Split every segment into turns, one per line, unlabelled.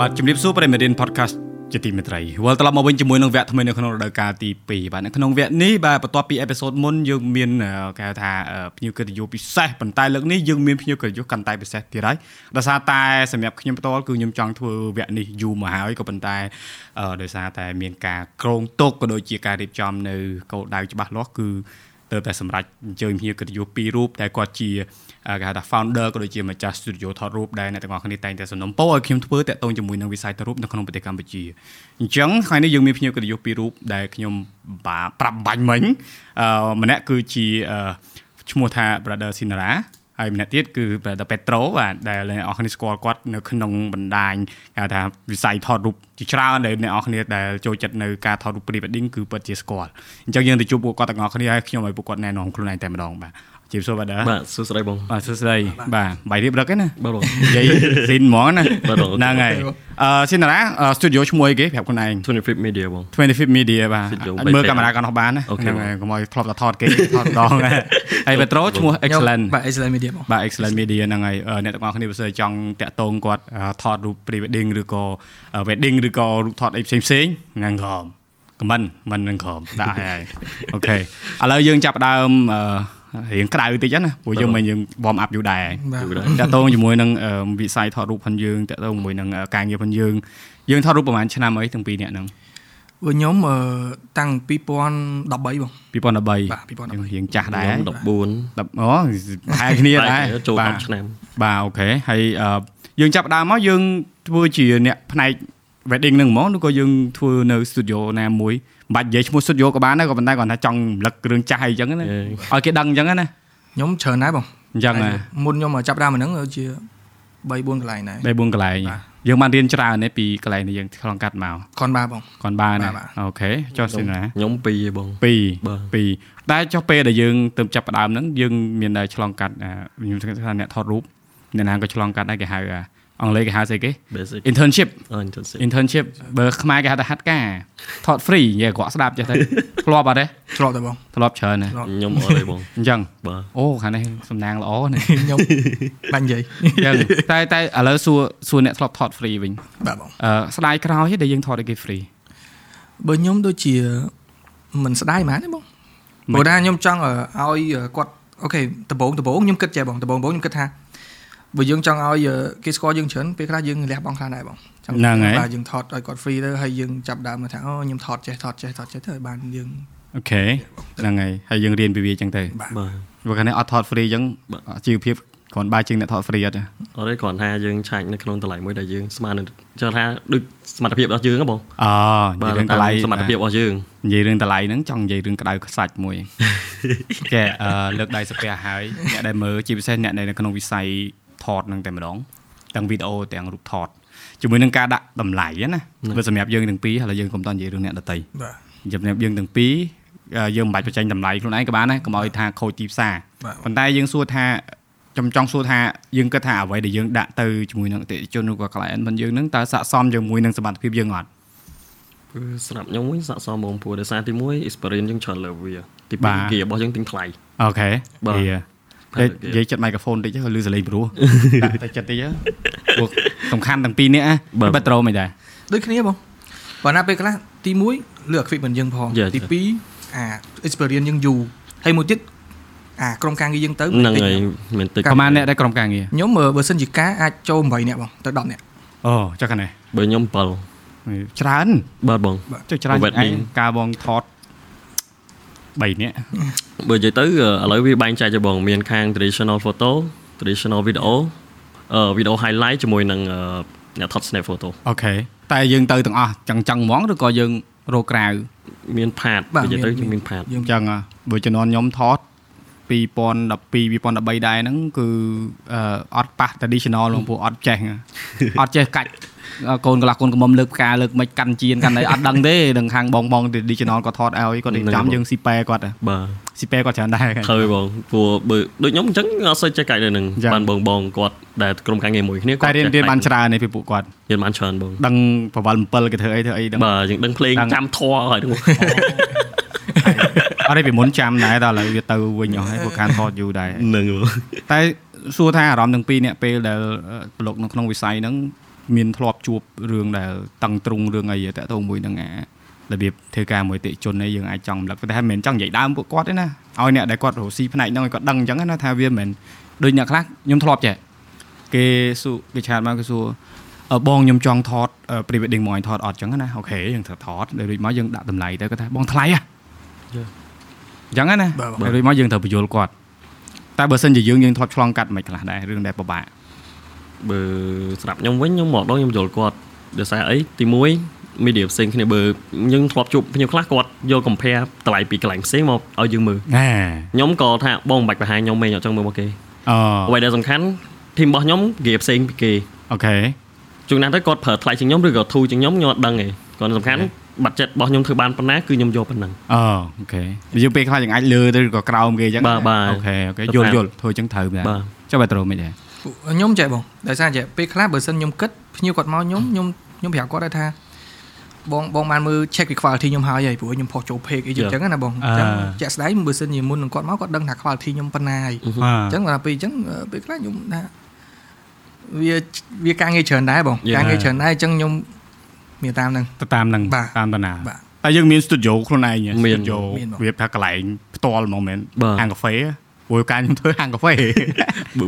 បាទជំរាបសួរប្រិមរៀន podcast ជាទីមេត្រីវិលត្រឡប់មកវិញជាមួយនឹងវគ្គថ្មីនៅក្នុងរដូវកាលទី2បាទនៅក្នុងវគ្គនេះបាទបន្ទាប់ពីអេពីសូតមុនយើងមានគេហៅថាភ្ញៀវកិត្តិយសពិសេសប៉ុន្តែលើកនេះយើងមានភ្ញៀវកិត្តិយសកាន់តែពិសេសទៀតហើយដោយសារតែសម្រាប់ខ្ញុំផ្ទាល់គឺខ្ញុំចង់ធ្វើវគ្គនេះយូរមកហើយក៏ប៉ុន្តែដោយសារតែមានការក្រងទុកក៏ដូចជាការរៀបចំនៅគោលដៅច្បាស់លាស់គឺទៅតែសម្រាប់អញ្ជើញភ្ញៀវកិត្តិយសពីររូបតែគាត់ជាគេហៅថា founder ក៏ដូចជាម្ចាស់ studio ថតរូបដែលអ្នកទាំងអស់គ្នាតែងតែសំណូមពរឲ្យខ្ញុំធ្វើតាក់ទងជាមួយនឹងវិស័យថតរូបនៅក្នុងប្រទេសកម្ពុជាអញ្ចឹងថ្ងៃនេះយើងមានភ្ញៀវកិត្តិយសពីររូបដែលខ្ញុំបាទប្រាប់បាញ់មិញអឺម្នាក់គឺជាឈ្មោះថា brother Sinara ហើយម្នាក់ទៀតគឺ brother Petro បាទដែលអ្នកអរគ្នាស្គាល់គាត់នៅក្នុងបណ្ដាញគេថាវិស័យថតរូបជាច្រើនដែលអ្នកអរគ្នាដែលចូលចិត្តនៅការថតរូប pre-wedding គឺពិតជាស្គាល់អញ្ចឹងយើងទៅជួបពួកគាត់ទាំងអស់គ្នាហើយខ្ញុំឲ្យពួកគាត់ណែនាំខ្លួនឯងតែម្ដងបាទជាសួស្ដីបាទ
បាទសួស្ដីបង
បាទសួស្ដីបាទបាយរៀបរឹកឯណា
បាទបង
និយាយស៊ីនហ្មងណាហ្នឹងហើយអឺស៊ីនតារា studio ឈ្មោះអីគេប្រាប់ខ្លួនឯង
25 media បង
25 media បាទមើលកាមេរ៉ាកាន់នោះបានណាហ្នឹងហើយកុំឲ្យធ្លាប់តែថតគេថតម្ដ ងហើយ Petro ឈ្មោះ excellent
បាទ excellent media បង
បាទ excellent media ហ្នឹងហើយអ្នកទាំងអស់គ្នាបើសិនចង់តាក់ទងគាត់ថតរូប pre wedding ឬក៏ wedding ឬក៏រូបថតអីផ្សេងផ្សេងហ្នឹងក្រមខមមិនមិននឹងក្រមដាក់ហើយអូខេឥឡូវយើងចាប់ដើមអឺរៀងក្តៅតិចណាព្រោះយើងមិនយើង warm up យូរដែរតាក់ទងជាមួយនឹងវិស័យថតរូបផងយើងតាក់ទងជាមួយនឹងការងារផងយើងយើងថតរូបប្រហែលឆ្នាំអីទាំងពីរអ្នកហ្នឹង
វិញខ្ញុំតាំង2013បង
2013បាទ
2013
រៀងចាស់ដែរ
14
10អូហែគ្នាដែរ
ចូល10ឆ្នាំ
បាទអូខេហើយយើងចាប់ដើមមកយើងធ្វើជាអ្នកផ្នែក wedding ហ្នឹងហ្មងឬក៏យើងធ្វើនៅ studio ណាមួយមិនបាច់និយាយឈ្មោះ studio ក៏បានដែរក៏ប៉ុន្តែគាត់ថាចង់រំលឹករឿងចាស់អីចឹងណាឲ្យគេដឹងចឹងណា
ខ្ញុំច្រើនដែរបង
អញ្ចឹងណា
មុនខ្ញុំចាប់ដើមអាហ្នឹងជា3 4កន្លែងដែរ
3 4កន្លែងយើងបានរៀនច្រើនទេពីកន្លែងដែលយើងឆ្លងកាត់មក
ខនបាបង
ខនបាណាអូខេចុះសិនណា
ខ្ញុំ2ឯងបង
2 2តែចុះពេលដែលយើងទៅចាប់ផ្ដើមហ្នឹងយើងមានតែឆ្លងកាត់ខ្ញុំថាអ្នកថតរូបអ្នកណាក៏ឆ្លងកាត់ដែរគេហៅអង់គ្លេសគេហៅស្អីគេ internship internship បើខ្មែរគេហៅថាហាត់ការថត free និយាយគាត់ស្ដាប់ចេះទៅធ្លាប់អត់ទេ
ធ្លាប់ទេបង
ធ្លាប់ច្រើនណា
ខ្ញុំអត់ទេបង
អញ្ចឹង
បាទ
អូខាងនេះសំនាងល្អណា
ខ្ញុំបាញ់និយាយ
អញ្ចឹងតែតែឥឡូវសួរសួរអ្នកធ្លាប់ថត free វិញ
បាទបង
អឺស្ដាយក្រោយដែលយើងថតឲ្យគេ free
បើខ្ញុំដូចជាមិនស្ដាយហ្មងទេបងព្រោះថាខ្ញុំចង់ឲ្យគាត់អូខេដំបងដំបងខ្ញុំគិតចេះបងដំបងដំបងខ្ញុំគិតថាបើយើងចង់ឲ្យគេស្គាល់យើងច្រើនពេលខ្លះយើងលះបង់ខ្លះដែរបង
ចឹងបាទ
យើងថតឲ្យគាត់ free ទៅហើយយើងចាប់ដើមថាអូខ្ញុំថតចេះថតចេះថតចេះទៅឲ្យបានយើង
អូខេហ្នឹងហើយហើយយើងរៀនពីវាចឹងទៅ
បាទ
ព្រោះកាលនេះអត់ថត free ចឹងជីវភាពគ្រាន់បើជាងអ្នកថត free អត់អ
ត់ទេគ្រាន់ថាយើងឆាច់នៅក្នុងតម្លៃមួយដែលយើងស្មើនឹងចង់ថាដូចសមត្ថភាពរបស់យើងហ៎បង
អូនិយាយរឿងតម្លៃ
សមត្ថភាពរបស់យើង
និយាយរឿងតម្លៃហ្នឹងចង់និយាយរឿងក្តៅខ្សាច់ មួយគេលើកដៃសាពះហើយអ្នកដែលមើលជាពិសេសអ្នកនៅក្នុងវិស័យថតនឹងតែម្ដងទាំងវីដេអូទាំងរូបថតជាមួយនឹងការដាក់តម្លៃណាវាសម្រាប់យើងទាំងពីរហើយយើងកុំតនិយាយរឿងអ្នកដតី
បាទ
សម្រាប់យើងទាំងពីរយើងមិនបាច់បញ្ចេញតម្លៃខ្លួនឯងក៏បានដែរកុំឲ្យថាខូចទីផ្សារប៉ុន្តែយើងសួរថាចំចង់សួរថាយើងគិតថាអ្វីដែលយើងដាក់ទៅជាមួយនឹងអតិថិជនឬក៏ client របស់យើងហ្នឹងតើស័ក្តិសមជាមួយនឹងសមត្ថភាពយើងអត់
គឺសម្រាប់ខ្ញុំវិញស័ក្តិសមបងព្រោះដោយសារទី1 experience យើងច្រើនលើវាទី2គេរបស់យើងទិញថ្លៃ
អូខេបាទនិយាយចិត្តមីក្រូហ្វូនតិចឮសលេងព្រោះដាក់តែចិត្តតិចពួកសំខាន់ទាំងពីរនេះណាបាត់ត្រូមិនដែរ
ដូចគ្នាបងបើណាពេលខ្លះទី1លើ equipment យើងផងទី2អា experience យើងយូរហើយមួយទៀតអាក្រុមការងារយើងទៅ
ហ្នឹងហើយមានតិច
ប្រហែលអ្នកដែរក្រុមការងារ
ខ្ញុំបើសិនជាការអាចចូល8នាក់បងទៅ10នាក់
អូចុះខាងនេះ
បើខ្ញុំ
7ច្រើន
បាទបង
ចុះច្រើនឯងការបងថត3នាក់
បើនិយាយទៅឥឡូវវាបែងចែកទៅបងមានខាង traditional photo traditional video អឺ video highlight ជាមួយនឹងអ្នកថត snap photo
អូខេតែយើងទៅទាំងអស់ចឹងចឹងហ្មងឬក៏យើងរកក្រៅ
មានផាតនិយាយទៅមានផាត
យើងចឹងបើជំនាន់ខ្ញុំថត2012 2013ដែរហ្នឹងគឺអត់ប៉ះ traditional ហ្មងពួកអត់ចេះអត់ចេះកាច់កូនកន្លះកូនកំមុំលើកផ្កាលើកមិនកាន់ជៀនកាន់អីអត់ដឹងទេនឹងខាងបងបង traditional គាត់ថតឲ្យគាត់ចាំយើងស៊ីប៉ែគាត់
បាទ
ស៊ីប៉ែគាត់ច្រើនដែរ
ឃើញបងព្រោះបើដូចខ្ញុំអញ្ចឹងអត់សូវចេះកាច់ដែរនឹងបានបងបងគាត់ដែលក្រុមការងារមួយគ្នាគាត់
រៀនរៀនបានច្រើននេះពីពួកគាត់
រៀនបានច្រើនបង
ដឹងប្រវល់7គេធ្វើអីធ្វើអី ដឹង
បាទយើងដឹងភ្លេងចាំធေါ် ហើយហ្នឹង
អរិយពីមុនចាំដែរដល់ឥឡូវវាទៅវិញអស់ហើយពួកខានថតយូរដែរ
នឹង
តែសួរថាអារម្មណ៍ទាំងពីរអ្នកពេលដែលប្រឡូកនៅក្នុងវិស័យហ្នឹង មានធ្លាប់ជួបរឿងដែលតឹងទ្រង់រឿងអីតាក់ទងមួយនឹងអារបៀបធ្វើការមួយតិជននេះយើងអាចចង់រំលឹកប៉ុន្តែមិនមែនចង់និយាយដើមពួកគាត់ទេណាឲ្យអ្នកដែលគាត់រស់ស៊ីផ្នែកហ្នឹងឲ្យគាត់ដឹងអញ្ចឹងណាថាវាមិនមែនដូចអ្នកខ្លះខ្ញុំធ្លាប់ចេះគេសួរគេឆាតមកគេសួរអឺបងខ្ញុំចង់ថត pre-wedding មកឲ្យថតអត់អញ្ចឹងណាអូខេយើងត្រូវថតដល់រួចមកយើងដាក់តម្លៃទៅគាត់ថាបងថ្លៃហ៎អញ្ចឹងណា
បាទបា
ដ
ទ
ល់រួចមកយើងត្រូវបញ្យល់គាត់តែបើសិនជាយើងយើងធ្លាប់ឆ្លងកាត់មិនខ្លះដែររឿងដែលពិបាក
បើស្រាប់ខ្ញុំវិញខ្ញុំមកដល់ខ្ញុំយល់គាត់ដោយសារអីទី1 media ផ្សេងគ្នាបើយើងធ្លាប់ជួបភ្ញៀវខ្លះគាត់យក compare តម្លៃពីកន្លែងផ្សេងមកឲ្យយើងមើល
ណា
ខ្ញុំក៏ថាបងមិនបាច់បង្ហាញខ្ញុំទេខ្ញុំចង់មើលមកគេ
អ
អ្វីដែលសំខាន់ធីមរបស់ខ្ញុំគេផ្សេងពីគេ
អូខេ
ជួនណាស់ទៅគាត់ប្រើថ្លៃជាងខ្ញុំឬក៏ធូរជាងខ្ញុំខ្ញុំអត់ដឹងទេគាត់សំខាន់
អូខេ
បាត់ចិត្តរបស់ខ្ញុំធ្វើបានប៉ុណ្ណាគឺខ្ញុំយកប៉ុណ្ណឹង
អូអូខេយើងពេលខ្លះយើងអាចលើទៅឬក៏ក្រោមគេអញ្ចឹង
បាទបាទ
អូខេអូខេ
ទៅ
យល់
តាម
យល់ធ្វើអញ្ចឹងត្រូវដែរចុះ
បាទ
បែរត្រូវមិនដែរ
ពួកខ្ញុំចេះបងដោយសារចេះពេលខ្លះបើសិនខ្ញុំគិតភ្ញៀវគាត់មកខ្ញុំខ្ញុំខ្ញុំប្រាប់គាត់ដែរថាបងបងបានមើល check ពី quality ខ្ញុំហើយហើយព្រោះខ្ញុំផុសចូល page អីចឹង
Yeah.
ចឹងណាបងអញ្ចឹងជាក់ស្ដែងបើសិនជាមុននឹងគាត់មកគាត់ដឹងថា quality ខ្ញុំប៉ុណ្ណាហើយអ
អ
ញ្ចឹងដល់ពេលអញ្ចឹងអឺពេលខ្លះខ្ញុំថាវាវាការងារច្រើនដែរបង
Yeah.
ការងារច្រើនដែរអញ្ចឹងខ្ញុំមានតាមហ្នឹង
ឺទៅតាមហ្នឹង
បាទ
តាមតាណា
បាទ
តែយើងមានស្ទូឌីយោខ្លួនឯង
មាន
ស្ទូឌីយោ
មានបង
វាថាកន្លែងផ្ទាល់ហ្មងមែន
បាទ
ហាងកាហ្វេព្រោះការខ្ញុំធ្វើហាងកាហ្វេ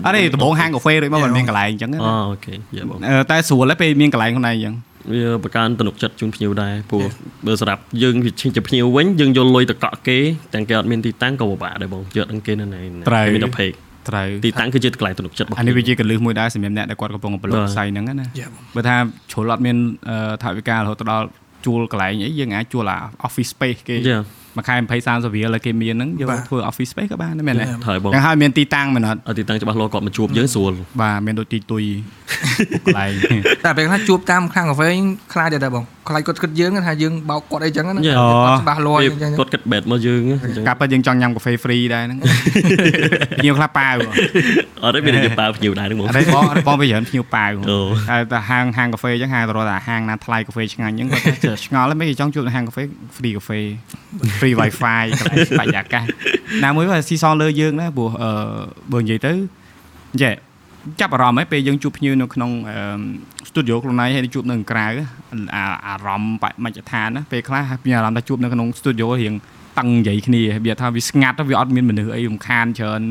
អត់ទេដំបងហាងកាហ្វេរួចមកមិនមានកន្លែងអញ្ចឹងណា
អូអូខេយកបង
អឺតែស្រួលតែពេលមានកន្លែងខ្លួនឯងអញ្ចឹង
វាបង្កើនទំនុកចិត្តជូនភ្ញៀវដែរព្រោះបើសម្រាប់យើងវាឈិញទៅភ្ញៀវវិញយើងយកលុយទៅកក់គេទាំងគេអត់មានទីតាំងក៏ពិបាកដែរបងយកដល់គេនៅណាគេមានតែពេក
ត្រូវ
ទីតាំងគឺជាកន្លែងទំនុកចិត្តរបស់
អានេះវាជាកលឹះមួយដែរសម្រាប់អ្នកដែលគាត់កំពុងប្រឡូកផ្សៃហ្នឹងណា
យ៉ាបង
បើថាជ្រុលអត់មានអឺថវិការហូតទៅដល់ជួលកន្លែងអីយើងអាចជួលអា office space គេ
យា
មួយខែ20 30រៀលឲ្យគេមានហ្នឹងយកមកធ្វើ office space ក៏បានដែរមែនទេ
ហើយបង
យ៉ាងហើយមានទីតាំងមែនអត់
អត់ទីតាំងច្បាស់លាស់គាត់មកជួបយើងស្រួល
បាទមានដូចទីទុ យកន្លែង
តែពេលខ្លះជួបតាមខាងកាហ្វេខ្លាចដែរដែរបងខ្លាចគាត់គិតយើងថាយើងបោកគាត់អីចឹងណា
អូ
យា
គាត់ច្បាស់លាស់
វា
អីចឹង
គាត់គិតបែបមកយើងអញ្ចឹង
ការពិតយើងចង់ញ៉ាំកាហ្វេ free ដែរហ្នឹង ញៀវខ្លះប៉ាវ
អត់ទេមានតែ យើងប៉ាវភ្ញៀវដែរហ្នឹងបង
អត់ទេបងអត់ទេបងវាច្រើនញៀវប៉ាវ
អូ
តែតែហាងហាងកាហ្វេអញ្ចឹងហាងទៅរកតែហាងណាថ្លៃកាហ្វេឆ្ងាញ់អញ្ចឹងគាត់តែឆ្ងល់ហ្មងគេចង់ជួលហាងកាហ្វេ free កាហ្វេ free wifi កន្លែងបរិយាកាស ណាមួយវាស៊ីសងលើយើងណាព្រោះអឺបើនិយាយទៅចេះចាប់អារម្មណ៍ហ្នឹងពេលយើងជួបភ្ញៀវនៅក្នុងអឺ studio ខ្លួនឯងហើយជួបនៅខាងក្រៅអាអារម្មណ៍បច្ចុប្បន្នដ្ឋានណាពេលខ្លះមានអារម្មណ៍ថាជួបនៅក្នុង studio រៀងតឹងនិយាយគ្នាវាថាវាស្ងាត់វាអត់មានមនុស្សអីរំខានច្រើន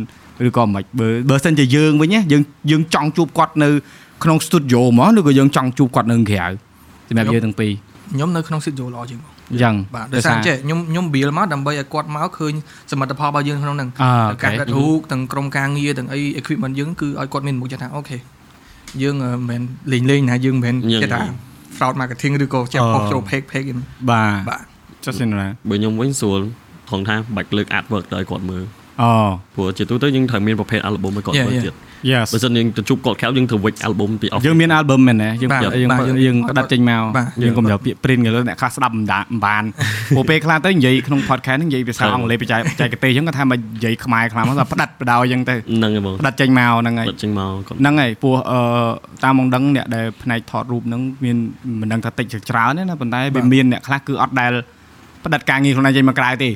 ឬក៏មិនបើបើសិនជាយើងវិញណាយើងយើងចង់ជួបគាត់នៅក្នុង studio ហ្មងឬក៏យើងចង់ជួបគាត់នៅក្រៅសម្រាប់យើងទាំងពីរ
ខ្ញុំនៅក្នុងស៊ីតយូល្អជាងបង
អញ្ចឹង
បាទដោយសារចេះខ្ញុំខ្ញុំបៀលមកដើម្បីឲ្យគាត់មកឃើញសមិទ្ធផលរបស់យើងក្នុងហ្នឹង
អ่า
ទាំងការ
អូខេ
ដិតរូបទាំងក្រុមការងារទាំងអី equipment យើងគឺឲ្យគាត់មានមុខចិត្តថាអូខេយើងអឺមិនមែនលេងលេងណាយើងមិនមែនចេះថា fraud marketing ឬក៏ចេះ
អ่า
ផុសចូល fake fake ឯង
បាទ
បាទ
ចុះសិនណា
បើខ្ញុំវិញស្រួលថងថាបាច់លើក artwork ទៅឲ្យគាត់មើល
អូ
ព្រោះជាទូទៅយើងត្រូវមានប្រភេទ album ឲ្យគាត់មើលទៀត
yes
បើសិនយើងទៅជួបគាត់ក្រៅយើងត្រូវវិច album ពី office
យើងមាន album មែនទេយើង
បាទ
យើង
បាទ
យើង
អត់
ផ្ដាច់ចេញមក
បាទ
យើងកុំយកពាក្យ print ទៅលើអ្នកខ្លះស្ដាប់មិនដាមិនបានព្រោះពេលខ្លះទៅនិយាយក្នុង podcast ហ្នឹងនិយាយភាសា
ត្រូវ
អង់គ្លេសបច្ចេកបច្ចេកទេសអញ្ចឹងគាត់ថាមកនិយាយខ្មែរខ្លះមកថាផ្ដាច់បដោយអញ្ចឹងទៅ
ហ្នឹងឯងបង
ផ្ដាច់ចេញមកហ្នឹងហើយ
បាត់ចេញមកគាត់
ហ្នឹងហើយព្រោះអឺតាមមកដឹងអ្នកដែលផ្នែកថតរូបហ្នឹងមានមិនដឹងថាតិចឬច្រើនទេណាប៉ុន្តែវាមានអ្នកខ្លះគឺអត់ដែលផ្ដាច់ការងារខ្លួនឯងចេញមកក្រៅទេ
យ៉ា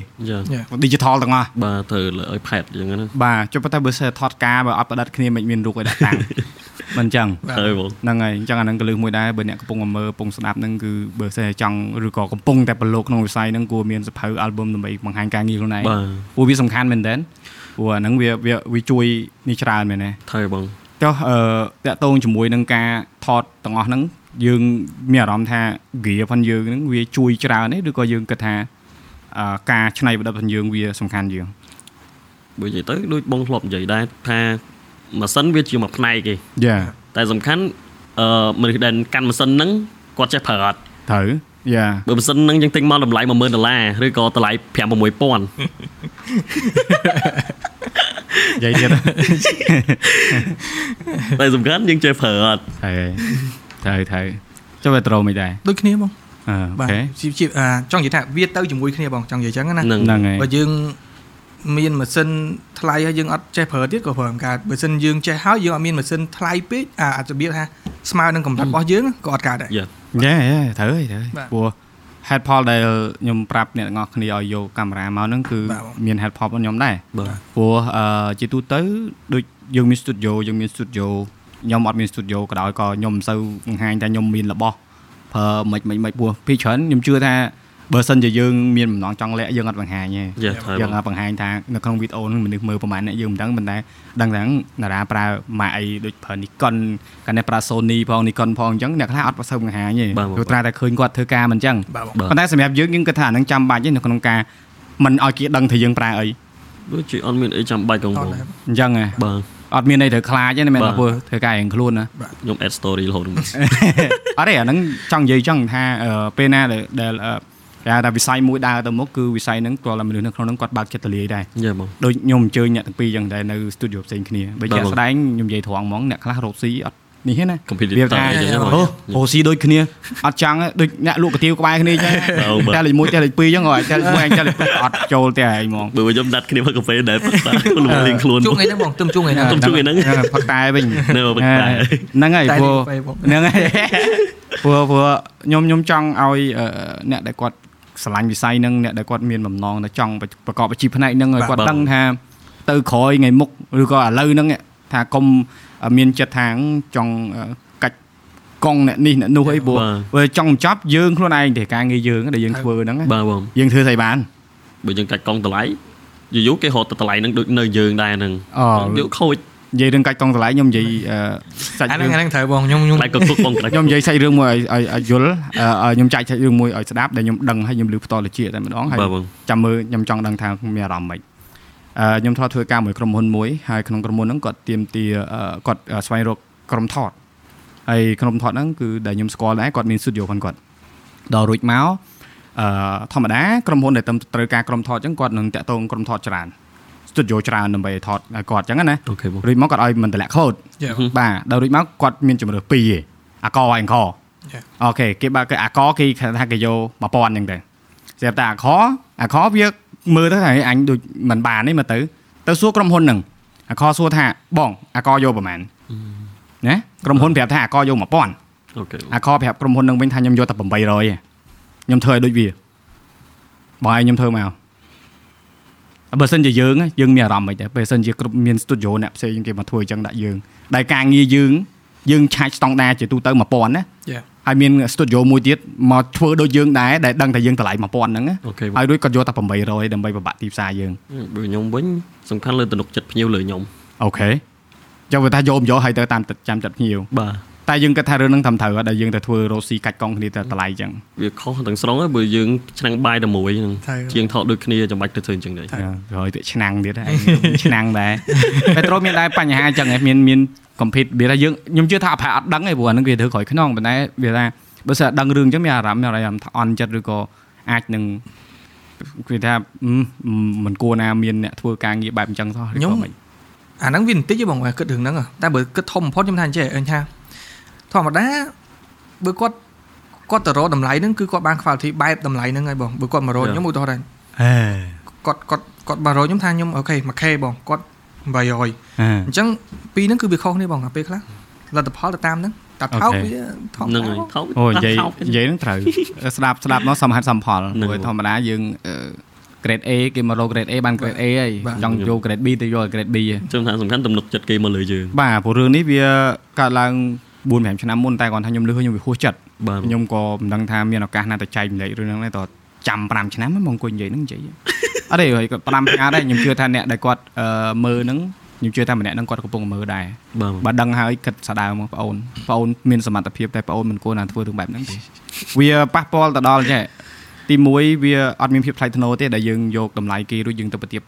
digital ទាំងអស់
បាទត្រូវលើឲ្យផែតយ៉ាងហ្នឹង
បាទចុះប៉ុន្តែបើសិនថតការបើអត់ផ្ដាច់គ្នាមិនមានរូបឲ្យដាក់តាំង មិនអញ្ចឹង
បាទ
ត្រូវបង
ហ្នឹងហើយអញ្ចឹងអាហ្នឹងក៏លើសមួយដែរបើអ្នកកំពុងតែមើលកំពុងស្ដាប់ហ្នឹងគឺបើសិនជាចង់ឬក៏កំពុងតែប្រឡូកក្នុងវិស័យហ្នឹងគួរមានសភៅ album ដើម្បីបង្ហាញការងារខ្លួនឯង
បាទ
ព្រោះវាសំខាន់មែនតើព្រោះអាហ្នឹងវាវាវាជួយនេះច្រើនមែនទេ
ត្រូវបង
ចុះអឺតកតងជាមួយនឹងការថតទាំងអស់ហ្នឹងយើងមានអារម្មណ៍ថា gear ផងយើងហ្នឹងវាជួយច្រើនទេឬក៏យើងគិតថាអឺការច្នៃប្រឌិតផងយើងវាសំខាន់ជាង
បើនិយាយទៅដូចបងធ្លាប់និយាយដែរថាម៉ាស៊ីនវាជាមួយផ្នែកគេ
យ៉ា
តែសំខាន់អឺមនុស្សដែលកាន់ម៉ាស៊ីនហ្នឹងគាត់ចេះប្រើអត់
ត្រូវយ៉ា
បើម៉ាស៊ីនហ្នឹងយើងទិញមកតម្លៃ10000ដុល្លារឬក៏តម្លៃ5-6000
និយាយទៀត
តែសំខាន់យើងចេះប្រើអ ត់
ត្រូវត្រូវត្រូវចុះវាត្រូវមិនដែរ
ដូចគ្នាបង
អឺ
បា
អូ
ទ
ខេ
ជីវជីវអាចង់និយាយថាវាទៅជាមួយគ្នាបងចង់និយាយចឹងណា
ហ្នឹង
ហ្នឹងហើយ
បើយើងមានម៉ាស៊ីនថ្លៃហើយយើងអត់ចេះប្រើទៀតក៏ប្រើមិនកើតបើមិនយើងចេះហើយយើងអត់មានម៉ាស៊ីនថ្លៃពេកអាអាចរបៀបថាស្មើនឹងកម្រិតរបស់យើងក៏អត់កើតដែរ
យ៉ា
យេយេត្រូវហើយត្រូវ
បា
ហើយ
ទ
ព្រោះ head poll ដែលខ្ញុំប្រាប់អ្នកទាំងអស់គ្នាឲ្យយកកាមេរ៉ាមកហ្នឹងគឺ
បាទបង
មាន head poll របស់ខ្ញុំដែរ
បាទ
ព្រោះអឺជាទូទៅដូចយើងមាន studio យើងមាន studio ខ្ញុំអត់មាន studio ក៏ដោយក៏ខ្ញុំមិនសូវបង្ហាញថាខ្ញុំមានរបស់ព្រោះមិនមិនមិនពោះពីច្រើនខ្ញុំជឿថាបើសិនជាយើងមានបំណងចង់លាក់យើងអត់បង្ហាញទេ
Yes ហើយ
យើងអាចបង្ហាញថានៅក្នុងវីដេអូហ្នឹងមនុស្សមើលប្រហែលអ្នកយើងមិនដឹងប៉ុន្តែដឹងថាតារាប្រើម៉ាកអីដូចប្រើ Nikon កាលនេះប្រើ Sony ផង Nikon ផងអញ្ចឹងអ្នកខ្លះអត់ប្រសើរបង្ហាញទេ
បាទបាទ
ព្រោះត្រាតែឃើញគាត់ធ្វើការមិនអញ្ចឹង
បាទបង
បាទ
ប៉ុន្តែសម្រាប់យើងយើងគិតថាអាហ្នឹងចាំបាច់ទេនៅក្នុងការមិនឲ្យគេដឹងថាយើងប្រើអី
ដូចជាអត់មានអីចាំបាច់កង
អ
ប
ត់
ង
ដែរ
អញ្ចឹងហ៎
បាទ
អត់មានអីត្រូវខ្លាចទេណាមែន
បាទ
ថាព្រោះធ្វើការរៀងខ្លួនណា
ខ្ញុំ add story រហូតហ្នឹង
អត់ទេអាហ្នឹងចង់និយាយចង់ថាអឺពេលណាដែលដែលអឺគេហៅថាវិស័យមួយដើរទៅមុខគឺវិស័យហ្នឹងគ្រាន់តែមនុស្សនៅក្នុងហ្នឹងគាត់បើកចិត្តទូលាយដែរ
យ៉ាបង
ដូចខ្ញុំអញ្ជើញអ្នកទាំងពីរយ៉ាងដែរនៅ studio ផ្សេងគ្នាបើជាក់
បាទ
ស្ដែងខ្ញុំនិយាយត្រង់ហ្មងអ្នកខ្លះរកស៊ីអត់នេះហ្នឹងណា
computer
វាថា
អញ្ចឹងហ៎
អូរកស៊ីដូចគ្នាអត់ចង់ទេដូចអ្នកលក់កាទៀវក្បែរ គ្នាអញ្ចឹង
អូបាទ
តែលេខ1តែលេខ2អញ្ចឹងអត់តែលេខ1អញ្ចឹងលេខ2អត់ចូលតែឯងហ្មង
បើខ្ញុំដាត់គ្នាមកកាហ្វេដែរប៉ុន្តែខ្ញុំលំលេ ងខ្លួន
ជួងអីហ្នឹងបងទុំជួងអីហ្នឹង
ទុំ ជួយហ្នឹង
ផឹកតែវិញ
នៅប៉ុន្តែ
ហ្នឹងហើយ
តែ
ព្រោះ
លេខពេកបង
ហ្នឹងហើយព្រោះព្រោះខ្ញុំខ្ញុំចង់ឲ្យអឺអ្នកដែលគាត់ស្រឡាញ់វិស័យហ្នឹងអ្នកដែលគាត់មានបំណងដែលចង់ប្រកបអាជីពផ្នែកហ្នឹងឲ្យ
បាទ
គាត់
បាទ
ដឹងថាទៅក្រោយថ្ងៃមុខឬក៏ឥឡូវហ្នឹងថាកុំមានចិត្តថាចង់អឺកាច់កង់អ្នកនេះអ្នកនោះអីព្រោះ
បា
ព្រោះចង់ចាប់យើងខ្លួនឯងទេការងារយើងដែលយើងធ្វើហ្នឹង
ទបាទបង
យើងធ្វើស្អីបាន
បើយើងកាច់កង់តម្លៃយូរយូរគេហត់ទៅតម្លៃហ្នឹងដូចនៅយើងដែរហ្នឹង
អូ
យកខូច
និយាយរឿងកាច់កង់តម្លៃខ្ញុំនិយាយអឺសាច់
អា
រឿង
ហ្នឹងអាហ្នឹងត្រូវបងខ្ញុំខ្ញុំ
តែក៏គុកបងតែ
ខ្ញុំនិយាយសាច់រឿងមួយឲ្យឲ្យឲ្យយល់អឺឲ្យខ្ញុំចែកសាច់រឿងមួយឲ្យស្ដាប់ដែលខ្ញុំដឹងហើយខ្ញុំលឺផ្ទាល់ត្រជាតែម្ដងហើយ
បាទបង
ចាំមើលខ្ញុំចង់ដឹងថាមានអារម្មណ៍ម៉េចអឺខ្ញុំធ្លាប់ធ្វើការមួយក្រុមហ៊ុនមួយហើយក្នុងក្រុមហ៊ុនហ្នឹងគាត់ទៀមទាអឺគាត់អឺស្វែងរកក្រុមថតហើយក្រុមថតហ្នឹងគឺដែលខ្ញុំស្គាល់ដែរគាត់មានស្ទូឌីយោផងគាត់ដល់រួចមកអឺធម្មតាក្រុមហ៊ុនដែលត្រូវការក្រុមថតអញ្ចឹងគាត់នឹងតាក់ទងក្រុមថតច្រើនស្ទូឌីយោច្រើនដើម្បីថតឲ្យគាត់អញ្ចឹងណា
អូខេបង
រួចមកគាត់ឲ្យមិនតម្លាក់ខូត
យេ
បាទដល់រួចមកគាត់មានជំរើស2ឯងអាកហើយអង្គរ
Yeah.
អូខេគេបើគេអាកគេគេថាគេយក1000អញ្ចឹងទៅស្រាប់តែអាខអាខវាមើលទៅថាអញដូចមិនបានទេមើលទៅទៅសួរក្រុមហ៊ុនហ្នឹងអាខសួរថាបងអាកយកប្រហែលណាក្រុមហ៊ុនប្រាប់ថាអាកយក1000
អូខេ
អាខប្រាប់ក្រុមហ៊ុននឹងវិញថាខ្ញុំយកតែ800ឯងខ្ញុំធ្វើឲ្យដូចវាបើឲ្យខ្ញុំធ្វើមកបើសិនជាយើងហ៎យើងមានអារម្មណ៍មិនដែរពេលសិនជាក្រុមមាន studio អ្នកផ្សេងគេមកធ្វើអញ្ចឹងដាក់យើងដែលការងារយើងយើងឆាច់ស្តង់ដារជាទូទៅ1000ណា
Yeah.
ហើយមាន studio មួយទៀតមកធ្វើដូចយើងដែរដែលដឹងថាយើងតម្លៃ1000ហ្នឹងណា
អូខេបង
ហើយរួចគាត់យកតែ800ដើម្បីប្របាក់ទីផ្សារយើង
បើខ្ញុំវិញសំខាន់លើទំនុកចិត្តភ្ញៀវលើខ្ញុំ
អូខេចាំបើថាយកមិនយកហើយទៅតាមចាំចិត្តភ្ញៀវ
បាទ
តែយើងគិតថារឿងហ្នឹងធ្វើត្រូវហ៎ដែលយើងទៅធ្វើរ៉ូស៊ីកាច់កង់គ្នាតែតម្លៃអញ្ចឹង
វាខុសទាំងស្រុងហើយបើយើងឆ្នាំងបាយតែមួយហ្នឹង
ត្រូវ
ជាងថតដូចគ្នាចាំបាច់ទៅធ្វើអញ្ចឹងដែរ
ហើយទៅឆ្នាំងទៀតហើយ ឆ្នាំងដែរពេត្រូមានដែរបញ្ហាអញ្ចឹងឯងមានមានកំភេតវាថាយើងខ្ញុំជឿថាអភ័យអត់ដឹងឯងព្រោះអាហ្នឹងវាធ្វើក្រោយខ្នងប៉ុន្តែវាថាបើសិនអត់ដឹងរឿងអញ្ចឹងមានអារម្មណ៍មានអារម្មណ៍ថាអន់ចិត្តឬក៏អាចនឹងគេថាហឹមមិនគួរណាមានអ្នកធ្វើការងារបែបអញ្ចឹងសោះឬ
ខ្ញុំ
ក៏មិន
អាហ្នឹងវាបន្តិចទេបងគិតរឿងហ្នឹងហ៎តែបើគិតធំបំផុតខ្ញុំថាអញ្ចេះអញថាធម្មតាបើគាត់គាត់ទៅរកតម្លៃហ្នឹងគឺគាត់បាន quality បែបតម្លៃហ្នឹងហើយបងបើគាត់មករក
Yeah.
ខ្ញុំឧទាហរណ៍ដែរគាត់គាត់គាត់មករកខ្ញុំថាខ្ញុំអូខេ 1k បងគាត់800
អឺ
អញ្ចឹងពីរហ្នឹងគឺវាខុសគ្នាបងអាពេលខ្លះលទ្ធផលទៅតាមហ្នឹងតាថោក
Okay.
វាថោក
ហ្នឹង
ដែរ
ហើយ
បង
ថោក
អូនិយាយ
ថោក
និយាយហ្នឹងត្រូវ ស្ដាប់ស្ដាប់មកសមហេតុសមផល
ហ្នឹង
ព្រោះធម្មតាយើងអឺ grade A គេមករក grade A បាន grade A ហើយចង់យក grade B ទៅយក grade B ហើយ
ខ្ញុំថាសំខាន់ទំនុកចិត្តគេមកលើយើង
បាទព្រោះរឿងនេះវាកើតឡើង4 5ឆ្នាំមុនតែគាត់ថាខ្ញុំលឺហើយខ្ញុំវាហួសចិត្ត
បាទខ្ញុំ
ខ្ញុំក៏មិនដឹងថាមានឱកាសណាទៅចែកម្លែករឿងហ្នឹងដែរតចាំ5ឆ្នាំហ្មងអង្គុយនិយាយហ្នឹងនិយាយ អត់ទេហើយគាត់5ផ្ញើដែរខ្ញុំជឿថាអ្នកដែលគាត់អឺមើលហ្នឹងខ្ញុំជឿថាម្នាក់ហ្នឹងគាត់កំពុងមើលដែរ
បាទ
បើដឹងហើយគិតស្ដៅមកប្អូនប្អូនមានសមត្ថភាពតែប្អូនមិនគួរណាធ្វើរឿងបែបហ្នឹងទេវាប៉ះពាល់ទៅដល់ចេះទី1វាអត់មានភាពថ្លៃថ្នូរទេដែលយើងយកតម្លៃគេរួចយើងទៅប្រទៀប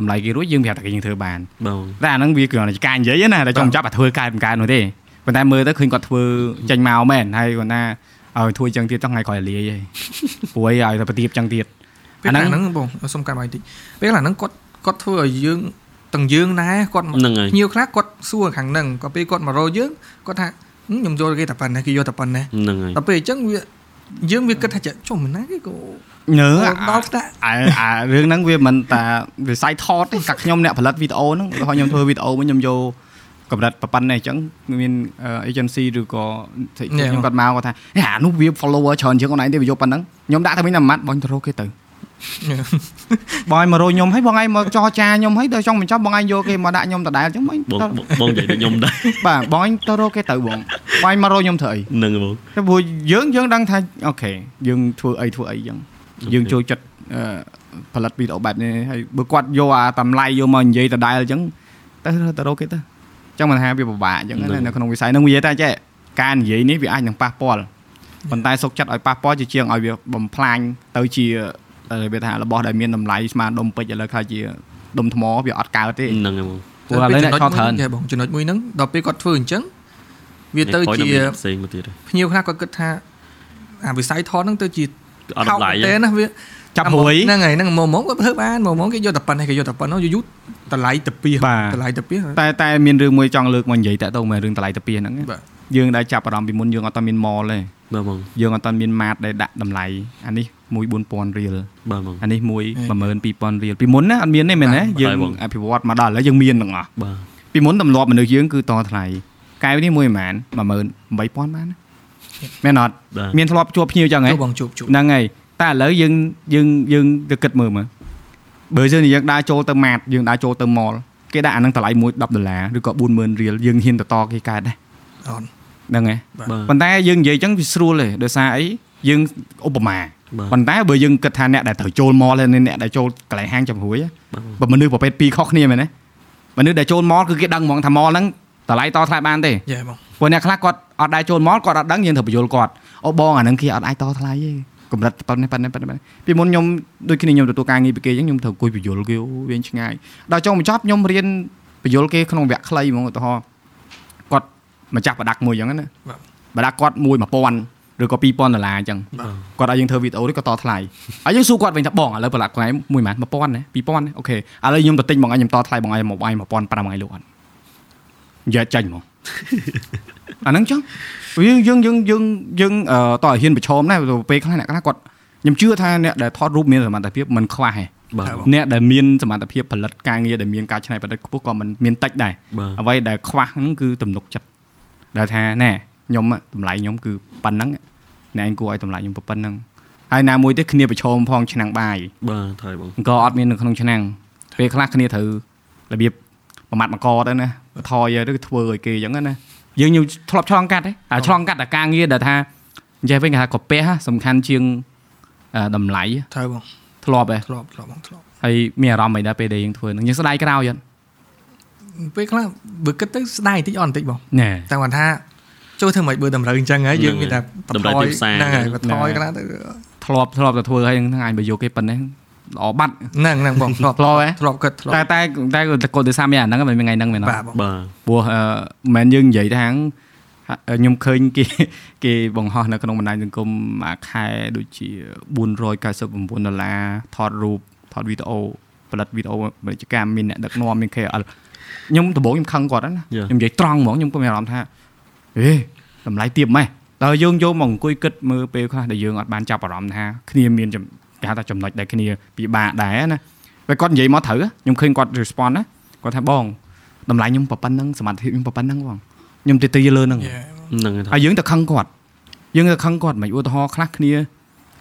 តម្លៃគេរួចយើងប្រាប់តែគេយើងធ្វើបាន
បាទ
តែអាហ្នឹងវាគ្រាន់តែជាការនិយាយទេណាតែចង់ចាប់អាធ្វើកើតមិនកើតនោះទេប៉ុន្តែមើលទៅឃើញគាត់ធ្វើចេញមកមែនហើយគាត់ថាឲ្យធ្វើចឹងទៀតចង់ថ្ងៃក្រោយលាយហើយ ព្រួយឲ្យតែប្រទៀបចឹងទៀត
ពេល
អា
ខ្លះ
ហ្នឹង
ហ្នឹងបងសុំកាត់បាយបន្តិចពេលខ្លះហ្នឹងគាត់គាត់ធ្វើឲ្យយើងទាំងយើងដែរគាត់
ហ្នឹងហើយ
ភ្ញៀវខ្លះគាត់សួរខាងហ្នឹងគាត់ពេលគាត់មករកយើងគាត់ថាហឹមខ្ញុំយកគេតែប៉ុណ្ណេះគេយកតែប៉ុណ្ណេះ
ហ្នឹងហើយ
ដល់ពេលអញ្ចឹងវាយើងវាគិតថាចេះចុះមិនណាគេក៏
នើ
ដល់ថ្នាក់
អាអារឿងហ្នឹងវាមិនតាវិស័យថតទេតែខ្ញុំអ្នកផលិតវីដេអូហ្នឹងគាត់ខ្ញុំធ្វើវីដេអូមួយខ្ញុំយកកម្រិតប្រប៉ុណ្ណេះអញ្ចឹងមាន agency ឬក៏ខ្ញុំគាត់មកគាត់ថាអានោះវា follower ច្រើនជាងខ្លួនឯងទេវាយកប៉ុណ្ណឹងខ្ញុំដាក់តែវិញតែម៉ាត់បងទៅរកគេទៅ បងឯងមករោខ្ញុំហើយបងឯងមកចរចាខ្ញុំហើយដល់ចុងបញ្ចប់បងឯងយកគេមកដាក់ខ្ញុំដដែលអញ្ចឹងបងឯង
បង
ទៅ
បងបងនិយាយដូចខ្ញុំដែរ
បាទបងឯងទៅរកគេទៅបងបងឯងមករោខ្ញុំធ្វើអី
ហ្នឹងហ្មង
តែព្រោះយើងយើងដឹងថាអូខេយើងធ្វើអីធ្វើអីអញ្ចឹងយើងចូលចិត្តអឺផលិតវីដេអូបែបនេះហើយបើគាត់យកអាតម្លៃយកមកនិយាយដដែលអញ្ចឹងទៅទៅរកគេទៅអញ្ចឹងមិនថាវាពិបាកអញ្ចឹង
ហ្នឹង
ណានៅក្នុងវិស័យហ្នឹងវានិយាយតែចេះការនិយាយនេះវាអាចនឹងប៉ះពាល់ប៉ុន្តែសុកចិត្តឲ្យប៉ះពាល់ជាជាងឲ្យវាបំផ្លាញទៅជាអឺវាថារបស់ដែលមានតម្លៃស្មើដុំពេជ្រឥឡូវខ្លះជាដុំថ្មវាអត់កើតទេ
ហ្នឹងហ្មង
ព្រោះឥឡូវអ្នកខក
មួយ
ច្រើន
ចេះបងចំណុចមួយហ្នឹងដល់ពេលគាត់ធ្វើអញ្ចឹងវាទៅ
នេះ point
ជា
ដែលមានផ្សេងមកទៀតហើយ
ភ្នៀវខ្លះគាត់គិតថាអាវិស័យថតហ្នឹងទៅជា
អត់តម្លៃ
ទេ
ទេ
ណាវា
ចាប់រួយ
ហ្នឹងហើយហ្នឹងមកមកគាត់ធ្វើបានមកមកគេយកតែប៉ុណ្ណេះគេយកតែប៉ុណ្ណោះយូរៗតម្លៃតាពី
បាទ
តម្លៃតាពី
តែតែមានរឿងមួយចង់លើកមកនិយាយតាក់ទងមែនរឿងតម្លៃតាពីហ្នឹង
បាទ
យើងដែលចាប់អារម្មណ៍ពីមុនយើងអត់តាមាន mall ទេ
បាទហ្មង
យើងអត់តាមាន mart ដែលដាក់តម្លៃអានេះមួយ4000រៀល
បាទហ្មង
អានេះមួយ12000រៀលពីមុនណាអត់មានទេមែនទេ
បាទ
យើង
បាទបង
អភិវឌ្ឍមកដល់ឥឡូវយើងមានទាំងអស់
បាទ
ពីមុនទម្លាប់មនុស្សយើងគឺតថ្លៃកែវនេះមួយប្រហែល18000បានណាមែនអត់
បាទ
មានធ្លាប់ជួបភ្ញៀវចឹងហ៎
ទៅបងជួបជួប
ហ្នឹងហើយតែឥឡូវយើងយើងយើងទៅគិតមើលមើលបើយើងយើងដើរចូលទៅម៉ាតយើងដើរចូលទៅ mall គេដាក់អាហ្នឹងតម្លៃមួយ10ដុល្លារឬក៏40000រៀលយើងហ៊ានតតគេកើតដែរ
អត់
ហ្នឹងហើយ
បាទ
ប៉ុន្តែយើងនិយាយអញ្ចឹងវាស្រួលទេដោយសារអីយើងឧបមា
បាទ
ប៉ុន្តែបើយើងគិតថាអ្នកដែលត្រូវចូល mall ហើយអ្នកដែលចូលកន្លែងហាងចំរួយ
បា
បើ
ទ
មនុស្សប្រភេទពីរខុសគ្នាមែនទេមនុស្សដែលចូល mall គឺគេដឹងហ្មងថា mall ហ្នឹងតម្លៃតថ្លៃបានទេ
យ៉ាបង
ព្រោះអ្នកខ្លះគាត់អត់ដែរចូលមកគាត់អត់ដឹងយើងត្រូវបញ្យល់គាត់អូបងអាហ្នឹងគេអត់អាចតថ្លៃទេកម្រិតប៉ុណ្ណេះប៉ុណ្ណេះប៉ុណ្ណេះប៉ុណ្ណេះពីមុនខ្ញុំដូចគ្នាខ្ញុំទទួលការងារពីគេអញ្ចឹងខ្ញុំត្រូវអង្គុយបញ្យល់គេអូវាឆ្ងាយដល់ចុងបញ្ចប់ខ្ញុំរៀនបញ្យល់គេក្នុងវគ្គខ្លីហ្មងឧទាហរណ៍គាត់ម្ចាស់ប្រដាក់មួយអញ្ចឹងណាប្រដាក់គាត់មួយ1000ឬក៏2000ដុល្លារអញ្ចឹងគាត់ឲ្យយើងធ្វើវីដេអូនេះក៏តថ្លៃហើយយើងសួរគាត់វិញថាបងឥឡូវប្រដាក់ខ្លួនឯងមួយម៉ាត់1000ណា2000ណាអូខេឥឡូវខ្ញុំទៅទិញបងឯងខ្ញុំតថ្លៃបងឯងមកបងឯង1500ឯងលក់អត់យ៉ាចាញ់ហ្មង អាហ្នឹងចឹងយើងយើងយើងយើងយើងអឺតើហ៊ានប្រឈមដែរពេលខ្លះអ្នកខ្លះគាត់ខ្ញុំជឿថាអ្នកដែលថតរូបមានសមត្ថភាពមិនខ្វះទេ
បាទ
អ្នកដែលមានសមត្ថភាពផលិតការងារដែលមានការច្នៃប្រឌិតខ្ពស់ក៏មិនមានតិចដែរ
បាទ
អ្វីដែលខ្វះហ្នឹងគឺទំនុកចិត្តដែលថាណែខ្ញុំអ่ะតម្លៃខ្ញុំគឺប៉ុណ្ណឹងអ្នកឯងគួរឲ្យតម្លៃខ្ញុំប៉ុណ្ណឹងហើយណាមួយទៀតគ្នាប្រឈមផងឆ្នាំងបាយ
បាទថយបង
ក៏អត់មាននៅក្នុងឆ្នាំងពេលខ្លះគ្នាត្រូវរបៀបប្រមាត់មកកទៅណាថយទៅធ្វើឲ្យគេអញ្ចឹងណាយើងញូវធ្លាប់ឆ្លងកាត់ទេអាឆ្លងកាត់តែការងារដែលថានិយាយវិញគេថាក្រពះសំខាន់ជាងអឺតម្លៃ
ត្រូវបង
ធ្លាប់ទេ
ធ្លាប់ធ្លាប់បងធ្លាប់
ហើយមានអារម្មណ៍អីដែរពេលដែលយើងធ្វើហ្នឹងយើងស្ដាយក្រោយអត់
ពេលខ្លះបើគិតទៅស្ដាយបន្តិចអត់បន្តិចបង
ណែ
តែគាត់ថាចូលធ្វើម៉េចបើតម្រូវអញ្ចឹងហើយយើង
ហ្នឹង
មានតែ
តម្រូវទីផ្សារ
ហ្នឹងហើយបន្ថយ
ហ្នឹង
ខ្លះទៅ
ធ្លាប់ធ្លាប់តែធ្វើហើយហ្នឹងឯងបើយកគេប៉ុណ្ណេះល្អបាត់
ហ្នឹងហ្នឹងបងធ្លាប់
ធ្លាប់ទេ
ធ្លាប់គិតធ្លាប់
តែតែតែកូនទៅសាមានអាហ្នឹងមិនមានថ្ងៃហ្នឹងមែនអត់
បាទបង
បាទ
ព្រោះអឺមិនមែនយើងនិយាយថាខ្ញុំឃើ ញគេគេបង្ហោះនៅក្នុងបណ្ដាញសង្គមមួយខែដូចជា499ដុល្លារថតរូបថតវីដេអូផលិតវីដេអូពាណិជ្ជកម្មមានអ្នកដឹកនាំមាន KOL ខ្ញុំដំបូងខ្ញុំខឹងគាត់ហ្នឹងណាខ្ញុំនិយាយត្រង់ហ្មងខ្ញុំក៏មានអារម្មណ៍ថាអេតម្លៃទាបម៉េះតើយើងយកមកអង្គុយគិតមើលពេលខ្លះដែលយើងអត់បានចាប់អារម្មណ៍ថាគ្នាមានចំគេហៅថាចំណុចដែលគ្នាពិបាកដែរណាពេលគាត់និយាយមកត្រូវខ្ញុំឃើញគាត់ respond ណាគាត់ថាបង តម្លៃខ្ញុំប្រប៉ុណ្ណឹងសមត្ថភាពខ្ញុំប្រប៉ុណ្ណឹងបងខ្ញុំទៅទីលើហ្នឹង
យ៉ា
ហ្នឹងហើយថ
ហើយ យយើងទៅខឹងគាត់យើងទៅខឹងគាត់មិនឧទាហរណ៍ខ្លះគ្នារ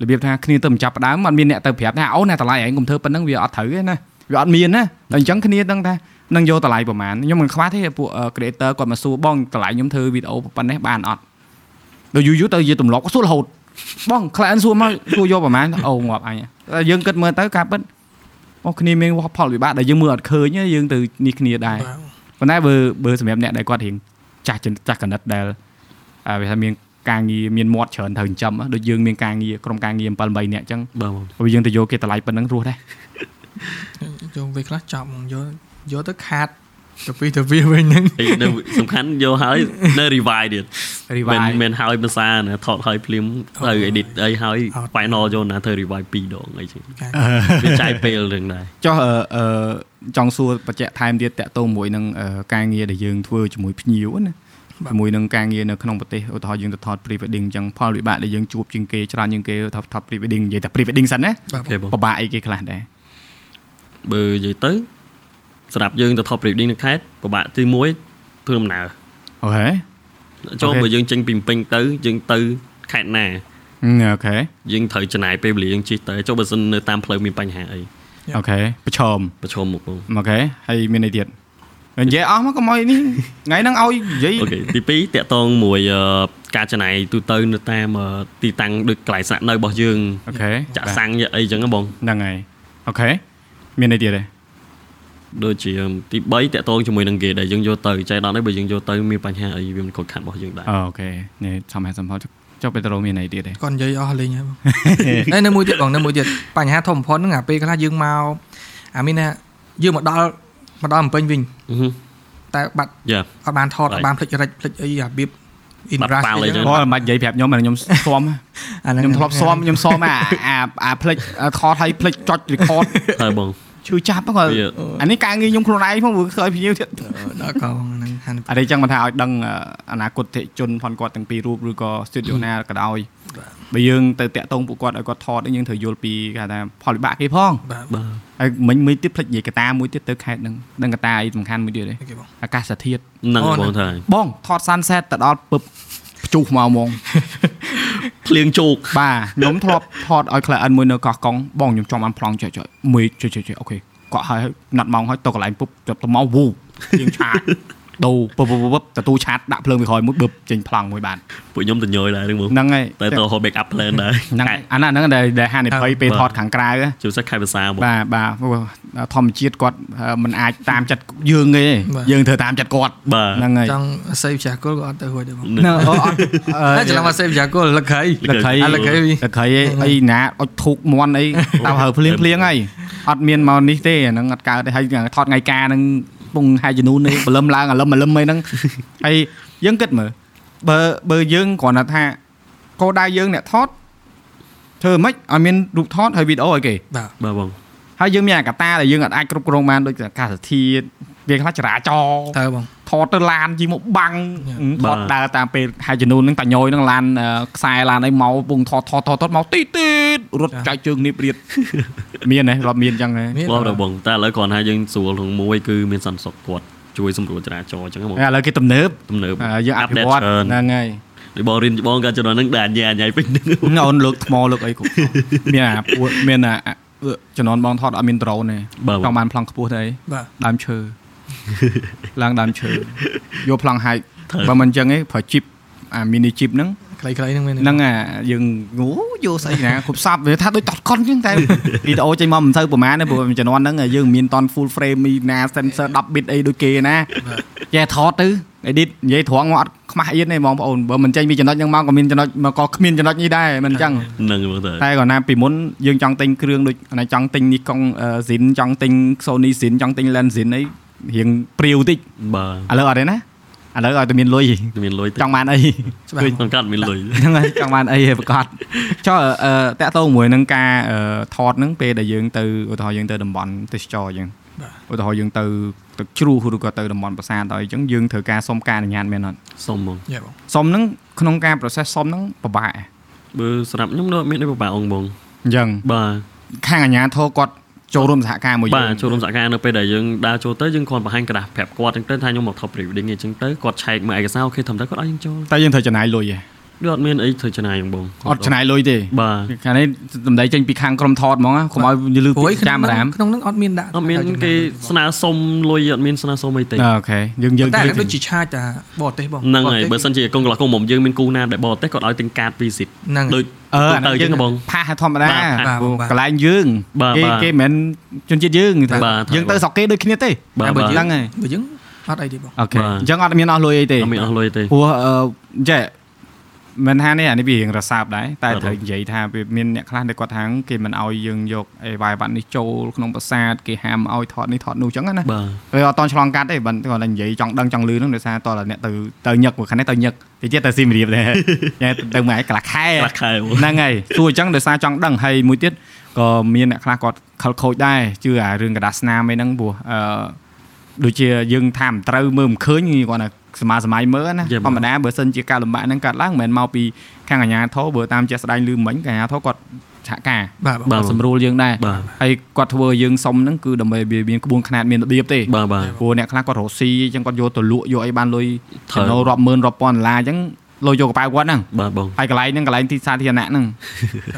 បៀបថាគ្នាទៅមិនចាប់ផ្ដើមអត់មានអ្នកទៅប្រាប់ថាអូណាតម្លៃឯងកុំធ្វើប៉ុណ្ណឹងវាអត់ត្រូវទេណាវាអត់មានណាតែអញ្ចឹងគ្នាដឹងថានឹងយកតម្លៃប្រហែលខ្ញុំមិនខ្វះទេពួកអឺ creator គាត់មកសួរបងតម្លៃខ្ញុំធ្វើវីដេអូប៉ុណ្ណេះបានអត់ដល់យូរយូរទៅជាទម្លាប់គាត់សួររហូតបង client សួរមកសួរយកប្រហែលអូងាប់អញតែយើងគិតមើលទៅការពិតអូគ្នាមានផលវិបាកដែលយើងមើលអត់ឃើញទេយើងទៅនេះគ្នាដែរ
បាទ
ប៉ុន្តែបើបើសម្រាប់អ្នកដែលគាត់រៀងចាស់ចន្ទចាស់កណិតដែលអ่าវាថាមានការងារមានមាត់ច្រើនត្រូវចិញ្ចឹមហ៎ដូចយើងមានការងារក្រុមការងារ7 8នាក់អញ្ចឹង
បាទបង
បើយើងទៅយកគេតម្លៃប៉ុណ្ណឹងរស់ដែរ
ចូលពេលខ្លះចប់ហ្មងយកយកទៅខាតទៅពីទៅវាវិញហ្នឹង
អីនៅសំខាន់យកហើយនៅ revive ទៀត មិនមិនហើយភាសាណាថតហើយភ្លាមទៅ edit អីហើយ final យកណាធ្វើ revive ពីរដងអីចឹងវាចាយពេលនឹងដែរ
ចុះអឺអឺចង់សួរបច្ចៈថែមទៀតតកតងមួយនឹងអឺការងារដែលយើងធ្វើជាមួយភ្ញៀវហ្នឹងណាជាមួយនឹងការងារនៅក្នុងប្រទេសឧទាហរណ៍យើងទៅថត pre wedding អញ្ចឹងផលវិបាកដែលយើងជួបជាងគេច្រើនជាងគេថតថត pre wedding និយាយតែ pre wedding សិនណា
បាទបង
Okay បង
ពិបាកអីគេខ្លះដែរ
បើនិយាយទៅសម្រាប់យើងទៅ top reading នៅខេត្តពិបាកទី1ធ្វើដំណើរ
អូខេ
ចូល
Okay.
បើយើងចេញពីភ្នំពេញទៅយើងទៅខេត្តណា
អូខេ
យើងត្រូវចំណាយពេលវេលាយើងជិះទៅចុះបើសិននៅតាមផ្លូវមានបញ្ហាអី
អូខេប្រឈម
ប្រឈមមុខនោះ
អូខេហើយមានអីទៀតនិយាយអស់មកកុំឲ្យនេះថ្ងៃហ្នឹងឲ្យនិយាយ
អូខេទី2តកតងមួយអឺការចំណាយទូទៅនៅតាមអឺទីតាំងដូចកន្លែងស្នាក់នៅរបស់យើង
អូខេ
ចាក់សាំងយកអីចឹងហ៎បង
ហ្នឹងហើយអូខេមានអីទៀតទេ
ដូចជាទី3តកតងជាមួយនឹងគេដែលយើងយកទៅចៃដន្យនេះបើយើងយកទៅមានបញ្ហាអីវាមិនខុសខាត់របស់យើងដែរ
អូខេនេះសំហេតុសំផលចុះបេត្រូមានអីទៀត ទេ
គាត់និយាយអស់លេងហើយបង ហើយនៅមួយទៀតបងនៅមួយទៀតបញ្ហាធំបំផុតហ្នឹងអាពេលខ្លះយើងមកអាមានណាយើងមកដល់មកដល់បំពេញវិញ
អឺហឹម
តែបាត់
យ៉ា
អត់បានថត
Right.
អត់បានផ្លិចរិចផ្លិចអីអាបៀប
បាត់
inrush
ប៉ាល់អីចឹង
ព្រោះមិននិយាយប្រាប់ខ្ញុំហ្នឹងខ្ញុំស្ម
អាហ្នឹង
ខ្ញុំធ្លាប់ស្មខ្ញុំសមអាអាអាផ្លិចថតឲ្យផ្លិចចុច record
ហើយបង
ឈឺចាប់ហ្នឹងគាត់
វា
អានេះការងារខ្ញុំខ្លួនឯងផងព្រោះឃើញភ្ញៀវទៀត
ដល់កងហ្នឹងហាន
អរិយចឹងមិនថាឲ្យដឹងអឺអនាគតទេ ជនផនគាត់ទាំងពីររូបឬក៏ studio ណាក៏ដោយបើយើងទៅតាក់ទងពួកគាត់ឲ្យគាត់ថ តហ្នឹងយើងត្រូវយល់ពីគេហៅថាផលវិបាកគេផង
បាទ
ហើយមិញមួយទៀតផ្លិចនិយាយកតាមួយទៀត ទៅខេត្តហ្នឹងដឹងកតាអីសំខាន់មួយទៀតទេ
អូខេបង
អាកាសធាតុ
ហ្នឹង
អូ
ហើយប
ណ៎
ងថា
បងថត sunset ទៅដល់ពឹបភ្ជុះមកហ្មង
ភ្លៀងជោក
បាទខ្ញុំធ្លាប់ថតឲ្យ client មួយនៅកោះកុងបងខ្ញុំចង់បានប្លង់ចុចចុចមួយចុចចុចចុចអូខេគាត់ឲ្យណាត់ម៉ោងឲ្យទៅកន្លែងពុបចាប់ទៅមកវូជាងឆាត ដូរពុបពុបពុបតទូឆាតដាក់ភ្លើងវាក្រោយមួយបឹបចេញប្លង់មួយបាន
ពួកខ្ញុំទៅញយដែរហ្នឹងបង
ហ្នឹងហើយ
តែតើហៅ backup plan ដែរ
ហ្នឹងហើយអាហ្នឹងហ្នឹងដែលដែលហានិភ័យពេលថតខាងក្រៅហ៎
ជួយសាខែភាសាបង
បាទបាទព្រោះធម្មជាតិគាត់អឺមិនអាចតាមចិត្តយើងទេ
បាទ
យើងត្រូវតាមចិត្តគាត់
បាទ
ហ្នឹងហើយ
ចង់ save ចាស់គុលក៏អត់ទៅរួចដែរបង
ហ្នឹងអូអត់
តែច្រឡំមក save ចាស់គុលលឹកហើយ
លក្ខ័យ
អា
ល
លក្ខ័
ក្ខ័យ
យ
លក្ខ័យឯងអីណាអុចធូកមន់អីតើហើភ្លៀងភ្លៀងហើយអត់មានមកនេះទេអាហ្នឹងអត់កើតទេហើយថតថ្ងៃការហ្នឹងពងហើយចំនួននេះព្រលឹមឡើងអាលឹមអាលឹមអីហ្នឹងហើយយើងគិតមើលបើបើយើងគ្រាន់តែថាគោលដៅយើងអ្នកថតធ្វើម៉េចឲ្យមានរូបថតហើយវីដេអូឲ្យគេ
បាទ
បាទបង
ហើយយើងមានអាកត្តាដែលយើងអាចគ្រប់គ្រងបានដូចអាកាសធាតុវាខ្លះចរាចរណ៍
តើបង
ថតទៅឡានជីមកបាំងថតដើរតាមពេលហើយចំនួនហ្នឹងតាញយហ្នឹងឡានអឺខ្សែឡានអីមកពងថតថតថតថតមកទីទីតរត់ចា
ចា
យជើងនេះរៀត មានហ៎រត់មានចឹងហ៎
មាន
បងដល់បងតែឥឡូវគ្រាន់ថាយើងស្រួលក្នុងមួយគឺមានសន្តិសុខគាត់ជួយសម្រួលចរាចរណ៍អញ្ចឹងហ៎បង
ឥឡូវគេទំនើប
ទំនើប
អឺយើងអភិវឌ្ឍ
ច្រើន
ហ្នឹងហើយ
ដូចបងរៀនបងកាលជំនាន់ហ្នឹងដែរអញ្ញាអញ្ញាពេ ញហ្នឹង
ហ្នឹងអូនលើកថ្មលើកអីគ្រប់មានអាពួកមានអាអាអឺចំនួនបងថតអត់មាន drone ទេ
បាទ
ច
បង
ង់បានប្លង់ខ្ពស់ទេអី
បាទ
ដើមឈើ ឡើងដើមឈើយកប្លង់ហាយបើមិនចឹងទេប្រើ jeep អា mini jeep ហ្នឹង
ខ្លីៗហ្នឹងមែនទេ
ហ្នឹងអាយើងអូយកស្អី ណាគ្រប់សាប់វាថាដូចតតកុនចឹងតែ វីដេអូចេញមកមិនសូវប្រមាណទេព្រោះជំនាន់ហ្នឹងយើងមានតន full frame មីណា sensor 10 bit អីដូចគេណាចេះថតទៅ edit និយាយត្រង់មកអត់ខ្មាស់អៀនទេបងប្អូនបើមិនចេញពីចំណុចហ្នឹងមកក៏មានចំណុចមកក៏គ្មានចំណុចនេះដែរមិនចឹង
ហ្នឹងហើយបងតែ
តែគាត់ណាពីមុនយើងចង់ទិញគ្រឿងដូចអាណាចង់ទិញ Nikon uh, Zin ចង់ទិញ Sony Zin ចង់ទិញ Lens Zin អីរៀងព្រាវតិច
បា
ឥឡូវអត់ទេណាឥឡូវឲ្យតែមានលុយ
ទមានលុយតិច
ចង់បានអី
ច្បាស់បង
ក្នុងកាត់មានលុយ
ហ្នឹងហើយចង់បានអីឯប្រកាស ចុះអឺតាក់ទងជាមួយនឹងការអឺថតហ្នឹងពេលដែលយើងទៅឧទាហរណ៍យើងទៅតំបន់ទេសចរយើងឧទាហរណ៍យើងទៅទឹកជ្រោះឬក៏ទៅតំបន់ប្រាសាទដល់អីចឹងយើងត្រូវការសុំការអនុញ្ញាតមែនអត់
សុំបង
យេបង
សុំហ្នឹងក្នុងការ process សុំហ្នឹងពិបាកឯង
បើសម្រាប់ខ្ញុំនៅអត់មានដូចបបាក់អង្គបង
អញ្ចឹង
បាទ
ខាងអាជ្ញាធរគាត់ចូលរួមសហការមួយយើ
បា
ង
ទចូលរួមសហការនៅពេលដែលយើងដើរចូលទៅយើងគ្រាន់បង្ហាញក្រដាស់ប្រាប់គាត់អញ្ចឹងទៅថាខ្ញុំមកថត pre-wedding អញ្ចឹងទៅគាត់ឆែកមើលឯកសារអូខេធម្មតាគាត់ឲ្យយើងចូល
តែយើងត្រូវចំណាយលុយឯង
ដូចអត់មានអីធ្វើចំណាយហ្នឹងបង
អត់ចំណាយលុយទេ
បាទ
ខាងនេះតម្លៃចេញពីខាងក្រុមថតហ្មងណាកុំឲ្យយឺ
ព្រោះ
ពី
ឯក្នុង
កាមេរ៉ា
ហ្នឹងក្នុងហ្នឹងអត់មានដាក់
អត់មានគេស្នើសុំលុយអត់មានស្នើសុំអីទេ
អូខេយើងយើង
តែ
យើង
ដូចជាឆាចតាបរទេសបង
ហ្នឹងហើយបើ
សិន
សិនជាកងកន្លះកងមុំយើងមានគូណាដែលបរទេសគាត់ឲ្យទិញកាត visit
ហ្នឹង
ដូច
អឺ
ទូ
អាហ្នឹ
ទៅ
ង
អ
យើ
ញ្ចឹ
ង
ងបង
ផាសធម្មតា
បាទ
បាទបងបាទ
កន្លែងយើង
បាទ
គេ
បាទ
គេមិនមែនជនជាតិយើងទេ
បាទ
យើងទៅស្រុកគេដូចគ្នាទេ
បាទ
តែបើហ្នឹងហើយ
បើយើងអត់អីទេបង
អូខេ
បាទ
អញ្ចឹងអត់មានអស់លុយអីទេ
អត់មានអស់លុយទេ
ព្រោះអឺចេះមិនថានេះអានេះវារៀងរសាបដែរតែ
បាទ
ត្រូវនិយាយថាវាមានអ្នកខ្លះដែលគាត់ថាគេមិនឲ្យយើងយកអេវ៉ាយវ៉ាត់នេះចូលក្នុងប្រាសាទគេហាមឲ្យថតនេះថតនោះអញ្ចឹងណា
បាទ
ហើយអត់តន់ឆ្លងកាត់ទេបើគាត់តែនិយាយចង់ដឹងចង់លឺហ្នឹងដោយសារតើអ្នកទៅទៅញឹកព្រោះខាងនេះទៅញឹកគេទៀតទៅស៊ីមរៀប ដែរ តែទៅមួយឯងកន្លះខែ
ខ្លះខែបង
ហ្នឹងហើយសួរអញ្ចឹងដោយសារចង់ដឹងហើយមួយទៀតក៏មានអ្នកខ្លះគាត់ខលខូចដែរជឿអារឿងកដាស្នាមអីហ្នឹងព្រោះអឺដូចជាយើងថាមិនត្រូវមើលមិនឃើញគាត់ណាសមាសម័យមើលណាធម្មតាបើសិនជាការលំបាកហ្នឹងកើតឡើងមិនមែនមកពីខាងអាជ្ញាធរបើតាមជាក់ស្ដែងលឺមិញខាងអាជ្ញាធរគាត់ឆាកការ
បាទបង
បាទ
សម្រួលយើងដែរ
បាទ
ហើយគាត់ធ្វើយើងសុំហ្នឹងគឺដើម្បីវាមានក្បួនខ្នាតមានរបៀបទេ
បាទបាទ
ព្រោះអ្នកខ្លះគាត់រស់ស៊ីអញ្ចឹងគាត់យកទៅលក់យកអីបានលុយ
ត្រូ
ចំ
វ
ណូលរាប់ម៉ឺនរាប់ពាន់ដុល្លារអញ្ចឹង លោយកកប៉ៅគាត់ហ្នឹង
បាទបង
ហើយកន្លែងហ្នឹងកន្លែងទីសាធារណៈ ហ្នឹង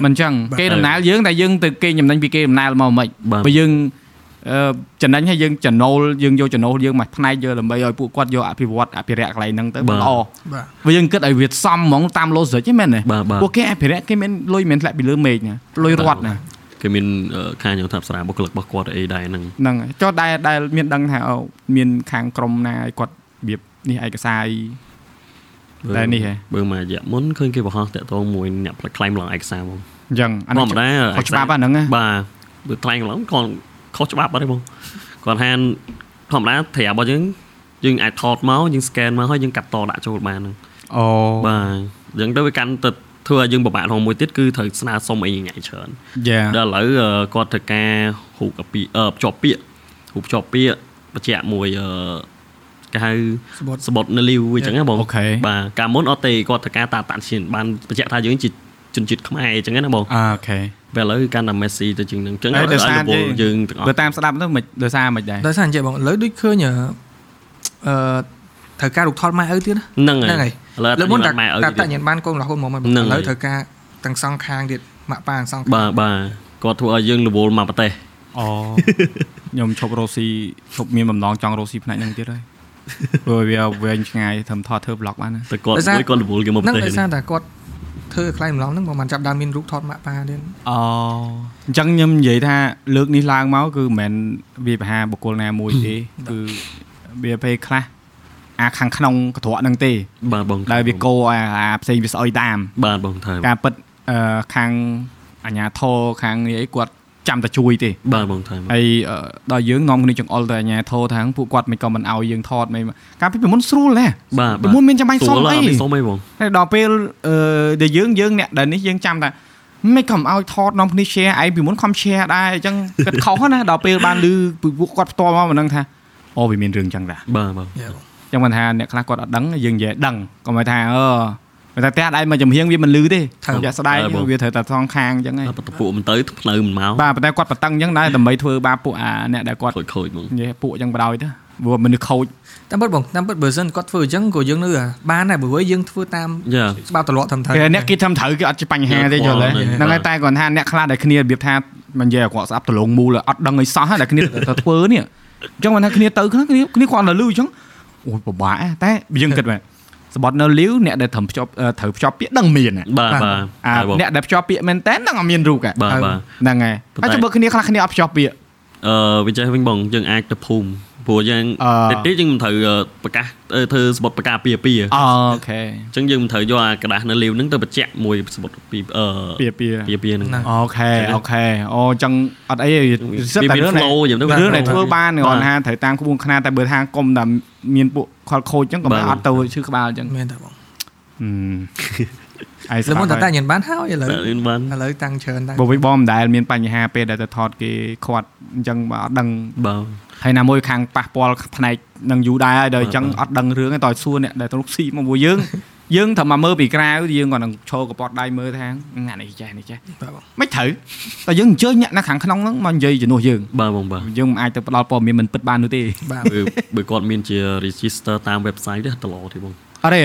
មិនអញ្ចឹងគេដំណើរយើងតែយើងទៅគេចំណេញពីគេដំណើរមកមិន
បាទ
បើយើងអឺចំណេញឲ្យយើងចំណូលយើងយកចំណូលយើងមកផ្នែកយកដើម្បីឲ្យពួកគាត់យកអភិវឌ្ឍអភិរក្សកន្លែងហ្នឹងទៅ
បា
វា
ទ
ល្អ
បាទ
បើយើងគិតឲ្យវាសមហ្មងតាមឡូសិចហ្នឹងមែនទេ
បាទបាទ
ពួកគេអភិរក្សគេមានលុយមិនធ្លាក់ពីលើមេឃណាលុយរត់ណា
គេមានអឺការខ្ញុំថាផ្សារបុគ្គលិករបស់គាត់អីដែរហ្នឹង
ហ្នឹងហើយចុះដែលដែលមានដឹងថាអូមានខាងក្រុមណាឲ្យគាត់របៀបនេះឯកសារអីតែ
បើ
នេះហ៎
បើមួយរយៈមុនឃើញគេបង្ហោះតាក់ទងមួយអ្នកផ្លាត់ខ្លែងឡងឯកសារបង
អញ្ចឹងអា
ធ
នេះ
ម្មតា
ខុសច្បាប់អាហ្នឹងណា
បាទបើថ្លែងឡងគាត់ខុសច្បាប់អត់ទេបងគាត់ហានធម្មតាត្រារបស់យើងយើងអាចថតមកយើង scan មកហើយយើងកាត់តដាក់ចូលបានហ្នឹង
អូ
បាទអញ្ចឹងទៅវាកាន់ទៅធ្វើឲ្យយើងពិបាកក្នុងមួយទៀតគឺត្រូវស្នើសុំអីញ៉ៃច្រើន
យ៉ា
ដល់ឥឡូវអឺគាត់ធ្វើការហូបកាពីអឺភ្ជាប់ពាកហូបភ្ជាប់ពាកបច្ចៈមួយអឺគេហៅ
សបុត
សបុតនៅលីវអញ្ចឹងណាបង
អូខេ
បាទកាលមុនអត់ទេគាត់ធ្វើការតាមតាក់ឈានបានបច្ចៈថាយើងជាជនជាតិខ្មែរអញ្ចឹងណាបង
អូខេ
ពេលឥឡូវកាន់តែ Messi ទៅជាងនឹងអញ្ចឹង
ហើយ
ឲ្យ
ដោយសារ
ឲ្យ level
ទេ
យើងទាំងអ
បើ
ស់
តាមស្ដាប់ទៅមិនដោយសារមិនដែរ
ដោយសារអញ្ចឹងបងឥឡូវដូចឃើញអឺអឺត្រូវការរូបថតម៉ែឪទៀតណា
ហ្នឹង
ហ្នឹង
ហើ
ហើយ យ
ឥឡូវ
លើមុនតែ
តែម៉ែឪ
តែ
ទៀត
តែញ៉ាំបានកូនរហូតមកមកឥ
ហ្នឹងហើយ
ឡូវត្រូវការទាំងសងខាងទៀតម៉ាក់ប៉ាទាំងសងខាង
បាទបាទគាត់ធ្វើឲ្យយើង level មកប្រទេស
អូ ខ្ញុំឈប់រ៉ូស៊ីឈប់មានបំណងចង់រ៉ូស៊ីផ្នែកហ្នឹងទៀត ហើយព្រោះវាវែងឆ្ងាយធ្វើថតធ្វើ vlog បានណា
តែគាត់
ដោយសារ
មួយគាត់ level គេមក
ហ្នឹ
ប្រ
ង
ទេស
ដោយសារតែគាត់ធ្វើឲ្យខ្លាំងម្លងហ្នឹងបងមិនចាប់ដើមមានរូបថតម៉ាក់ប៉ាទៀត
អូអញ្ចឹងខ្ញុំនិយាយថាលើកនេះឡើងមកគឺមិនមែនវាបញ្ហាបុគ្គលណាមួយ ទេគឺវាពេលខ្លះអាខាងក្នុងកត្រកហ្នឹងទេ
បាទបង
ដែលវាកោអាអាផ្សេងវាស្អុយតាម
បាទបងថើម
ការពិតអឺខាងអាញាធរខាងនេះអីគាត់ចាំតែជួយទេ
បាទបងថើម
ហើយអឺដល់យើងនាំគ្នាចង្អុលទៅអាញាធរថាពួកគាត់មិនក៏មិនឲ្យយើងថតមិនការពីពីមុនស្រួលណាស់
បាទ
ពីមុនមានចាំបាច់សុំអី
អត់សុំអីបង
តែដល់ពេលអឺដែលយើងយើងអ្នកដែលនេះយើងចាំតែមិនក៏មិនឲ្យថតនាំគ្នា share ឯងពីមុនខំ share ដែរអញ្ចឹង គិតខុសណាដល់ពេលបានឮពីពួកគាត់ផ្ទាល់មកមិនដឹងថាអូវាមានរឿងអញ្ចឹងដែរ
បាទបង
យេបង
ចឹងមិនថាអ្នកខ្លះគាត់អត់ដឹងយើងនិយាយឲ្យដឹងកុំឲ្យថាអឺមិនថាតែដៃមកចំហៀងវាមិនលឺទេយកស្ដាយវាត្រូវតែថងខាងចឹងហី
តែបន្ទពួកមិនទៅផ្លូវមិនមក
បាទប៉ុន្តែគាត់បតឹងចឹងដែរដើម្បីធ្វើបាបពួកអាអ្នកដែលគាត់
ខូចខូចបង
និយាយពួកចឹងបដ ாய் ទៅព្រោះមនុស្សខូច
តាមពិតបងតាមពិតបើសិនគាត់ធ្វើអញ្ចឹងក៏យើងនៅអាបានដែរព្រោះយើងធ្វើតាម
យ៉ា
ច្បាប់ទម្លាប់ធម្មតា
គេអ្នកគេធ្វើត្រូវគេអត់ជាបញ្ហាទេយល់ទេហ្នឹងហើយតែគាត់ថាអ្នកខ្លះដែលគ្នារបៀបថាមិននិយាយឲ្យគាត់ស្ដាប់ដលងមូលអត់ដឹងអីសោះតែគ្នាទៅធ្វើនេះចឹងមិនថាគ្នាទៅខ្លះគ្នាគ្នាគាត់នៅលឺចឹងអូយពិបាកតែយើងគិត មែនសបត់នៅលីវអ្នកដែលត្រូវភ្ជាប់ត្រូវភ្ជាប់ពាក្យដឹងមានណា
បាទបាទ
អា
ហើយបង
អ្នកដែលភ្ជាប់ពាក្យមែនតើនឹងអត់មានរូបហ៎
បាទបាទ
ហ្នឹងហើយ
ប៉ុ
ហើយចុះ
ន្តែ
បើគ្នាខ្លះគ្នាអត់ភ្ជាប់ពាក្យ
អឺវាចេះវិញបងយើងអាចទៅភូមិព្រោះយើង
អឺ
តិចទៀតយើងមិនត្រូវអឺប្រកាសអឺធ្វើសបុតប្រកាសពីពីអ
អូខេ
ញ្ចឹងយើងមិនត្រូវយកអាกระดาษនៅលាវហ្នឹងទៅបញ្ជាក់មួយសបុតពីអឺ
ពាក្យពាក្យ
ពីពីហ្នឹង
អូខេអូខេអូអញ្ចឹងអត់អីទេសិតតែ
វាមាន
រឿង
flow យ៉ាងទៅ
ដែលរឿងដែលធ្វើបាន
បា
គា
ទ
ត់ថាត្រូវតាមក្បួនខ្នាតតែបើថាកុំតែមានពួកខលខូចអញ្ចឹងក៏
បាទ
មិនអត់ទៅឈឺក្បាលអញ្ចឹ ង
មែនតែបង
អី
លើ
ស្គា
មុនតែ
ល់
តែ
ហើយ
ញ៉ាំបានហើយឥឡូវ
តែ
ឥ
រឿងបាន
ឡូវតាំងច្រើនតែ
បើវិញបងមិនដែលមានបញ្ហាពេលដែលទៅថតគេខ្វាត់អញ្ចឹងបើអត់ដឹង
បាទ
ហើយណាមួយខាងប៉ះពាល់ផ្នែកនឹងយូរដែរហើយដល់អញ្ចឹងអត់ដឹងរឿងទេតើសួរអ្នកដែលទៅរុកស៊ីមកពួកយើង យើងត្រូវមកមើលពីក្រៅយើងគាត់នឹងឈរកប៉ាត់ដៃមើលថាអានេះចេះនេះចេះ
បាទបង
មិន ត្រូវតែយើងអញ្ជើញអ្នកណាខាងក្នុងហ្នឹងមកនិយាយជំនួសយើង
បាទបងបាទ
យើងមិនអាចទៅផ្ដល់ព័ត៌មានមិនពិតបាននោះទេ
បាទ
បើបើគាត់មានជា register តាម website ទេតឡទេបង
អត់ទេអឺ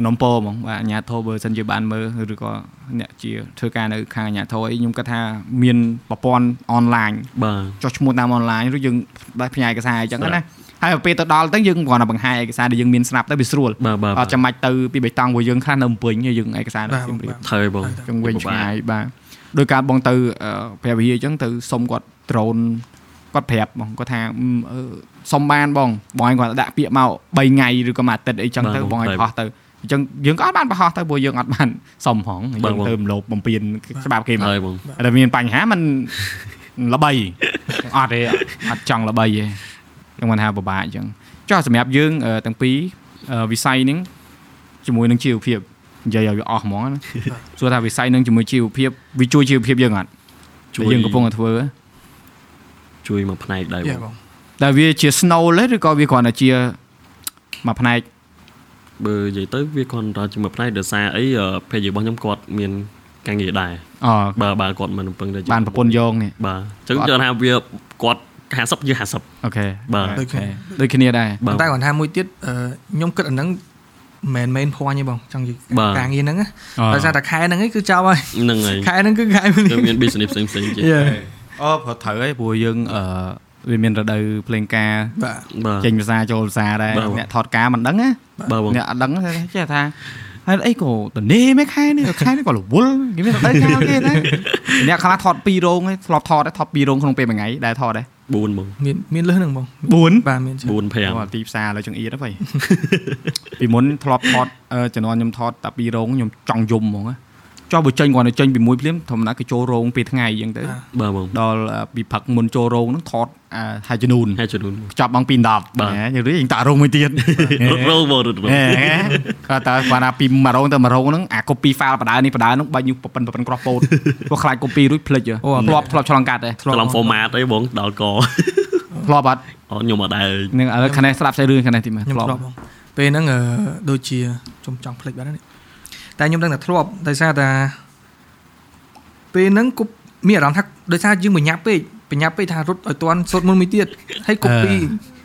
សំណុំពរហ្មងបាទអាញាធរបើសិនជាបានមើលឬក៏អ្នកជាធ្វើការនៅខាងអាញាធរអីខ្ញុំគាត់ថាមានប្រព័ន្ធអនឡាញ
បាទ
ចុះឈ្មោះតាមអនឡាញឬយើងដាក់ផ្ញើឯកសារអីចឹងណាហើយពេលទៅដល់ទៅយើងគ្រាន់តែបង្ហាញឯកសារដែលយើងមានស្រាប់ទៅវាស្រួល
បាទបាទ
អត់ចាំបាច់ទៅពីបៃតងរបស់យើងខ្លះនៅអំពេញហើយយើងឯកសារ
បា
ដាក់ជ
ទបង
ម្រា
បាទ ទ
ថើបង
ចឹងវិញ
ពិបាក
ឆ្ងាយបាទដោយការបងទៅអឺព្រះវិហារអញ្ចឹងទៅសុំគាត់ដ្រូនគាត់ប្រាប់បងគាត់ថាអឺអឺសុំបានបងបងឯងគាត់ដាក់ពាក្យមក3ថ្ងៃឬក៏មួយអាទិត្យអីចឹងទៅ
បាទ
ប
បង ង
ឯងប្រ
តែ
ហោះទៅអញ្ចឹងយើងក៏អត់បានប្រហោះទៅព្រោះយើងអត់បានសុំហង
បា
យើ
ទ
ង
បង
ទៅរំលោភបំពានច្បាប់គេមក
ថើបង
តែមានបញ្ហាมันល្បី អត់ទេអត់ចង់ល្បីទេចឹងមិនថាពិបាកអញ្ចឹងចុះសម្រាប់យើងអឺទាំងពីរអឺវិស័យហ្នឹងជាមួយនឹងជីវភាពនិយាយឲ្យវាអស់ហ្ម ងណា សួរថាវិស័យនឹងជាមួយជីវភាពវាជួយជីវភាពយើងអត់
ជួយ
ដែលយើងកំពុងតែធ្វើ
ជួយមកផ្នែកដែរ
យេ
បង
បង
តែវាជា snow ទេឬក៏វាគ្រាន់តែជាមួយផ្នែក
បើនិយាយទៅវាគាត់រត់ជាមួយផ្នែកដោយសារអីអឺភេយរបស់ខ្ញុំគាត់មានការងារដែរ
អូ
បើបើគាត់មិនរំពឹងទៅ
បានប្រពន្ធយងនេះ
បាទអញ្ចឹងយើងថាវាគាត់50យើ50
អូខេ
បាទ
ដូចគ្នាដែរ
បាទ
តែគាត់ថាមួយទៀតអឺខ្ញុំគិតអាហ្នឹង មិនមែន main point ទេបងចង់និ
បាទ
យាយការងារហ្នឹងណា
អ่า
ដោយសារតែខែហ្នឹងឯងគឺចោលហើយ
ហ្នឹងហើយ
ខែហ្នឹងគឺខែមួយ
យើងមាន business ផ្សេងផ្សេងៗទៀត
យេ
អូព្រោះត្រូវហើយព្រោះយើងអឺវាមានរដូវភ្លេងការ
បាទ
បាទ
ចេញភាសាចូលភាសាដែរ
បាទបង
អ្នកថតការមិនដឹងណា
បាទបង
អ្នកអត់ដឹងទេចេះថាហើយអីក៏តនេមិនខែនេះខែនេះក៏រវល់គេមានរដូវកាលគេណា អ្នកខ្លះថត2រោងឯងធ្លាប់ថតឯងថត2រោងក្នុងពេលមួយថ្ងៃដែរថតឯង
4បង
មានមានលឹះហ្នឹងបង
4
បាទមាន
4
អត់
5
ទីផ្សារលើចង្អៀតហ្នឹង បើ ពីមុនធ្លាប់ថតអឺជំនាន់ខ្ញុំថតតែ2រោងខ្ញុំចង់យំហ្មងណាចុះបើចេញគាត់ទៅចេញពីមួយភ្លាមធម្មតាគេចូលរោងពេលថ្ងៃអញ្ចឹងទៅ
បាទបង
ដល់អ่าពីផឹកមុនចូលរោងហ្នឹងថតអាហើយជំនូន
ហើយចំនួន
ខ្ចប់ម៉ោង2:10ណា
បាទ
យើងរៀងតារោងមួយ ទៀត
រត់រោងបងរត់រោង
ហេគាត់តើគាត់ណាពីមួយរោងទៅមួយរោងហ្នឹងអា copy file បដានេះបដានោះបាច់យុប៉ិនប៉ិនក្រោះពោតព្រោះខ្លាច copy រួចភ្លេចហ៎
អូអត់
ធ្លាប់ធ្លាប់ឆ្លងកាត់ទេធ្លា
ឆ្ល
ប់
ង format អីបងដល់ក
ធ្លាប់អត់
អត់ខ្ញុំអត់ដែរ
នឹងឥឡូវខាងនេះស្ដាប់ស្អីរឿងខាងនេះទីមើល
ខ្ញុំ
ធ្លាប់
ធ្លាប់បងពេលហ្នឹងអឺដូចជាខ្ញុំចង់ភ្លេចបាត់ហើយនេះតែខ្ញុំដឹងតែធ្លាប់ដោយសារតែពេលហ្នឹងគប់មានអារម្មណ៍ថាដោយសារយើងបញ្ញាប់ពេកបញ្ញាប់ពេកថារត់ឲ្យទាន់សូត្រមុនមួយទៀតហើយគប់ពី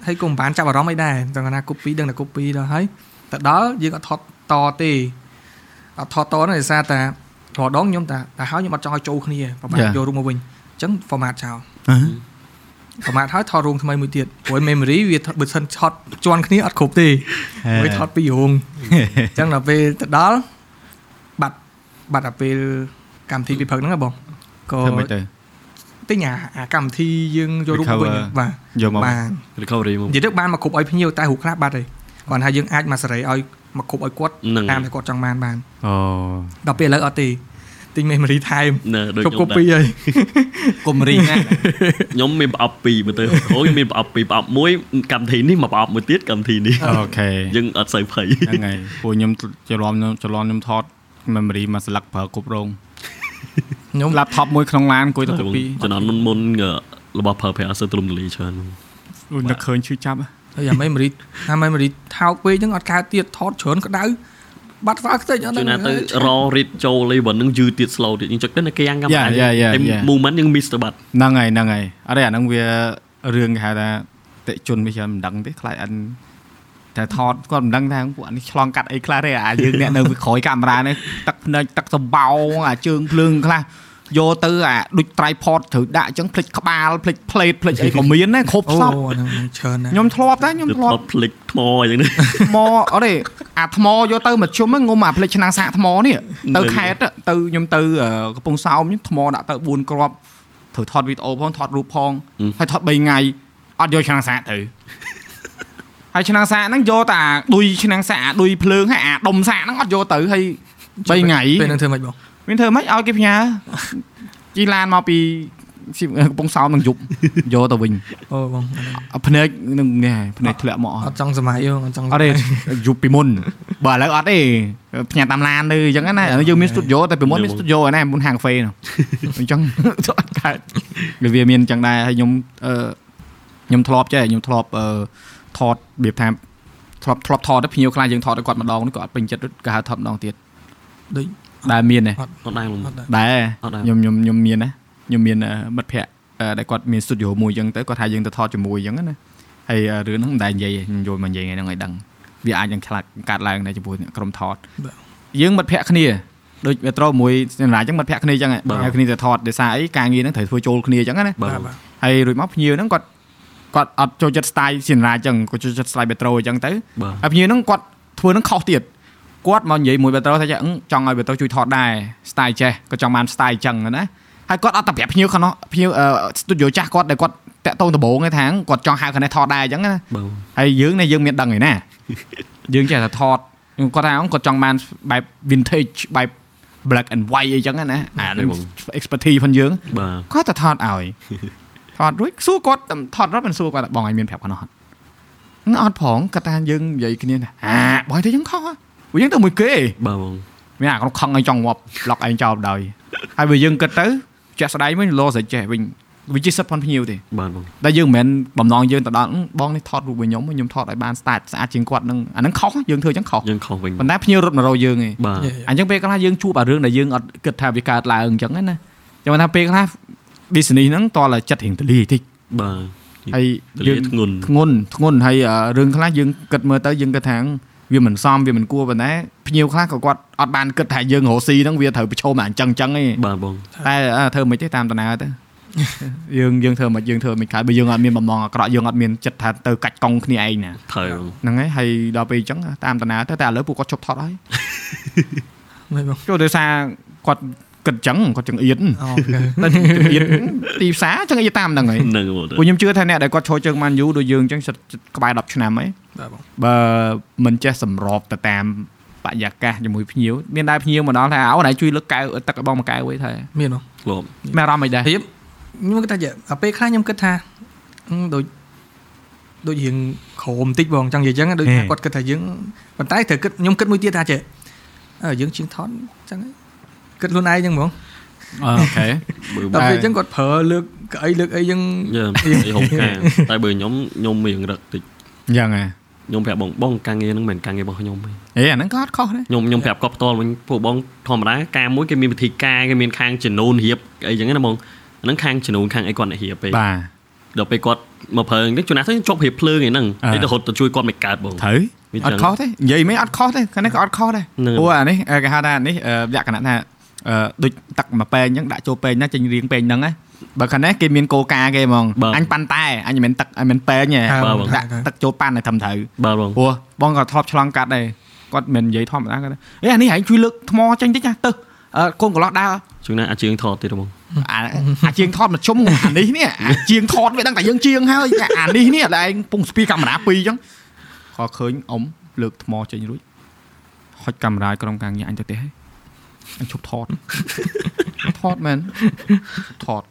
ហើយក៏មិនបានចាប់អារម្មណ៍អីដែរទាំងណាគប់ពីដឹងតែគប់ពីដល់ហើយទៅដល់យើងអត់ថតតទេអត់ថតតហ្នឹងដោយសារតែរដងខ្ញុំតែតែហើយខ្ញុំអត់ចង់ឲ្យចូលគ្នាប្រហែលយករួមមកវិញអញ្ចឹង format ចោល ប្រមាថហើយថតរូងថ្មីមួយទៀតព្រោះ memory វាថតបើសិនឆត់ជន់គ្នាអត់គ្រប់ទេមួយថតពីររូងអញ្ចឹងដល់ពេលទៅដល់បាត់បាត់ដល់ពេលកម្មវិធីពីព្រឹកហ្នឹងហ៎បងក៏
ធ្វើមិនទៅ
ទិញអាអាកម្មវិធីយើងយករូបវិញ
Recover
បាទ
យកមក
បាទ
recovery មក
និយាយទៅបានមកគ្រប់ឲ្យភ្ញៀវតែរូបខ្លះបាត់ហើយគាត់ថាយើងអាចមកសេរីឲ្យមកគ្រប់ឲ្យគាត់
ហ្នឹង
តាមតែគាត់ចង់បានបាន
អូ
ដល់ពេលឥឡូវអត់ទេទិញ memory time
ណាដូច
គ្រ
ខ្ញុំ
ប់គ្រ
ដែរ
ប់ពីហើយក
ុំរីងណា
ខ្ញុំមានប្រអប់2មើលទៅអូយមានប្រអប់2ប្រអប់1កម្មវិធីនេះមកប្រអប់មួយទៀតកម្មវិធីនេះ
អូខេ
យើងអត់សូវភ័យ
ហ្នឹងហើយពួកខ្ញុំច្រឡំខ្ញុំច្រឡំខ្ញុំថត memory មកស្លឹកប្រើគ្រប់រោង
ខ្ញុំ
laptop មួយក្នុងឡានអង្គុយទៅ copy
ចំនួនមុនមុនៗរបស់ per pair អត់សូវទ្រំទលាច្រើន
ដូចនឹកឃើញឈឺចាប់ហ៎
ហើយអាមេមរីថាមេមរីថោកពេកហ្នឹងអត់កើតទៀតថតច្រើនក្តៅបាត់ស្វាខ្ទេចអត់
ជួនណាទៅររៀតចូលអីប៉ុណ្ណឹងយឺទៀត slow ទៀតយើងចុចទៅនៅគេងកម្ម
Yeah, yeah, yeah,
តែ
yeah.
movement យើង miss ទៅបាត់
ហ្នឹងហើយហ្នឹងហើយអត់ទេអាហ្នឹងវារឿងគេហៅថាតិជនវាច្រើនមិនដឹងទេខ្លាចអិនតែថតគាត់មិនដឹងថាពួកអានេះឆ្លងកាត់អីខ្លះទេអាយើងអ្នកនៅពីក្រោយកាមេរ៉ានេះទឹកភ្នែកទឹកសម្បោងអាជើងភ្លើងខ្លះយកទៅអាដូច tripod ត្រូវដាក់អញ្ចឹងភ្លេចក្បាលភ្លេចផ្លេតភ្លេចអីក៏មានដែរគ្រប់
អូ
ស្លាប់
ហ្នឹងហ្នឹងច្រើនណាស់
ខ្ញុំធ្លាប់ដែរខ្ញុំ
ទៅថ
ធ្លាប់
តផ្លិចថ្មអីចឹងនេះ
ថ្មអត់ទេអាថ្មយកទៅមជ្ឈមហ្នឹងងុំអាផ្លេចឆ្នាំងសាកថ្មនេះទៅ
នៅ
ខេតទៅខ្ញុំទៅអឺកំពង់សោមខ្ញុំថ្មដាក់ទៅ4គ្រាប់ត្រូវថតវីដេអូផងថតរូបផងហើយថត3ថ្ងៃអត់យកឆ្នាំងសាកទៅ ហើយឆ្នាំងសាកហ្នឹងយកតែអាឌុយឆ្នាំងសាកអាឌុយភ្លើងហើយអាដុំសាកហ្នឹងអត់យកទៅហើយ3ថ្ងៃ
ពេលហ្នឹងធ្វើម៉េចបង
មានធ្វើម៉េចឲ្យគេផ្ញើជីឡានមក ពីកំពង់សោមនឹងយប់យកទៅវិញ
អូបង
ភ្នែកនឹងនេះហើយភ្នែកធ្លាក់មកអស់
អត់ចង់សម័យយងអត់ច
អ
ង់
ត់ទេយូរពី មុនបើឥឡូវអត់ទេផ្ញើតាមឡានទៅអញ្ចឹងណាឥឡូវយើងមានស្ទូឌីយោតែពីមុនមានស្ទូឌីយោណាមុនហាងកាហ្វេ នោះអញ្ចឹងអត់កើតវាមានអញ្ចឹងដែរហើយខ្ញុំអឺខ្ញុំធ្លាប់ចេះខ្ញុំធ្លាប់អឺថតរបៀបថាធ្លាប់ធ្លាប់ថតទៅភ្ញៀវខ្លះយើងថតទៅគាត់ម្ដងនេះគាត់អត់ពេញចិត្តគាត់ហៅថតម្ដងទៀត
ដូច
ដែរមានដែរ
អត់ដែរលំ
អត់ដែរ
ដែរ
អត់ដែរ
ខ្ញុំខ្ញុំខ្ញុំមានណាខ្ញុំមានអឺមិត្តភ័ក្តិអឺដែលគាត់មានស្ទូឌីយោមួយអញ្ចឹងទៅគាត់ថាយើងទៅថតជាមួយអញ្ចឹងណាហើយអឺរឿងហ្នឹងមិនដែរនិយាយទេខ្ញុំយល់មកនិយាយថ្ងៃហ្នឹងឲ្យដឹង វាអាចនឹងខ្លាចកាត់ឡើងដែរចំពោះអ្នកក្រុមថតយើងមិត្តភ័ក្តិគ្នាដូចវាត្រូវមួយសេនាអញ្ចឹងមិត្តភ័ក្តិគ្នាអញ្ចឹងហ៎
បាទ
ហើយគ្នាទៅថតដោយសារអីការងារហ្នឹងត្រូវធ្វើចូលគ្នាអញ្ចឹងណា
បា
បាទ
ទ
បាទ
ហើយរួចមកភ្ញៀវហ្នឹងគាត់គាត់អត់ចូលចិត្ត style សេនាអញ្ចឹងគាត់ចូលចិត្ត style បេត្រូអញ្ចឹងទៅ
បាទ
ហើយភ្ញៀវហ្នឹងគាត់ធ្វើហ្នឹងខុសទៀតគាត់មកនិយាយមួយបេត្រូថាចេះអឺចង់ឲ្យបេត្រូជួយថតដែរ style ចេះក៏ចង់បាន style អញ្ចឹងណាហើយគាត់អត់តែប្រាប់ភ្ញៀវខាងនោះភ្ញៀវអឺ studio ចាស់គាត់ដែលគាត់តាក់ទងដំបូងឯងថាគាត់ចង់ហៅខាងនេះថតដែរអញ្ចឹងណា
បង
ហើយយើងនេះយើងមានដឹងឯណា យើងចេះតែថតគាត់ថាគាត់ចង់បានបែប vintage បែប black and white អីចឹងណាអាហ្នឹង expertise ផងយើង
បាទ
គាត់តែថតឲ្យ ថតរួចសួរគាត់ថតរត់មិនសួរគាត់ថាបងឯងមានប្រាប់គាត់អត់ហ្នឹងអត់ផងគាត់ថាយើងនិយាយគ្នាណាអាបងឯងទៅយើងខុសហ៎ព្រោះយើងទៅមួយគេ
បាទបង
មានអាក្នុងខឹងឯងចង់ងាប់ឡុកឯងចោលបណ្ដោយហើយបើយើងគិតទៅជាក់ស្ដែងវិញលោស្រិចចេះវិញវាជាសិទ្ធិផងភ្ញៀវទេ
បាទបង
ដែលយើងមិនមែនបំណងយើងទៅដល់ហ្នឹងបងនេះថតរូបរបស់ខ្ញុំខ្ញុំថតឲ្យបានស្អាតស្អាតជាងគាត់ហ្នឹងអាហ្នឹងខុសយើងធ្វើអញ្ចឹងខុស
យើងខុសវិញ
ប៉ុន្តែភ្ញៀវរត់មករកយើងឯង
បាទ
យេ
អញ្ចឹងពេលខ្លះយើងជួបអារឿងដែលយើងអត់គិតថាវាកើតឡើងអញ្ចឹងណាចាំថាពេលខ្លះ business ហ្នឹងតតែចិត្តរៀងទលាយតិច
បាទ
ហើយ
ទ
យើ
លា
ង
ធ្ងន់
ធ្ងន់ធ្ងន់ហើយអ่าរឿងខ្លះយើងគិតមើលទៅយើងគិតថា វាមិនសមវាមិនគួរប៉ុន្តែភ្ញៀវខ្លះក៏គាត់អត់បានគិតថាយើងរស់ស៊ីហ្នឹងវាត្រូវប្រឈមតែអញ្ចឹងអញ្ចឹងឯង
បាទបង
តែអ่าធ្វើមិនទេតាមដំណើរទៅ យើងយើងធ្វើមិនយើងធ្វើមិនខាតបើយើងអត់មានបំណងអាក្រក់យើងអត់មានចិត្តថាទៅកាច់កង់គ្នាឯងណា
ត្រូវបង
ហ្នឹងហើយហើយដល់ពេលអញ្ចឹងតាមដំណើរទៅតែឥឡូវពួកគាត់ជប់ថតហើយ
មិនបង
ចូលដោយសារគាត់គិតអញ្ចឹងគាត់ចង្អៀត
អូខេ
តែចង្អៀតទីផ្សារចង្អៀតតាមហ្នឹងហើយ
ហ្នឹងបង
ព្រោះខ្ញុំជឿថាអ្នកដែលគាត់ឈរជើងបានយូរដូចយើងអញ្ចឹងសិតក្បែរ10ឆ្នាំហើយ
បាទបង
បើមិនចេះសម្របទៅតាមបរិយាកាសជាមួយភ្ញៀវមានដែរភ្ញៀវមកដល់ថាអូនឯងជួយលើកកែវទឹកឲ្យបងមួយកែវវិញថើ
មានបង
បង
មានអារម្មណ៍អីដែរ
រៀបខ្ញុំគិតថាយ៉ាអាពេលខ្លះខ្ញុំគិតថាហឹមដូចដូចរៀងក្រមបន្តិចបងចង់និយាយអញ្ចឹងដូចថាគាត់គិតថាយើងប៉ុន្តែត្រូវគិតខ្ញុំគិតមួយទៀតថាចេះអើយើងជាងថតអញ្ចឹងហើយគិតខ្លួនឯងអញ្ចឹងហ្មង
អូខេ តែ
បើ
ដល់ពេលអញ្ចឹងគាត់ប្រើលើកកៅអីលើកអីអញ្ចឹង
យើងហុកការ តែបើខ្ញុំខ្ញុំមានរឹកតិច
អញ្ចឹងហ៎
ខ្ញុំប្រាប់បងបងការងារហ្នឹងមិនមែនការងាររបស់ខ្ញុំទេ
អេអាហ្នឹងក៏អត់ខុសដែរ
ខ្ញុំខ្ញុំប្រាប់គាត់ផ្ទាល់វិញពួកបងធម្មតាការមួយគេមានវិធីការគេមានខាងចំនួនរៀបអីចឹងណាបងអាហ្នឹងខាងចំនួនខាងអីគាត់អ្នករៀបពេក
បាទ
ដល់ពេលគាត់មកប្រើហ្នឹងជួនណាទៅជាប់រៀបភ្លើងឯហ្នឹង
អ่า
គេទៅរត់ទៅជួយគាត់មិនកើតបង
ត្រូវ
វា
អ
ចឹង
ត់ខុសទេនិយាយមិនអត់ខុសទេខាងនេះក៏អត់ខុសដែរ
ហ្នឹង
ព្រោះអានេះអឺគេហៅថាអានេះអឺលក្ខណៈថាអឺដូចទឹកមួយពែងអញ្ចឹងដាក់ចូលពែងណាចេញរៀងពែងហ្នឹងណាបើខាងនេះគេមានកលការណ៍គេហ្មង
បាទ
អញប៉ាន់តែអញមិនមែនទឹកអញមិនមែនពែងទេ
បាទ
បង
ដាក់ទឹកចូលប៉ាន់ឲ្យត្រឹមត្រូវ
បាទបង
ព្រោះបងក៏ធ្លាប់ឆ្លងកាត់ដែរគាត់មិននិយាយធម្មតាគាត់ថាអេអានេះហែងជួយលើកថ្មចេញតិចណាទៅអឺកូនកន្លោះដើរ
ជួនណាអាចជើងថតទៀតបង
អាអាជាងថតមកជុំអានេះនេះអាជាងថតវាដឹងតែយើងជាងហើយតែអានេះនេះដែលឯងកំពងស្ពីកាមេរ៉ាពីរអញ្ចឹងក៏ឃើញអ៊ំលើកថ្មចេញរួចហុចកាមេរ៉ាឲ្យក្រុមការងារអញទៅទេហើយអញជប់ ថត ថតមែនថត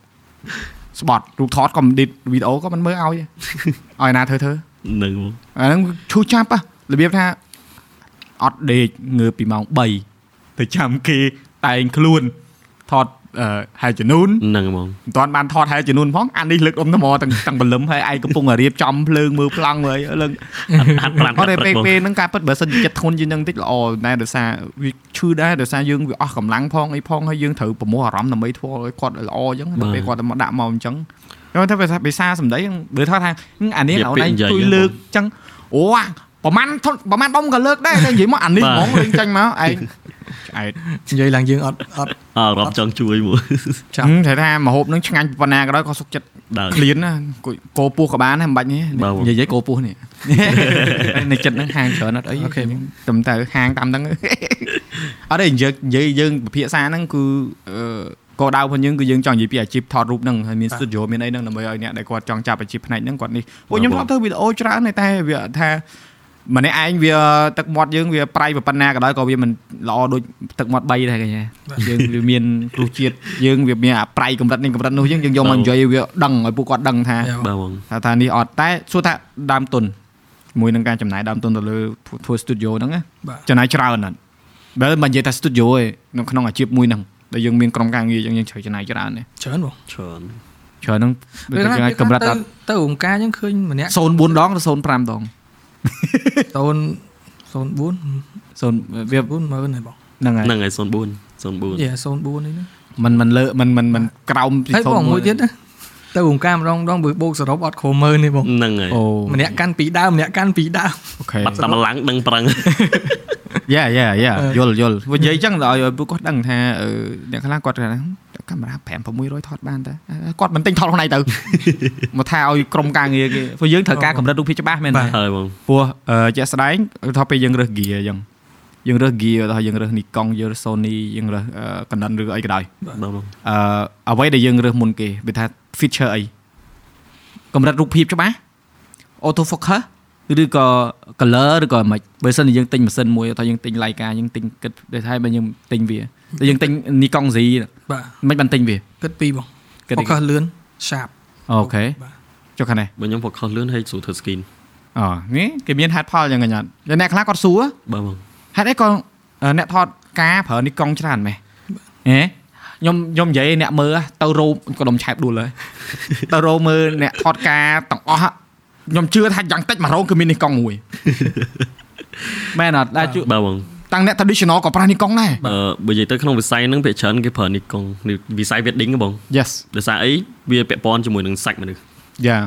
ស្បត់រូបថតក៏មិនឌីតវីដេអូក៏មិនមើលឲ្យដែរឲ្យណាធ្វើធ្វើ
ហ្នឹងបង
អាហ្នឹងឈូសចាប់ហ៎របៀបថាអត់ដេកងើបពីម៉ោង3ទៅចាំគេតែងខ្លួនថតអឺហែកចំនួន
ហ្នឹង បង
មិនទាន់បានថតហែកចំនួនផងអានេះលើកដុំថ្មទាំងទាំងបលឹមហើយឯងកំពុងតែរៀបចំភ្លើងមើលប្លង់ហើយលើក
អត់អត់ប្រាំ
អត់ទេពេល
បង
ពេលហ្នឹងការពិតបើសិនជាចិត្តធន់ជាងហ្នឹងតិចល្អតែដោយសារវាឈឺដែរដោយសារយើងវាអស់កម្លាំងផងអីផងហើយយើងត្រូវប្រមោះអារម្មណ៍ដើម្បីធ្វើឲ្យគាត់ឲ្យល្អអញ្ចឹងដល់ពេលគាត់មកដាក់មកអញ្ចឹងខ្ញុំថាភាសាភាសាសម្ដីហ្នឹងបើថាថាហឹមអានេះអូនឯងជួយលើកអញ្ចឹង អូអាប្រហែលធុនប្រហែលដុំក៏លើកដែរតែនិយាយមកអានេះហ្មងលេងចាញ់មកឯងឆ្អែត
និយាយឡើងយើងអត់អត់
អារម្មណ៍ចង់ជួយមួយ
ចាំតែថាមហូបនឹងឆ្ងាញ់ប៉ុណ្ណាក៏ដោយក៏សុខចិត្ត
ដើរ
ឃ្លានណាគួយគោពោះក៏បានដែរមិនបាច់ទេ
បាទ
និយាយៗគោពោះ នេះ នៅចិត្តហ្នឹងហាងច្រើនអត់អីអូខេតែតែហាងតាមហ្នឹង អត់ទេយើងនិយាយយើងពិភាក្សាហ្នឹងគឺអឺក៏ដៅផងយើងគឺយើងចង់និយាយពីអាជីពថតរូបហ្នឹងហើយមានស្ទូឌីយោមានអីហ្នឹងដើម្បីឲ្យអ្នកដែលគាត់ចង់ចាប់អាជីពផ្នែកហ្នឹងគាត់នេះពួកខ្ញុំ
បាទ
ធ្លាប់ធ្វើវីដេអូច្រើនហើយតែវាថាម្នាក់ឯងវាទឹកមាត់យើងវាប្រៃប៉ុណ្ណាក៏ដោយក៏វាមិនល្អដូចទឹកមាត់3ដែរកញ្ញាយើងវាមានគ្រោះជាតិយើងវាមានអាប្រៃកម្រិតនេះកម្រិតនោះយើងយើងយកមកនិយាយឲ្យវាដឹងឲ្យពួកគាត់ដឹងថា
យ៉ាបង
បាទបង
ថាថានេះអត់តែសួរថាដើមទុនជាមួយនឹងការចំណាយដើមទុនទៅលើធ្វើ studio ហ្នឹងណា
បាទ
ចំណាយច្រើនណាស់បើមិននិយាយថា studio ឯងនៅក្នុងអាជីពមួយហ្នឹងដែលយើងមានក្រុមការងារយើងយើងត្រូវចំណាយច្រើនណាស់
ច្រើនបង
ច្រើន
ច្រើនហ្នឹងដូច
ព
យើ
េល
ង
ខ្លះ
អាចកម្រិតអ
ទៅ
ត់
ទៅអង្គការយើងឃើញម្នាក់
04ដងឬ05ដង
តូន04
0វា
4ម៉ឺនហើយ
ហ
បង
្នឹងហើយ
ហ្នឹងហើយ04 04
យ៉ា04នេះណា
มันมันលើมันมันมันក្រោមពី
ហើយបងមួយទៀតណាទៅអង្គការម្ដងម្ដងបើបូកសរុបអត់គ្រប់ម៉ឺនទេបង
ហ្នឹងហើយ
អូ
ម្នាក់កាន់ពីដើមម្នាក់កាន់ពីដើម
អូខេ
បាត់តែម្លាំងដឹង ប្រឹង
យ៉ាយ៉ាយ៉ា
អឺ
យល់យល់វានិយាយចឹងដល់ឲ្យពួកគាត់ដឹងថាអឺអ្នកខ្លះគាត់ថាកាមេរ៉ា5 600ថតបានតើគាត់មិនទិញថត ខ្លួនឯងទៅ មកថាឲ្យក្រុមការងារគេព្រោះយើងត្រូវការកម្រិតរូបភាពច្បាស់មែន
បា
ទេ
ទ
ហើយបង
ព្រោះអឺជាក់ស្ដែងថាពេលយើងរើស gear ចឹងយើងរើស gear ដល់យើងរើស Nikon យើងរើស Sony យើងរើសអឺ Canon ឬអីក៏ដោយ
បាទបង
អឺអ្វីដែលយើងរើសមុនគេវាថា feature អីកម្រិតរូបភាពច្បាស់ auto focus ឬក៏ color ឬក៏មិនបើមិនយើងទិញម៉ាស៊ីនមួយថាយើងទិញ Leica យើងទិញគិតដូចថាបើយើងទិញវាតែយើងទិញ Nikon Z
បាទ
មិនបានទិញវា
គិតពីបង
គិត
អូខលឿន sharp
អូខេ
បាទ
ចុះខាងនេះ
បើខ្ញុំ focus លឿនហើយស្រួលធ្វើ skin
អូនេះគេមានហេតុផលយ៉ាងកញ្ញត់តែអ្នកខ្លះគាត់សួរ
បាទបង
ហេតុអីក៏អឺអ្នកថតការប្រើ Nikon ច្រើនម៉េះហ៎ខ្ញុំខ្ញុំនិយាយឲ្យអ្នកមើលទៅរោមក៏ដុំឆែបដួលហើយ ទៅរោមមើលអ្នកថតការទាំងអស់ខ្ញុំជឿថាយ៉ាងតិចមួយរោងគឺមាន Nikon មួយ មែនអត់ដែរជឿ
បាទបង
តាំងអ្នក traditional ក៏ប្រើ Nikon ដែរ
អឺបើនិយាយទៅក្នុងវិស័យហ្នឹងភាគច្រើនគេប្រើ Nikon នេះវិស័យ wedding ហ៎បង
Yes
ដោយសារអីវាពាក់ព័ន្ធជាមួយនឹងសាច់មនុស្ស
យ៉ា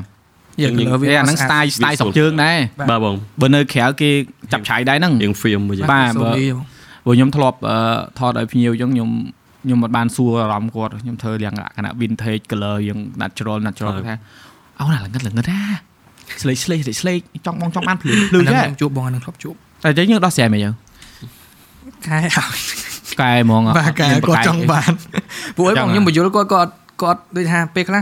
យើង
យើង
លើវា
វាអាហ្នឹង
ស្អាត
style style ស្រុក
Visual
យើងដែរ
បាទបង
បើនៅក្រៅគេចាប់ឆាយដែរហ្នឹង
យើង film មួយយើង
បាទ
សូនីបង
ព្រោះខ្ញុំធ្លាប់អឺថតឲ្យភ្ញៀវអញ្ចឹងខ្ញុំខ្ញុំមិនបានសួរអារម្មណ៍គាត់ខ្ញុំធ្វើលក្ខណៈ vintage color យើង natural natural
ហើ
គាត់ថា
យ
អូណាលងិតលងិតណាស្លេកស្លេកស្លេកស្លេកចង់បងចង់បានភ្លឺភ្លឺ
អា
ចេះ
ហ្នឹងខ្ញុំជួបបងអាហ្នឹងធ្លាប់ជួប
តែតែយើងដោះស្រាយមកយើង
ខែអោយក
ែហ្មង
បាទខែ
មាន
គាត់
កែ
ចង់បានពួកឯងបងខ្ញុំបញ្យល់គាត់គាត់គាត់ដូចថាពេលខ្លះ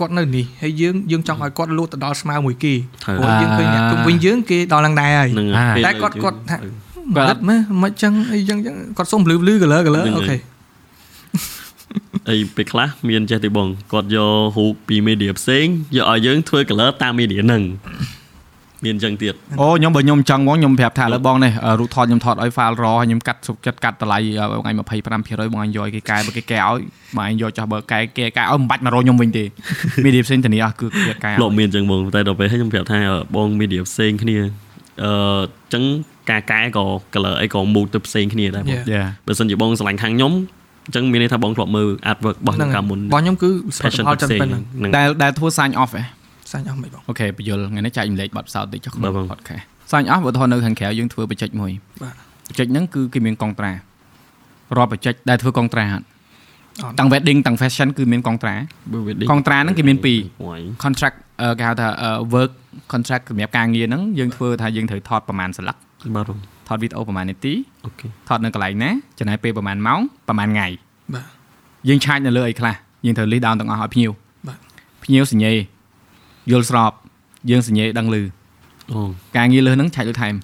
គាត់នៅនេះហើយយើងយើងចង់ឲ្យគាត់លូតទៅដល់ស្មើមួយគេ
ត្រូវ
ព្រោះយើងឃើញអ្នកជុំវិញយើងគេដល់ឡើងដែរហើយ
ហ្នឹង
អា
ពេល
តែគាត់
យើង
គាត់ថា
គាត់អ
អ
ត់
ត់មើលមិនចឹងអីចឹងចឹងគាត់សុំលឺលឺ color color
ហ្នឹងហើយ
អូខេ
អីពេលខ្លះមានចេះទីបងគាត់យករូបពី media ផ្សេងយកឲ្យយើងធ្វើ color តាម media ហ្នឹងមានអញ្ចឹងទៀត
អូខ្ញុំបើខ្ញុំចង់ហ្មងខ្ញុំប្រាប់ថាឥឡូវបងនេះអឺរូបថតខ្ញុំថតឲ្យ file raw ហើយខ្ញុំកាត់សុខចិត្តកាត់តម្លៃឲ្យបងឯង25%បងឯងយកឲ្យគេកែបើគេកែឲ្យបងឯងយកចោះបើកែគេកែឲ្យមិនបាច់មករកខ្ញុំវិញទេ មានរៀបផ្សេងធានាអស់គឺគេកែឲ្យ
លោកមានអញ្ចឹងបងតែដល់ពេលខ្ញុំប្រាប់ថាអឺបងមីឌៀផ្សេងគ្នាអឺអញ្ចឹងការកែក៏ color អីក៏មូតទៅផ្សេងគ្នាដែរបង
Yeah.
Yeah
បើសិនជាបងស្រឡាញ់ខាងខ្ញុំអញ្ចឹងមានន័យថាបងធ្លាប់មើល artwork របស់
ហ្នឹង
អ្នកកា
ហើ
ល
យ
មុន
បងខ្ញុំគឺស្វត្ថ
passion
ផល
ទៅ
ចាំ
ផ្សេង
ប៉ុណ្ណឹ
ហ
ង
្នឹង
ដែលដែលធ្វើ sign off ឯង
សាញអស់មិនបង
អូខេបញ្យលថ្ងៃនេះចែករំលែកបទពិសោធន៍តិចចុះក្នុង
បាទបង
podcast សាញអស់បើថតនៅខាងក្រៅយើងធ្វើបច្ចេកមួយ
បាទ
បច្ចេកហ្នឹងគឺគេមានកងត្រារាល់បច្ចេកដែលធ្វើកងត្រាហ่ะ
អត់
ទាំង wedding ទាំង fashion គឺមានកងត្រា
បើវាដូច
កងត្រាហ្នឹងគេមានពីរ
អូយ
contract អឺគេហៅថាអឺ work contract សម្រាប់ការងារហ្នឹងយើងធ្វើថាយើងត្រូវថតប្រមាណសន្លឹក
បាទបង
ថតវីដេអូប្រមាណនាទី
អូខេ
ថតនៅកន្លែងណាចំណាយពេលប្រមាណម៉ោងប្រមាណថ្ងៃ
បាទ
យើងឆាច់នៅលើអីខ្លះយើងត្រូវ list down ទាំងអស់ឲ្យភ្ញៀវ
បាទ
ភ្ញៀវសញ្ញេយល់ស្របយើងសញ្ញេដឹងឮ
អូ
ការងារលើសហ្នឹងឆាច់លើថែម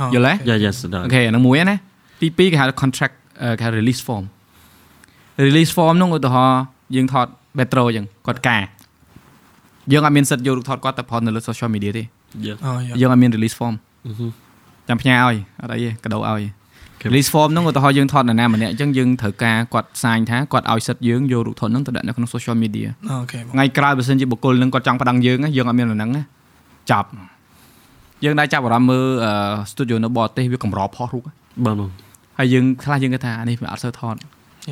អូ
យល់ទេ
យ៉ាយ៉ាស្ដាប់
អូខេអាហ្នឹងមួយហ្នឹងណាទី2គេហៅ contract អឺគេហៅ release form release form ហ្នឹងឧទាហរណ៍យើងថត metro អញ្ចឹងគាត់ការយើងអត់មានសិទ្ធិយករូបថតគាត់ទៅផុសនៅលើ social media ទេ
យ៉ា
អូយ
យើងអត់មាន release form ចាំផ្ញើឲ្យអត់អីទេកដោឲ្យ
Okay.
release form ហ្នឹងឧទាហរណ៍យើងថតនរណាម្នាក់អញ្ចឹងយើងត្រូវការគាត់សាញថាគាត់ឲ្យសិទ្ធិយើងយករូបថតហ្នឹងទៅដាក់នៅក្នុង social media
អូខេបង
ថ្ងៃក្រោយបើសិនជាបុគ្គលហ្នឹងគាត់ចង់ប្តឹងយើងណាយើងអត់មានដំណឹងណាចាប់យើងដែរចាប់អារម្មណ៍មើលអឺ studio នៅបរទេសវាកម្រផុសរូប
បាទបង
ហើយយើងខ្លះយើងគិតថាអានេះវាអត់សូវថត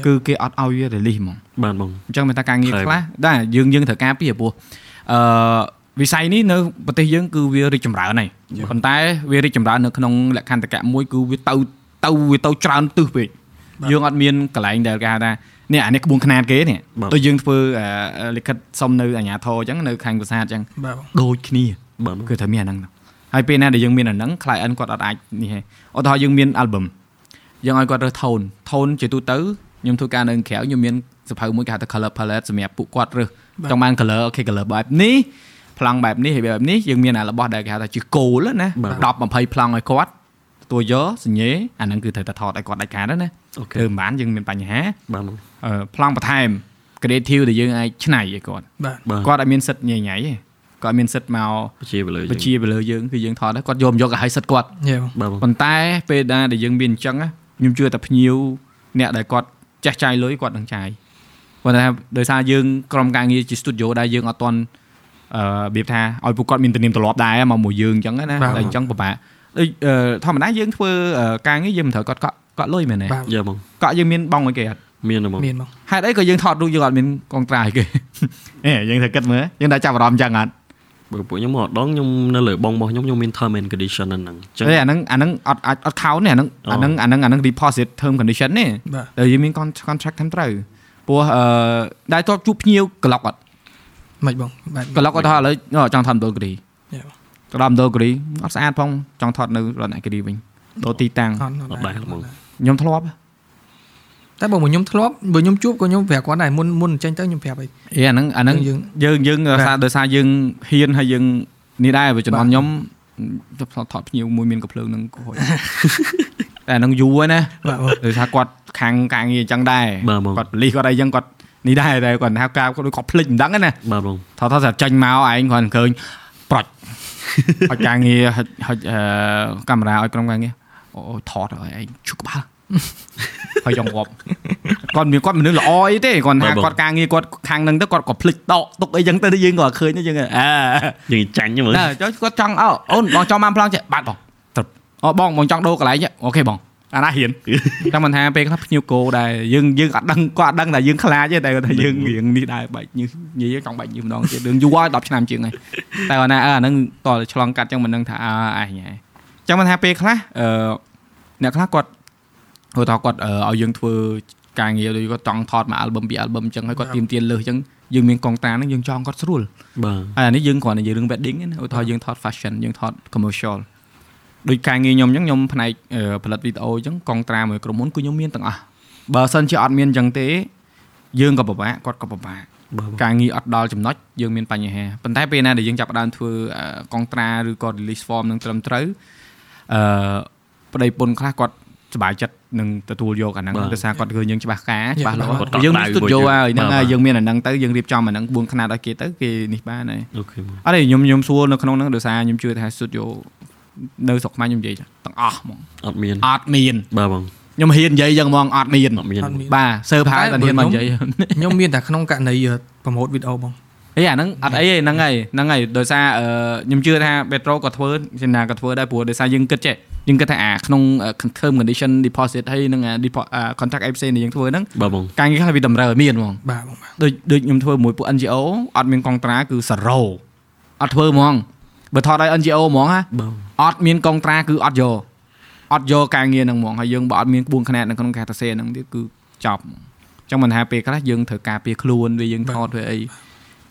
គឺគេអត់ឲ្យវា release ហ្មង
បាទបង
អញ្ចឹងមានតែការងារ
ត្រូវ
ខ្លះដែរយើងយើងត្រូវការពីព្រោះអឺវិស័យនេះនៅប្រទេសយើងគឺវារីកចម្រើនហើយប៉ុន្តែវារីកចម្រើននៅក្នុងលក្ខន្តិកៈមួយគឺវាទៅទៅវាទៅច្រើនទិសពេកយើងអត់មានកន្លែងដែលគេហៅថានេះអានេះក្បួនខ្នាតគេនេះ
បាទ
ដូចយើងធ្វើអឺលិខិតសុំនៅអាជ្ញាធរអញ្ចឹងនៅខាងប្រាសាទអញ្ចឹង
បាទបង
ដូចគ្នា
បាទបង
គឺត្រូវមានអាហ្នឹងហើយពេលណាដែលយើងមានអាហ្នឹង client គាត់អត់អាចនេះទេឧទាហរណ៍យើងមាន album យើងឲ្យគាត់រើស tone tone ជាទូទៅខ្ញុំធ្វើការនៅក្រៅខ្ញុំមានសភៅមួយគេហៅថា color palette សម្រាប់ពួកគាត់រើសចង់បាន color អូខេ color បែបនេះប្លង់បែបនេះហើយបែបនេះយើងមានអារបស់ដែលគេហៅថាជា goal ណា10 20ប្លង់ឲ្យគាត់ទទួលយកសញ្ញេអាហ្នឹងគឺត្រូវតែថតឲ្យគាត់ដាច់ខាតណាណា
អូខេ
ធ្វើមិនបានយើងមានបញ្ហា
បាទបង
អឺប្លង់បន្ថែម creative ដែលយើងអាចឆ្នៃឲ្យគាត់
បាទ
បាទ
គាត់អត់មានសិទ្ធញ៉ៃញ៉ៃទេគាត់អត់មានសិទ្ធមក
ប្រជាពលរដ្ឋ
បជាទៅលើយើងគឺយើងថតដែរគាត់យកមកយកឲ្យហើយសិតគាត់
Yeah បង
បាទបង
ប៉ុន្តែពេលណាដែលយើងមានអញ្ចឹងណាខ្ញុំជឿតែភ្ញៀវអ្នកដែលគាត់ចេះចាយលុយគាត់នឹងចាយប៉ុន្តែដោយសារយើងក្រុមការងារជា studio ដែរយើងអត់តន់អឺរបៀបថាឲ្យពួកគាត់មានទំនៀមទម្លាប់ដែរមកមួយយើងអញ្ចឹងណាតែអញ្ចឹងពិបាកដូចអឺធម្មតាយើងធ្វើអឺការងារយើងមិនត្រូវគាត់កក់កក់លុយមែនទេ
បាទ
យ៉ាបង
កក់យើងមានបងឲ្យគេអត់
មានទេបង
មានបង
ហេតុអីក៏យើងថតរូបយើងអត់មានកងត្រាឲ្យគេ អេយើងត្រូវគិតមើលយើងតែចាប់អារម្មណ៍អញ្ចឹងអត់
បើពួកខ្ញុំមកអត់ដងខ្ញុំនៅលើបងរបស់ខ្ញុំខ្ញុំមាន term and condition ហ្នឹងអញ្ចឹង
អេអាហ្នឹងអាហ្នឹងអត់អាចអត់ count ទេអាហ្នឹង
អូ
អាហ្នឹងអាហ្នឹងអាហ្នឹង deposit term condition ទេ
បាទ
ដែលយើងមាន con- contract តាមត្រូវព្រោះអឺដែលតបជួបភ្ញៀវក្លុកអត់
មិនបងបែប
ក្លុកគាត់ថាឥឡូវអឺចង់ថតម្ដលគិរី
យ៉ាបង
ទៅដល់មណ្ដលគិរីអត់ស្អាតផងចង់ថតនៅរតនគិរីវិញដូរទីតាំង
អត់
អត់ដែរបង
ខ្ញុំធ្លាប់
តែបងមកខ្ញុំធ្លាប់បើខ្ញុំជួបក៏ខ្ញុំប្រាប់គាត់ដែរមុនមុនចេញទៅខ្ញុំប្រាប់ឲ្យ
អីអាហ្នឹងអាហ្នឹង
យើង
យើងយើងដោយសារដោយសារយើងហ៊ានហើយយើងនេះដែរបើចំនួ
បាទ
នខ្ញុំទៅថតភ្ញៀវមួយមានកភ្លើងហ្នឹង ក៏ហួយ តែអាហ្នឹងយូរហើយណា
បាទបង
ដោយសារគាត់ខាងការងារអញ្ចឹងដែរ
បាទបង
គាត់បលិសគាត់អីអញ្ចឹងគាត់នេះដែរតែគាត់ថាការគាត់ដូចគាត់ភ្លេចមិនដឹងហ្នឹងណា
បាទបង
ថតថតសាប់ចាញ់មកឯងគ្រាន់ឃើញ ប្រាច់ ហុចការងារហុចហុចអឺកាមេរ៉ាឲ្យក្រុមការងារអូអូថតឲ្យឯងឈឺក្បាល ហើយចង់ងាប់គាត់មានគាត់មនុស្សល្អអីទេគាត់ថា
បាទបង
គាត់ការងារគាត់ខាងហ្នឹងទៅគាត់ក៏ភ្លេចដកទុកអីចឹងទៅយើងក៏អត់ឃើញដែរយើងអើ
យើងចាញ់ហ្នឹងមើល
តែចុះគាត់ចង់អោអូនបងចង់បានប្លង់ចេះបាទបងត្រឹបអូបងបងចង់ដូរកន្លែងចេះអូខេបង អាណាហ៊ាន តែមិនថាពេលខ្លះភ្ញៀវគោដែរយើងយើងអត់ដឹងគាត់អត់ដឹងតែយើងខ្លាចទេតែគាត់ថាយើងរៀងនេះដែរបែកញើសញីចង់បែកញើសម្ដងទៀតរឿងយូរហើយ10ឆ្នាំជាងហើយតែគាត់ណាអើអាហ្នឹងតតែឆ្លងកាត់ចឹងមិនដឹងថាអើអញហ៎ចឹងមិនថាពេលខ្លះអឺអ្នកខ្លះគាត់ហៅថាគាត់អឺឲ្យយើងធ្វើការងារដូចគាត់ចង់ថតមក album ពី album ចឹងហើយគាត់ទៀមទាលើសចឹងយើងមានកងតាហ្នឹងយើងចង់គាត់ស្រួល
បាទ
ហើយអានេះយើងគ្រាន់តែនិយាយរឿង wedding ទេណាឧទាហរណ៍យើងថត fashion យើងថត commercial ដូចការងារខ្ញុំអញ្ចឹងខ្ញុំផ្នែកអឺផលិតវីដេអូអញ្ចឹងកងត្រាមួយក្រុមហ៊ុនគឺខ្ញុំមានទាំងអស់បើសិនជាអត់មានអញ្ចឹងទេ យើងក៏ពិបាកគាត់ក៏ពិបាក
បាទ
ការងារអត់ដល់ចំណុចយើងមានបញ្ហាប៉ុន្តែពេលណាដែលយើងចាប់ផ្ដើមធ្វើអឺកងត្រាឬក៏ release form នឹងត្រឹមត្រូវអឺប្តីប្រពន្ធខ្លះគាត់សប្បាយចិត្តនឹងទទួលយកអាហ្នឹង
បាទ
ដោយសារគាត់ឃើញយើងច្បាស់ការច្បាស់លា
គាត់
ស់
កក់
យើងមា
ដៅ
ន studio
មួយ
ហើយ
ទៀត
ហ្នឹង
បាទ
ហើយយើងមានអាហ្នឹងទៅយើងរៀបចំអាហ្នឹងក្បួនខ្នាតឲ្យគេទៅគេនេះបានហើយ
អូខេបង
អត់ទេខ្ញុំខ្ញុំសួរនៅក្នុងហ្នឹងដោយសារខ្ញុំជឿថា studio នៅស្រុកខ្មែរខ្ញុំនិយាយទាំងអស់ហ្មង
អត់មាន
អត់មាន
បាទបង
ខ្ញុំហ៊ាននិយាយយ៉ាងហ្មងអត់មាន
អត់មាន
អត់មាន
បាទសើផា
តែ
យតែហ៊ានមក
បើ
និយាយ
ខ្ញុំមានតែក្នុងករណីប្រម៉ូទវីដេអូបង
អីអាហ្នឹងអត់អីទេហ្នឹងហើយហ្នឹងហើយដោយសារអឺខ្ញុំជឿថា Petro ក៏ធ្វើសេណាក៏ធ្វើដែរព្រោះដោយសារយើងគិតចេះយើងគិតថាអាក្នុង confirm condition deposit ហើយនឹងអា depo- អា contract ឯផ្សេងដែលយើងធ្វើហ្នឹង
បាទបង
ការងារខ្លះវាតម្រូវឲ្យមានហ្មង
បាទបងបាទ
ដូចដូចខ្ញុំធ្វើមួយពួក NGO អត់មានកងត្រាគឺសារ៉ូអត់ធ្វើហ្មងបើថតឲ្យ NGO ហ្មងណាអត់មានកងត្រាគឺអត់យកអត់យកការងារហ្នឹងហ្មងហើយយើងបើអត់មានក្បួនខ្នាតនៅក្នុងការសរសេរហ្នឹងទៀតគឺចប់ហ្មងអញ្ចឹងមិនថាពេលខ្លះយើងត្រូវការពារខ្លួនវាយើងថតវាអី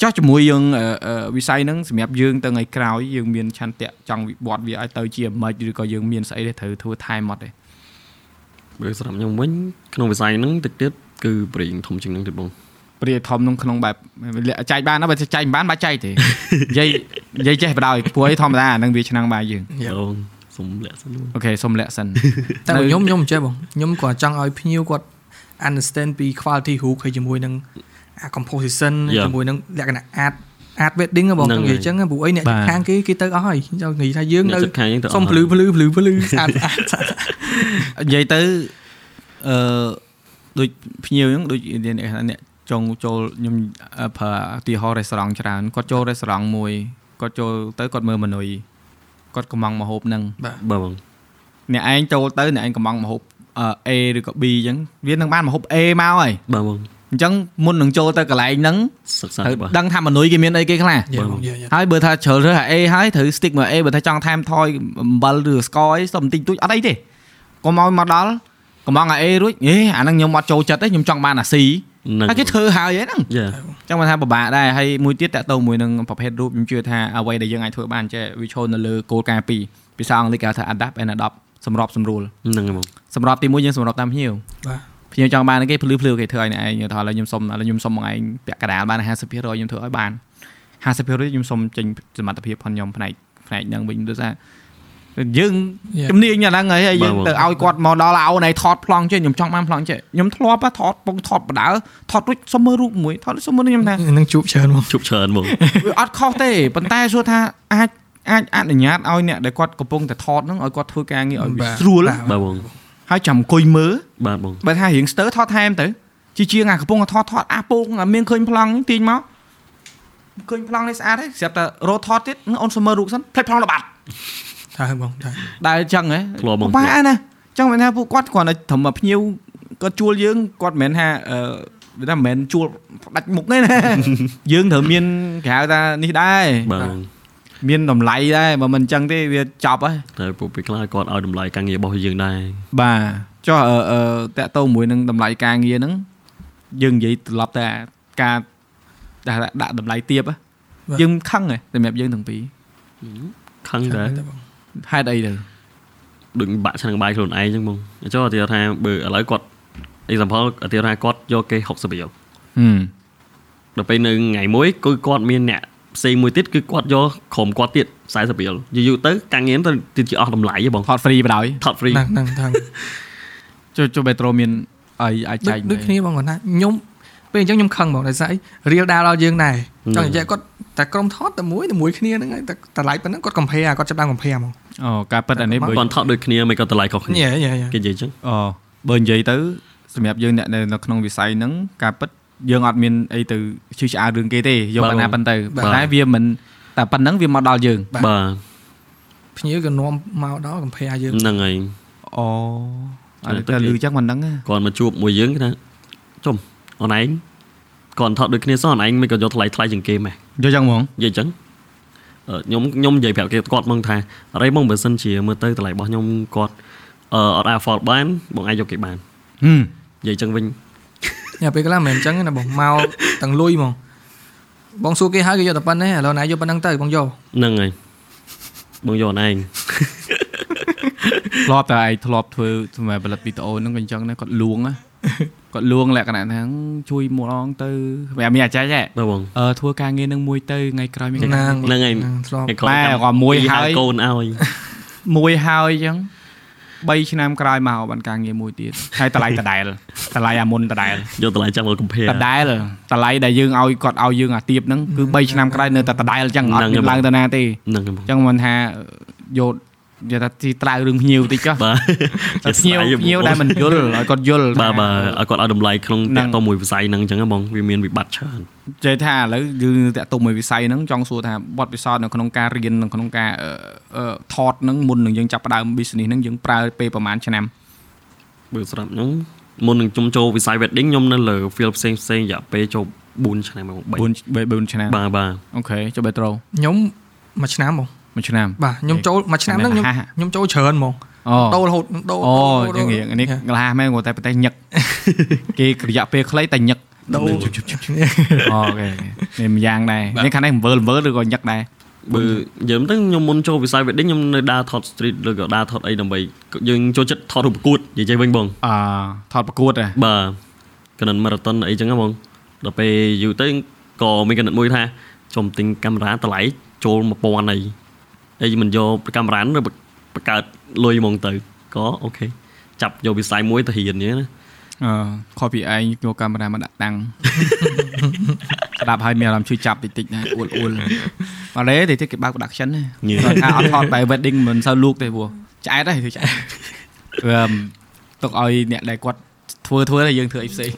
ចោះជាមួយយើងអឺអឺវិស័យហ្នឹងសម្រាប់យើងទៅថ្ងៃក្រោយយើងមានឆន្ទៈចង់វិវត្តវាឲ្យទៅជាអាមេចឬក៏យើងមានស្អីដែលត្រូវធ្វើថែមអត់ទេ
បើសម្រាប់ខ្ញុំវិញក្នុងវិស័យហ្នឹងតិចទៀតគឺប្រេងធំជាងហ្នឹងទៀតបង
ព្រាយធំក្នុងក្នុងបែបលាក់ចែកបានណាបើចែកមិនបានបាច់ចែកទេ និយាយនិយាយចេះបដោយព្រោះអីធម្មតាអាហ្នឹងវាឆ្នាំបាយយើង
បងសុំលាក់សិនបង
អូខេសុំលាក់សិន
តែបើខ្ញុំខ្ញុំមិនចេះបងខ្ញុំគ្រាន់ចង់ឲ្យភ្ញៀវគាត់ understand ពី quality រូបហើយជាមួយនឹងអា composition ជាមួយនឹងលក្ខណៈ art art wedding ហ៎បងនិយាយអញ្ចឹងហ៎ព្រោះអីអ្នក
បាទ
ខាងគេគេទៅអស់ហើយខ្ញុំនិយាយថាយើង
អ្នក
នៅ
ចិត្តខាងយើងទៅ
សុំ
អស់
ភ្លឺ
ហើយ
ភ្លឺភ្លឺភ្លឺស្អាតស្អាតស្អាត
និយាយទៅអឺដូចភ្ញៀវហ្នឹងដូចអ្នកថាអ្នកចង់ចូលខ្ញុំអឺប្រើឧទាហរណ៍ restaurant ច្រើនគាត់ចូល restaurant មួយគាត់ចូលទៅគាត់មើលមេនុយគាត់កំងម្ហូបហ្នឹង
បាទបង
អ្នកឯងចូលទៅអ្នកឯងកំងម្ហូបអឺ A ឬក៏ B អញ្ចឹងវានឹងបានម្ហូប A មកហើយ
បាទបង
អញ្ចឹងមុននឹងចូលទៅកន្លែងហ្នឹង
សិក្សា
ត្រូវ
បាទ
ដឹងថាមេនុយគេមានអីគេខ្លះ
Yeah, yeah, yeah.
ហើយបើថាជ្រើសរើសអា A ហើយត្រូវ stick មក A បើថាចង់ថែមថយអំបិលឬស្ករអីសុំបន្តិចតួចអត់អីទេកុំឲ្យមកដល់កំងអា A រួចហេអាហ្នឹងខ្ញុំអត់ចូលចិត្តទេខ្ញុំចង់បានអា C
ហ្នឹង
ហើយគេធ្វើហើយហ្នឹង
យ៉ា
ចង់បានថាពិបាកដែរហើយមួយទៀតតាក់ទងមួយនឹងប្រភេទរូបខ្ញុំជឿថាអ្វីដែលយើងអាចធ្វើបានចេះវាឈរនៅលើគោលការណ៍ពីរភាសាអង់គ្លេសគេហៅថា adapt and adopt សម្របសម្រួល
ហ្នឹងហើយបង
សម្របទីមួយយើងសម្របតាមភ្ញៀវ
បាទ
ភ្ញៀវចង់បានអីគេភ្លឺភ្លឺគេធ្វើឲ្យអ្នកឯងថាឥឡូវខ្ញុំសុំឥឡូវខ្ញុំសុំមកឯងពាក់កណ្ដាលបាន50%ខ្ញុំធ្វើឲ្យបាន 50%ខ្ញុំសុំចេញសមត្ថភាពផងខ្ញុំផ្នែកផ្នែកហ្នឹងវិញដូចថាយើង
Yeah.
ជំនាញអាហ្នឹងហើយហើយយើងទៅឲ្យគាត់មកដល់ឲ្យណៃថតប្លង់ចេះខ្ញុំចង់បានប្លង់ចេះខ្ញុំធ្លាប់ហ៎ថតពងថតបដាលថតរួចសុំមើលរូបមួយថតរួចសុំមើល ខ្ញុំថា
នឹងជួបច្រើនបង
ជប់ច្រើនបង
វាអត់ខុសទេប៉ុន្តែសួរថាអាចអាចអនុញ្ញាតឲ្យអ្នកដែលគាត់កំពុងតែថតហ្នឹងឲ្យគាត់ធ្វើការងារឲ្យវាស្រួល
បាទ
បាទបង
ហើយចាំអង្គុយមើល
បាទបង
បើថារៀងស្ទើរថតថែមទៅជាជាងអាកំពុងថតថតអាពងអាមានឃើញប្លង់ទាញមកឃើញប្លង់នេះស្អាតហើយស្រាប់តែរត់ថតទៀតអូនសុំមើលរូបសិនផ្លេចប្លង់របាត់
ថាហើយបងថា
ដែលចឹងហ៎
ធ្លាប់បង
ពិបាកណាស់ចឹងមែនថាពួកគាត់គ្រាន់តែត្រឹមតែភ្ញៀវគាត់ជួលយើងគាត់មិនមែនថាអឺវាថាមិនមែនជួលផ្ដាច់មុខ ទេណា យើងត្រូវមានគេហៅថានេះដែរ
បាទបង
មានតម្លៃដែរបើមិនចឹងទេវាចប់ហើយ
តែពួកពេលខ្លះគាត់ឲ្យតម្លៃការងាររបស់យើងដែរ
បាទចុះអឺអឺតាក់ទងមួយនឹងតម្លៃការងារហ្នឹងយើងនិយាយត្រឡប់ទៅអាការដាក់ដាក់តម្លៃទៀបហ៎យើងខឹងហ៎សម្រាប់យើងទាំងពីរ
ខឹងដែរ
តែបង
ហេតុអីទៅ
ដូចបាក់ឆ្នាំងបាយខ្លួនឯងចឹងបងអញ្ចឹងឧទាហរណ៍ថាបើឥឡូវគាត់ example ឧទាហរណ៍ថាគាត់យកគេ60រៀល
ហឹម
ដល់ពេលនៅថ្ងៃមួយគឺគាត់មានអ្នកផ្សេងមួយទៀតគឺគាត់យកក្រុមគាត់ទៀត40រៀលយូរយូរទៅការងារហ្នឹងទៅទៀតជាអស់តម្លៃហ៎បង
ថត free បណ្ដោយ
ថត free
ហ្នឹងហ្នឹងថា
ចុះចុះបេត្រូមានអីអាចចែក
ដូចគ្នាបងគាត់ថាខ្ញុំពេលអញ្ចឹងខ្ញុំខឹងបងដោយសារអីរៀលដាល់ដល់យើងដែរចង់និយាយគាត់តែក្រុមថតតែមួយតែមួយគ្នាហ្នឹងហើយតែតម្លៃប៉ុណ្ណឹងគាត់កំភែគាត់ចាប់ដើមកំភែហ្មង
អូការប៉ັດអានេះបើ
គាត់ថតដូចគ្នាមិនក៏តម្លៃខុសគ្នា
យេយេយេ
គេនិយាយចឹង
អូបើនិយាយទៅសម្រាប់យើងអ្នកនៅនៅក្នុងវិស័យហ្នឹងការប៉ັດយើងអត់មានអីទៅឈឺឆ្អែតរឿងគេទេយកបណ្ណាប៉ុន្តែប៉ុន្តែវាមិនតែប៉ុណ្ណឹងវាមកដល់យើង
បា
ភ្ញៀវក៏នាំមកដល់កំភែយើង
ទហ្នឹងហើយ
អូ អត់តែលឺចឹងមិនដឹងទេ
គាត់មកជួបមួយយើងគេថាចុំអូនឯងគាត់ថតដូចគ្នាសោះអូនឯងមិនក៏យកថ្លៃថ្លៃជាងគេម៉េះ
យកចឹងហ្មង
និយាយអញ្ចឹងអឺខ្ញុំខ្ញុំនិយាយប្រាប់គេគាត់មកថាអរេបងបើសិនជាមើលទៅតម្លៃរបស់ខ្ញុំគាត់អឺអត់អាច afford បានបងអាចយកគេបាន
ហឹម
និយាយអញ្ចឹងវិញ
ញ៉ាំពេលខ្លះមិនមែនអញ្ចឹងទេណាបងមក ទាំងលុយហ្មងបងសួរគេហើយគេយកតែប៉ុណ្ណេះឥឡូវណាយកប៉ុណ្ណឹងទៅបងយក
ហ្នឹងហើយបងយកអូនឯង
ធ្លាប់តែឯងធ្លាប់ធ្វើសម្រាប់ផលិតវីដេអូហ្នឹងក៏អញ្ចឹងដែរគាត់លួ ងណាគាត់លួងលក្ខណៈថាជួយមួយអងទៅសម្រាប់មានអាចារ្យហ៎
បាទបង
អឺធ្វើការងារនឹងមួយទៅថ្ងៃក្រោយមាន
ណា
ការ
ហ្នឹងហើយ
ធ្លាប់
ឯគាត់
តែ
ចាំ
ក៏មួយ
ពី
ហើយ
កូនឲ្យ
មួយហើយអញ្ចឹង3ឆ្នាំក្រោយមកបានការងារមួយទៀតហើយតម្លៃដដែលតម្លៃអាមុនដដែល
យកតម្លៃចាំមើលកំភែ
ដដែលតម្លៃដែលយើងឲ្យគាត់ឲ្យយើងអាទៀបហ្នឹងគឺ3ឆ្នាំក្រោយនៅតែដដែលអញ្ចឹងអត់
ហ្នឹង
មានឡើ
ហើយ
ងទៅណាទេ
ហ្នឹងហើ
អ
យបង
ញ្ចឹងមិនថាយកនិយាយថាទីត្រៅរឿង ភ្ញៀវតិចចុះ
បាទ
តែភ្ញៀវ
ស្ដាយបង
ភ្ញៀវដែលមិនយល់ឲ្យគាត់យល់
បាទ
ថា
បាទឲ្យគាត់ឲ្យតម្លៃក្នុង
ហ្នឹង
តាក់តមួយវិស័យហ្នឹងអញ្ចឹងហ៎បងវាមានវិបត្តិច្រើន
ចេះថាឥឡូវយើងតាក់ទងមួយវិស័យហ្នឹងចង់សួរថាបទពិសោធន៍នៅក្នុងការរៀននៅក្នុងការអឺអឺថតហ្នឹងមុននឹងយើងចាប់ផ្ដើម business ហ្នឹងយើងប្រើពេលប្រហែលឆ្នាំ
បើស្រាប់ខ្ញុំមុននឹងខ្ញុំចូលវិស័យ wedding ខ្ញុំនៅលើ field ផ្សេងផ្សេងរយៈពេលចូល4ឆ្នាំមក
4
3
4ឆ្នាំ
បាទបាទ
អូខេចុះបេត្រូ
ខ្ញុំមួយឆ្នាំបង
មួយឆ្នាំ
បាទខ្ញុំចូលមួយឆ្នាំហ្នឹងខ្ញុំ
ហាហា
ខ្ញុំចូលច្រើនហ្មង
អូ
ដូររហូតខ្ញុំដូរ
អូ
ដូរ
យ៉ាងงี้អានេះ
យ៉ា
ក្លាហាមែនគាត់តែប្រទេស ញឹក គេរយៈពេលខ្លីតែញឹក
ដូរ
អូខេនេះម្យ៉ាងដែរនេះខាងនេះវល់វល់ឬក៏ញឹកដែរ
បើនិយាយទៅខ្ញុំមុនចូលវិស័យ wedding ខ្ញុំនៅដើរថត street ឬក៏ដើរថតអីដើម្បីយើងចូលចិត្តថតរូបប្រកួតនិយាយវិញបង
អឺថតប្រកួតដែរ
បាទកណិតម៉ារ៉ាតុនអីចឹងហ៎បងដល់ពេលយូរទៅក៏មានកណិតមួយថាខ្ញុំទិញកាមេរ៉ាតម្លៃចូល1000អីអីមិនយកកាមេរ៉ានឹងបបង្កើតលុយហ្មងទៅក៏អូខេចាប់យកវិស័យមួយទៅរៀនអញ្ចឹងណា
អឺខុសពីឯងយកកាមេរ៉ាមកដាក់តាំង ស្ដាប់ហើយមានអារម្មណ៍ឈឺចាប់តិចតិចណាអ៊ូលអ៊ូលអរេតិចតិចគេបើក production ណាគាត់ថាអត់ថតបែប wedding មិនសូវលូកទេព្រោះឆ្អែតហើយធ្វើឆ្អែតព្រមទុកឲ្យអ្នកដែលគាត់ធ្វើធ្វើតែយើងធ្វើអីផ្សេង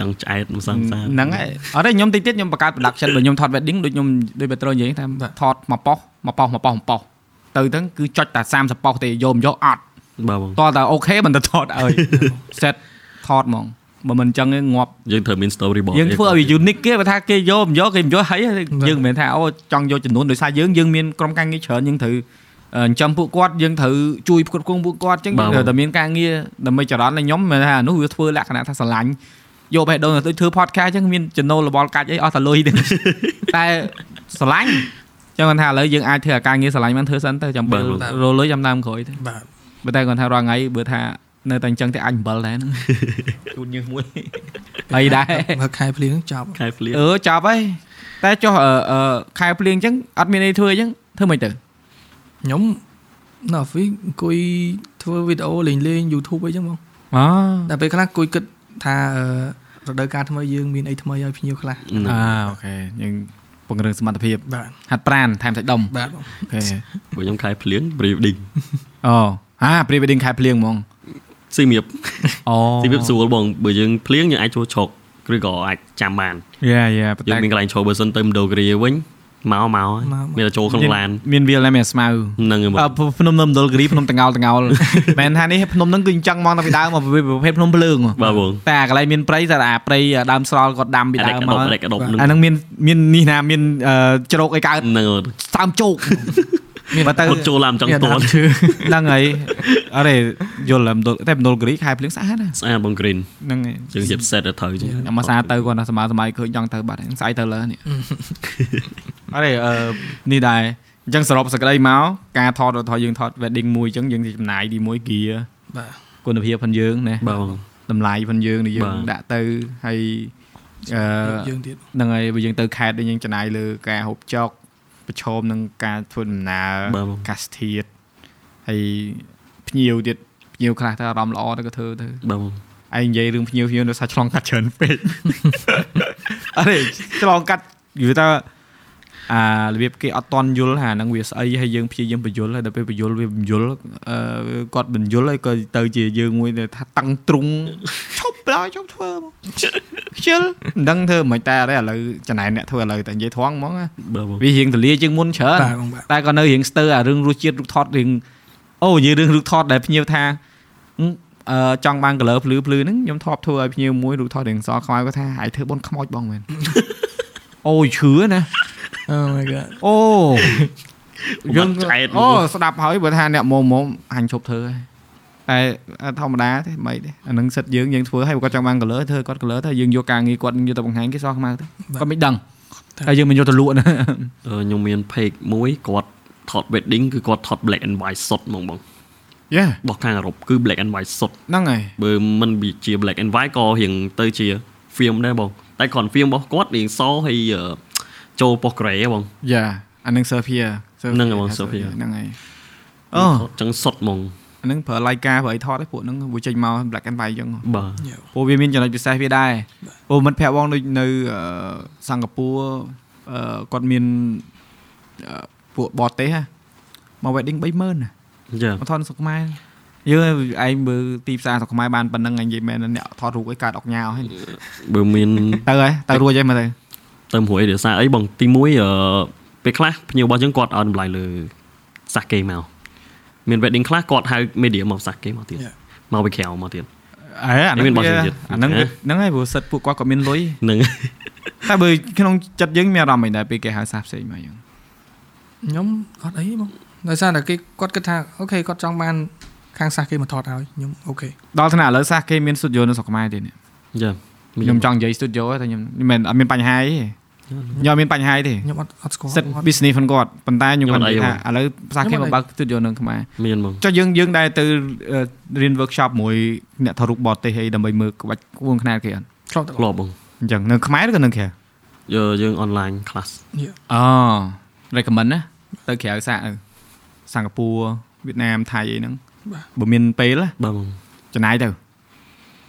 ចង់ចង់ឆ្អែតមួយសាមសាម
ហ្នឹងហើយអត់ទេខ្ញុំតិចទៀតខ្ញុំបង្កើត production បើខ្ញុំថត wedding ដូចខ្ញុំដូចបេត្រូនិយាយថាថតមកប៉ោះមកប៉ោះមកប៉ោះមកប៉ោះទៅទាំងគឺចុចតែ30ប៉ោះទេយកមិនយកអត់
បាទបង
តោះតែអូខេមិនទៅថតអើយ set ថតហ្មងបើមិនអញ្ចឹងឯងងាប់
យើងត្រូវមាន story board
យើងធ្វើឲ្យវា unique គេបើថាគេយកមិនយកគេមិនយកហីយើងមិនមែនថាអូចង់យកចំនួនដោយសារយើងយើងមានក្រុមការងារច្រើនយើងត្រូវអឺចិញ្ចឹមពួកគាត់យើងត្រូវជួយផ្គត់ផ្គង់ពួកគាត់អញ្ចឹង
បាទ
យើងត្រូវតែមានការងារដើម្បីចរន្តឲ្យខ្ញុំមិនថាអានោះវាធ្វើលក្ខណៈថាស្រឡាញ់យកបេះដូងទៅដូចធ្វើ podcast អញ្ចឹងមានចំណូលរបល់កាច់អីអស់តែលុយទេ តែស្រឡាញ់អញ្ចឹងគាត់ថាឥឡូវយើងអាចធ្វើអាការងារស្រឡាញ់បានធ្វើសិនទៅចាំពេល
បាទ
រលុយចាំតាមក្រោយទៅ
បាទ
បើតែគាត់ថារាល់ថ្ងៃបើថានៅតែអញ្ចឹងតែអាចអំបិលដែរហ្នឹង ជូនយើង មួយហើយដែរ
មើលខែ ភ្លៀងចប់
ខែភ្លៀង
អឺចប់ហើយតែចុះអឺអឺខែភ្លៀងអញ្ចឹងអត់មានអីធ្វើអញ្ចឹងធ្វើមិនទៅ
ខ្ញុំនៅអ office អង្គុយធ្វើវីដេអូលេងលេង YouTube អីចឹងបង
អូ
តែពេលខ្លះអង្គុយគិតថាអឺរដូវកាលថ្មីយើងមានអីថ្មីឲ្យភ្ញៀវខ្លះ
ហ្នឹង
អាអូខេយើងពង្រឹងសមត្ថភាព
បាទ
ហាត់ប្រាណថែមសាច់ដុំ
បាទប
អូខេ
បើ
ង
ខ្ញុំខែភ្លៀង breeding
អូអាព្រីវេឌីងខែភ្លៀងហ្មង
ស៊ីមៀប
អូ
ស៊ីមៀបស្រួលបងបើយើងភ្លៀងយើងអាចចូលឆុកឬក៏អាចចាំបាន
យ៉ាយ៉ាប៉ុ
យើង
ន្តែ
មានកន្លែងចូលបើសិនទៅមណ្ឌលគិរីវិញមកមកហើយមានតែចូលក្នុងឡាន
មានវាលតែមានស្មៅ
ហ្នឹងហើយបង
អើភ្នំនៅមណ្ឌលគិរីភ្នំតង្កោលតង្កោល មែនថានេះភ្នំហ្នឹងគឺអញ្ចឹងមកតាំងពីដើមមកប្រភេទភ្នំភ្លើងហ៎
បាទបង
តែអាកន្លែងមានព្រៃតែអាព្រៃដើមស្រល់គាត់ដាំពី
អា
ដើ
រែក
មម
កដ
ក ក
អារែកកដប់ហ្នឹង
អាហ្នឹងមានមាននេះណាមានអឺជ្រោកអីកើត
ហ្នឹងហើយ
ស្តាមជោក
មាន
បើទៅ
គាត់ចូលឡានចង់តន់
ឈឺ
ហ្នឹងហើយអរេយល់តែមណ្ឌលតែមណ្ឌលគិរីខែភ្លៀងស្អាតណា
ស្អាតបង green
ហ្នឹងហើយ
យើងជិបសេតទៅត្រូវចឹង
អាមកស្អាតទៅគាត់ថាសម័យសម័យឃើញចង់ទៅបាត់ហ្នឹងស្អីទៅលើនេះអរេអឺនេះដែរអញ្ចឹងសរុបសក្តីមកការថតរបស់ថតយើងថត wedding មួយអញ្ចឹងយើងចំណាយទីមួយគី
បាទ
គុណភាពផងយើងណា
បាទបង
តម្លៃផងយើងដែលយើង
បាទ
ដាក់ទៅហើយអឺ
យើងទៀត
ហ្នឹងហើយបើយើងទៅខេត្តវិញយើងចំណាយលើការហូបចុកប្រឈមនឹងការធ្វើដំណើរ
បាទបង
កាសធាតហើយភ្ញៀវទៀតភ្ញៀវខ្លះទៅអារម្មណ៍ល្អទៅក៏ធ្វើទៅ
បាទបង
ឯងនិយាយរឿងភ្ញៀវភ្ញៀវនៅសារឆ្លងកាត់ច្រើនពេក អរេឆ្លងកាត់និយាយថាអារបៀបគេអត់តន់យល់ហាហ្នឹងវាស្អីហើយយើងព្យាយាមបញ្យល់ហើយដល់ពេលបញ្យល់វាបញ្យល់អឺគាត់បញ្យល់ហើយក៏ទៅជាយើងមួយដែលថាតាំងទ្រុង ឈប់ឡើយឈប់ធ្វើមក ខ្ជិលមិនដឹងធ្វើមិនតែអរេឥឡូវចំណាយអ្នកធ្វើឥឡូវតែនិយាយត្រង់ហ្មង ណា
បាទបង
វារៀងទលាជាងមុនច្រើន
បាទបងបាទ
តែក៏នៅរៀងស្ទើរអារឿងរសជាតិរូបថតរឿងអូនិយាយរឿងរូបថតដែលភ្ញៀវថាអឺ អឺចង់បាន color ភ្លឺភ្លឺហ្នឹងខ្ញុំធ្លាប់ធ្វើឲ្យភ្ញៀវមួយរូបថតរឿងសខ្មៅគាត់ថាហើយធ្វើបនខ្មោចបងមែន អូយឈឺណា
អូ my god
អូ
យើងចែក
អូស្ដាប់ហើយបើថាអ្នកមុំមុំហាញ់ឈប់ធ្វើហើយតែធម្មតាទេមិនទេអាហ្នឹងសិតយើងយើងធ្វើឲ្យបើគាត់ចង់បាន color ធ្វើគាត់ color ទៅយើងយកការងារគាត់យកទៅបង្ហាញគេសខ្មៅទៅគាត់មិនដឹងតែយើងមិនយកទៅលក់ ណា
ខ្ញុំមាន page មួយគាត់ថត wedding គឺគាត់ថត black and white សុទ្ធហ្មងបង
យ៉ា
របស់ខាងអឺរ៉ុបគឺ black and white សុទ្ធ
ហ្នឹងហើយ
បើមិនវាជា black and white ក៏រៀងទៅជា film ដែរបងតែគ្រាន់ film របស់គាត់រៀងសហើយអឺចូលប៉ុសក្រេហ៎បង
យ៉ាអានឹង Sephia
ហ្នឹងហើយបង Sephia
ហ្នឹងហើយអូ
ថតចឹងសុតហ្មង
អានឹងប្រើ Leica ប្រើអីថតឯងពួកហ្នឹងវាចេញមក black and white អញ្ចឹង
បាទ
យល់
ពួកវាមានចំណុចពិសេសវាដែរពួកមិត្តភ័ក្ដិបងដូចនៅអឺសិង្ហបុរីអឺគាត់មានអឺពួកបតទេសហ៎មក wedding 30000ណា
ចា
មកថតនៅស្រុកខ្មែរយើងឯងមើលទីផ្សារស្រុកខ្មែរបានប៉ុណ្ណឹងឯងនិយាយមែនណាអ្នកថតរូបអីកើតអុកញ៉ាអស់ហើយ
បើមាន
ទៅហើយទៅរួចហើយមើលទៅ
ទៅមួយរសារអីបងទីមួយអឺពេលខ្លះភ្ញៀវរបស់យើងគាត់ឲ្យតម្លៃលើសាសគេមកមាន wedding ខ្លះគាត់ហៅ media មកសាសគេមកទៀត
Yeah.
មកពីក្រៅមកទៀត
អេអា
មា
ហ្នឹ
ន
ង
បទ
វា
សន្និទិដ្ឋ
អាហ្នឹងវាហ្នឹងហើយព្រោះសិតពួកគាត់ក៏មានលុយ
ហ្នឹង
តែបើក្នុងចិត្តយើងមានអារម្មណ៍មិនដែរពេលគេហៅសាសផ្សេងមកយើង
ខ្ញុំអត់អីទេបងដោយសារតែគេគាត់គិតថាអូខេគាត់ចង់បានខាងសាសគេមកថតឲ្យខ្ញុំអូខេ
ដល់ថ្នាក់ឥឡូវសាសគេមានស្ទូឌីយោនៅស្រុកខ្មែរទៀតនេះ
ចា
ខ្ញុំចង់និយាយស្ទូឌីយោតែខ្ញុំមិនមែនអត់មានបញ្ហាអីទេខ្ញុំអត់មានបញ្ហាអីទេ
ខ្ញុំអត់អត់ស្គាល់
សិត
អត់
business ផងគាត់ប៉ុន្តែខ្ញុំគាត់និយាយថាឥឡូវសាសគេមកបើកស្ទូឌីយោនៅខ្មែរ
មានបង
ចុះយើងយើងដែរទៅអឺរៀន workshop មួយអ្នកថតរូបបរទេសអីដើម្បីមើលក្បាច់គួងខ្នាតគេអត់
ឆ្លប់ទៅ
ធ្លាប់បង
អញ្ចឹងនៅខ្មែរឬក៏នៅក្រៅ
យើយើង online class
អូ recommend ណាទៅក្រៅសាសទៅសិង្ហបុរីវៀតណាមថៃអីហ្នឹងបើមានពេលណា
បាទបង
ចំណាយទៅ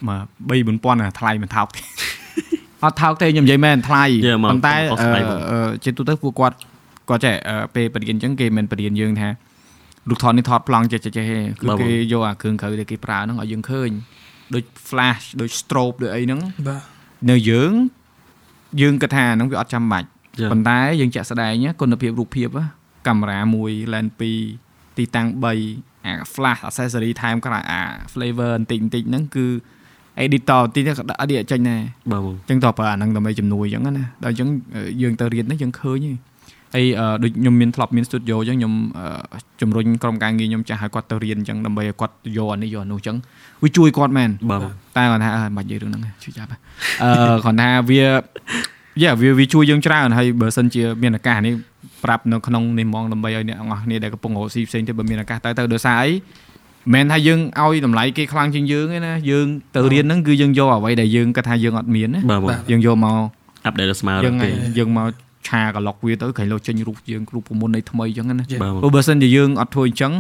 មក3 4000អាថ្លៃមិនថោកទេ អត់ថោកទេខ្ញុំនិយាយមែនថ្លៃ
យើមក
ប៉ុន្តែ
កុំខុសថ្លៃបង
អឺអឺជាទូទៅពួកគាត់គាត់ចេះអឺពេលបរិញ្ញាអញ្ចឹងគេមិនបរិញ្ញាយើងថារូបថតនេះថតប្លង់ចេះចេះចេះទេគឺ
បាទបង
គេយកអាគ្រឿងក្រៅដែលគេប្រើហ្នឹងឲ្យយើងឃើញដូច flash ដូច strobe ដូចអីហ្នឹង
បាទ
នៅយើងយើងគិតថាហ្នឹងវាអត់ចាំបាច់
ចា
ប៉ុន្តែយើងចាក់ស្ដែងណាគុណភាពរូបភាពណាកាមេរ៉ាមួយ lens 2ទីតាំង3អា flash accessory ថែមក្រៅអា flavor បន្តិចបន្តិចហ្នឹងគឺ editor បន្តិចហ្នឹងក៏ដាក់ដាក់ចេញដែរ
បាទបង
ចឹងតោះប្រើអាហ្នឹងដើម្បីជំនួយចឹងណាដល់ចឹងអឺយើងទៅរៀនហ្នឹងយើងឃើញហីហើយអឺដូចខ្ញុំមានធ្លាប់មាន studio ចឹងខ្ញុំអឺជំរុញក្រុមការងារខ្ញុំចាស់ឲ្យគាត់ទៅរៀនចឹងដើម្បីឲ្យគាត់យកអានេះយកអានោះចឹងវាជួយគាត់មែន
បាទបង
តែគាត់ថាអឺមិនបាច់និយាយរឿងហ្នឹងទេជួយចាប់ហ่ะអឺគាត់ថាវាយ៉ាវាវាជួយយើងច្រើនហើយបើសិនជាមានឱកាសនេះប្រាប់នៅក្នុងនេះហ្មងដើម្បីឲ្យអ្នកទាំងអស់គ្នាដែលកំពុងរកស៊ីផ្សេងទៀតបើមានឱកាសទៅទៅដោយសារអីមិនមែនថាយើងឲ្យតម្លៃគេខ្លាំងជាងយើងទេណាយើងទៅរៀនហ្នឹងគឺយើងយកអ្វីដែលយើងគាត់ថាយើងអត់មានណា
បាទបង
យើងយកមក
update ដល់ស្មារតី
យើង
គេ
យើងមកឆាកឡុកវាទៅក្រែងលោចេញរូបយើងគ្រូប្រមុននៃថ្មីអញ្ចឹងណា
យេ
បាទបង
ព្រោះបើសិនជាយើងអត់ធ្វើអញ្ចឹង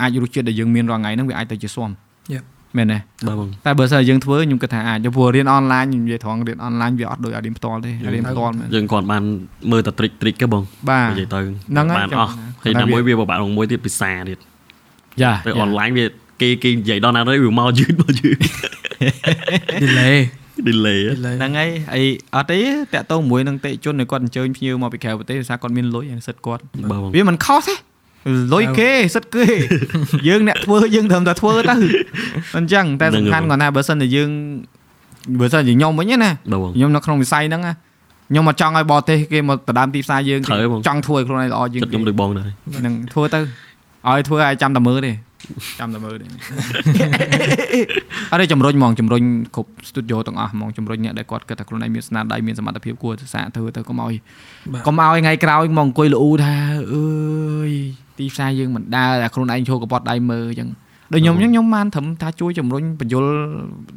អាចរសជាតិដែលយើងមានរាល់ថ្ងៃហ្នឹងវាអាចទៅជាស៊ាំ
Yep.
មែនទេ
បាទបង
តែបើសិនជាយើងធ្វើខ្ញុំគិតថាអាចព្រោះរៀនអនឡាញខ្ញុំនិយាយត្រង់រៀនអនឡាញវាអត់ដូចឲ្យរៀនផ្ទាល់ទេរៀនផ្ទាល់មែន
យើងគាត់បានមើលតែ trick trick ទេបង
បាទ
និយាយទៅ
ហ្នឹងហើយ
បាន
ចាំ
អស់ហើយ
តែ
តែ
វា
មួយវាពិបាកក្នុងមួយទៀតភាសាទៀត
យ៉ា
ទៅអនឡាញវាគេគេនិយាយដល់ណាទៅវាមកយឺតមកយឺត
delay
delay
delay
ហ្នឹងហើយអីអត់ទេតាក់ទងជាមួយនឹងតេជជនដែលគាត់អញ្ជើញភ្ញៀវមកពីក្រៅប្រទេសដោយសារគាត់មានលុយហើយសិតគាត់
បាទបង
វាមិនខុសទេលុយគេសិតគេ យើងអ្នកធ្វើយើងត្រឹមតែធ្វើទៅអញ្ចឹងតែសំខាន់គាត់ថាបើសិនជាយើងបើសិនជាខ្ញុំវិញណា
បាទបង
ខ្ញុំនៅក្នុងវិស័យហ្នឹងណាខ្ញុំមកចង់ឲ្យបរទេសគេមកដណ្ដើមទីផ្សារយើង
ត្រូវបង
ចង់ធ្វើឲ្យខ្លួនឯងល្អជាង
ចិត្តខ្ញុំដូចបងដែរ
នឹងធ្វើទៅឲ្យធ្វើឲ្យចាំតែមើលទេចាំតែមើលទេ អរិយជំរុញហ្មងជំរុញគ្រប់ studio ទាំងអស់ហ្មងជំរុញអ្នកដែលគាត់គិតថាខ្លួនឯងមានស្នាដៃមានសមត្ថភាពគួរទៅសាកធ្វើទៅកុំឲ្យ
បាទ
កុំឲ្យថ្ងៃក្រោយមកអង្គុយលូថាអើយទីផ្សារយើងមិនដើរតែខ្លួនឯងចូលកប៉ាត់ដៃមើលអញ្ចឹងដូចខ្ញុំអញ្ចឹងខ្ញុំបានត្រឹមថាជួយជំរុញបញ្យល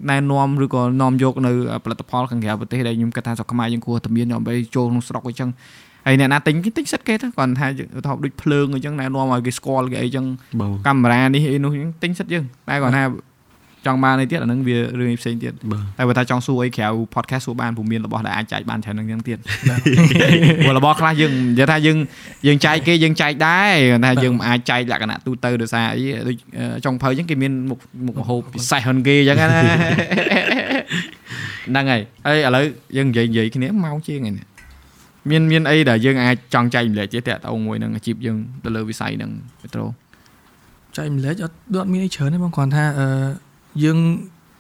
ណែនាំឬក៏នាំយកនៅផលិតផលខាងក្រៅប្រទេសដែលខ្ញុំគិតថាស្រុកខ្មែរយើងគួរតែមានដើម្បីចូលក្នុងស្រុកអញ្ចឹងហើយអ្នកណាទិញគេទិញសិតគេទៅគាត់ថាយើងថតដូចភ្លើងអញ្ចឹងណែនាំឲ្យគេស្គាល់គេអីអញ្ចឹង
បាទបង
កាមេរ៉ានេះអីនោះអញ្ចឹងទិញសិតយើងតែគាត់ថាចង់បានអីទៀតអាហ្នឹងវារឿងឯងផ្សេងទៀត
បាទ
តែបើថាចង់សួរអីក្រៅ podcast សួរ បានព្រោះមានរបស់ដែលអាចចែកបានច្រើនហ្នឹងអញ្ចឹងទៀត ព្រោះរបស់ខ្លះយើងនិយាយថាយើងយើងចែកគេយើងចែកដែរគាត់ថាយើងមិនអាចចែកលក្ខណៈទូទៅដោយសារអីដូចអឺចុងភៅអញ្ចឹងគេមានមុខមុខម្ហូបពិសេសហ្នឹងគេអញ្ចឹងណា ហ្នឹងហើយហើយឥឡូវយើងនិយាយនិយាយគ្នាម៉ោងជាងហើយនេះមានមានអីដែលយើងអាចចង់ចែកម្លែកទៀតតាក់ទងមួយនឹងអាជីពយើងទៅលើវិស័យហ្នឹងមេត្រូ
ចៃម្លេចអត់ដូចអត់មានអីច្រើនទេបងគ្រាន់ថាអឺ យើង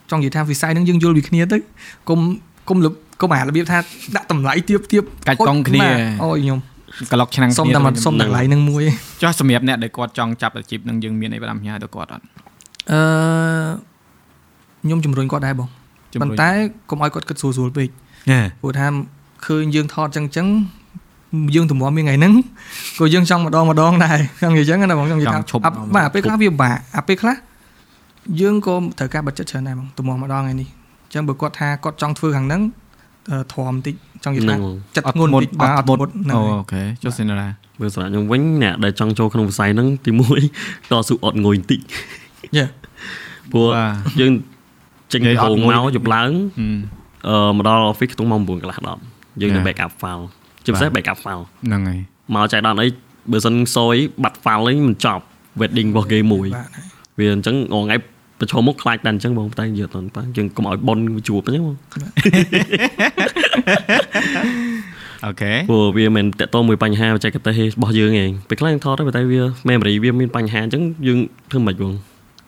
ចង់និយាយថាវិស័យហ្នឹងយើងយល់ពីគ្នាទៅគុំគុំលឹបគុំអារបៀបថាដាក់តម្លៃទៀបទៀប
កាច់កុងគ្នា
អូយខ្ញុំ
ក្លុកឆ្នាំ
សុំតែមកសុំតម្លៃហ្នឹងមួយ
ចុះសម្រាប់អ្នកដែលគាត់ចង់ចាប់អាជីពនឹងយើងមានអីបណ្ដាំញ៉ាដល់គាត់អត់
អឺខ្ញុំជំរុញគាត់ដែរបងប៉ុន្តែគុំឲ្យគាត់គិតស្រួលស្រួលពេក
ហេ
ព្រោះថាឃើញយើងថតចឹងចឹងយើងទំនាស់មានថ្ងៃហ្នឹងក៏យើងចង់ម្ដងម្ដង ដែរចង់និយាយចឹងណាបងចង់និយាយថាអត់បាទពេលខ្លះវាពិបាកអាពេលខ្លះយើងក៏ត្រូវការបិទចិត្តច្រើនដែរបងទំនាស់ម្ដងថ្ងៃនេះចឹងបើគាត់ថាគាត់ចង់ធ្វើខាងហ្នឹងធំបន្តិចចង់និយាយថា
ហ្នឹងបង
ចិត្តធ្ងន់បន្តិចបាទអត់មុតហ្នឹង
អូខេចុះសិនណា
មើលសម្រាប់ខ្ញុំវិញអ្នកដែលចង់ចូលក្នុងវិស័យ ហ្នឹងទី1តស៊ូអត់ងុយបន្តិច
យេ
ព្រោះយើងចេញពីហោងមកយប់ឡើង
ហឹម
អឺមកដល់ office ខ្ទង់ម៉ោង9កន្លះ10យើងនៅ
Yeah.
backup file ជាពិសេស backup file
ហ្នឹងហើយ
មកចែកដល់អីបើសិនសយបាត់ file វិញមិនចប់ wedding របស់គេមួយ
បាទហើយ
វាអញ្ចឹងរងថ្ងៃប្រឈមមុខខ្លាចតែអញ្ចឹងបងតែយើងអត់តាយើងកុំឲ្យប៉ុនវាជួបអញ្ចឹងបង
អូខេ
ព្រោះវាមិនតកតមួយបញ្ហាបច្ចេកទេសរបស់យើងឯងពេលខ្លះយើងថតទៅប៉ុន្តែវា memory វាមានបញ្ហាអញ្ចឹងយើងធ្វើមិនខ្មិចបង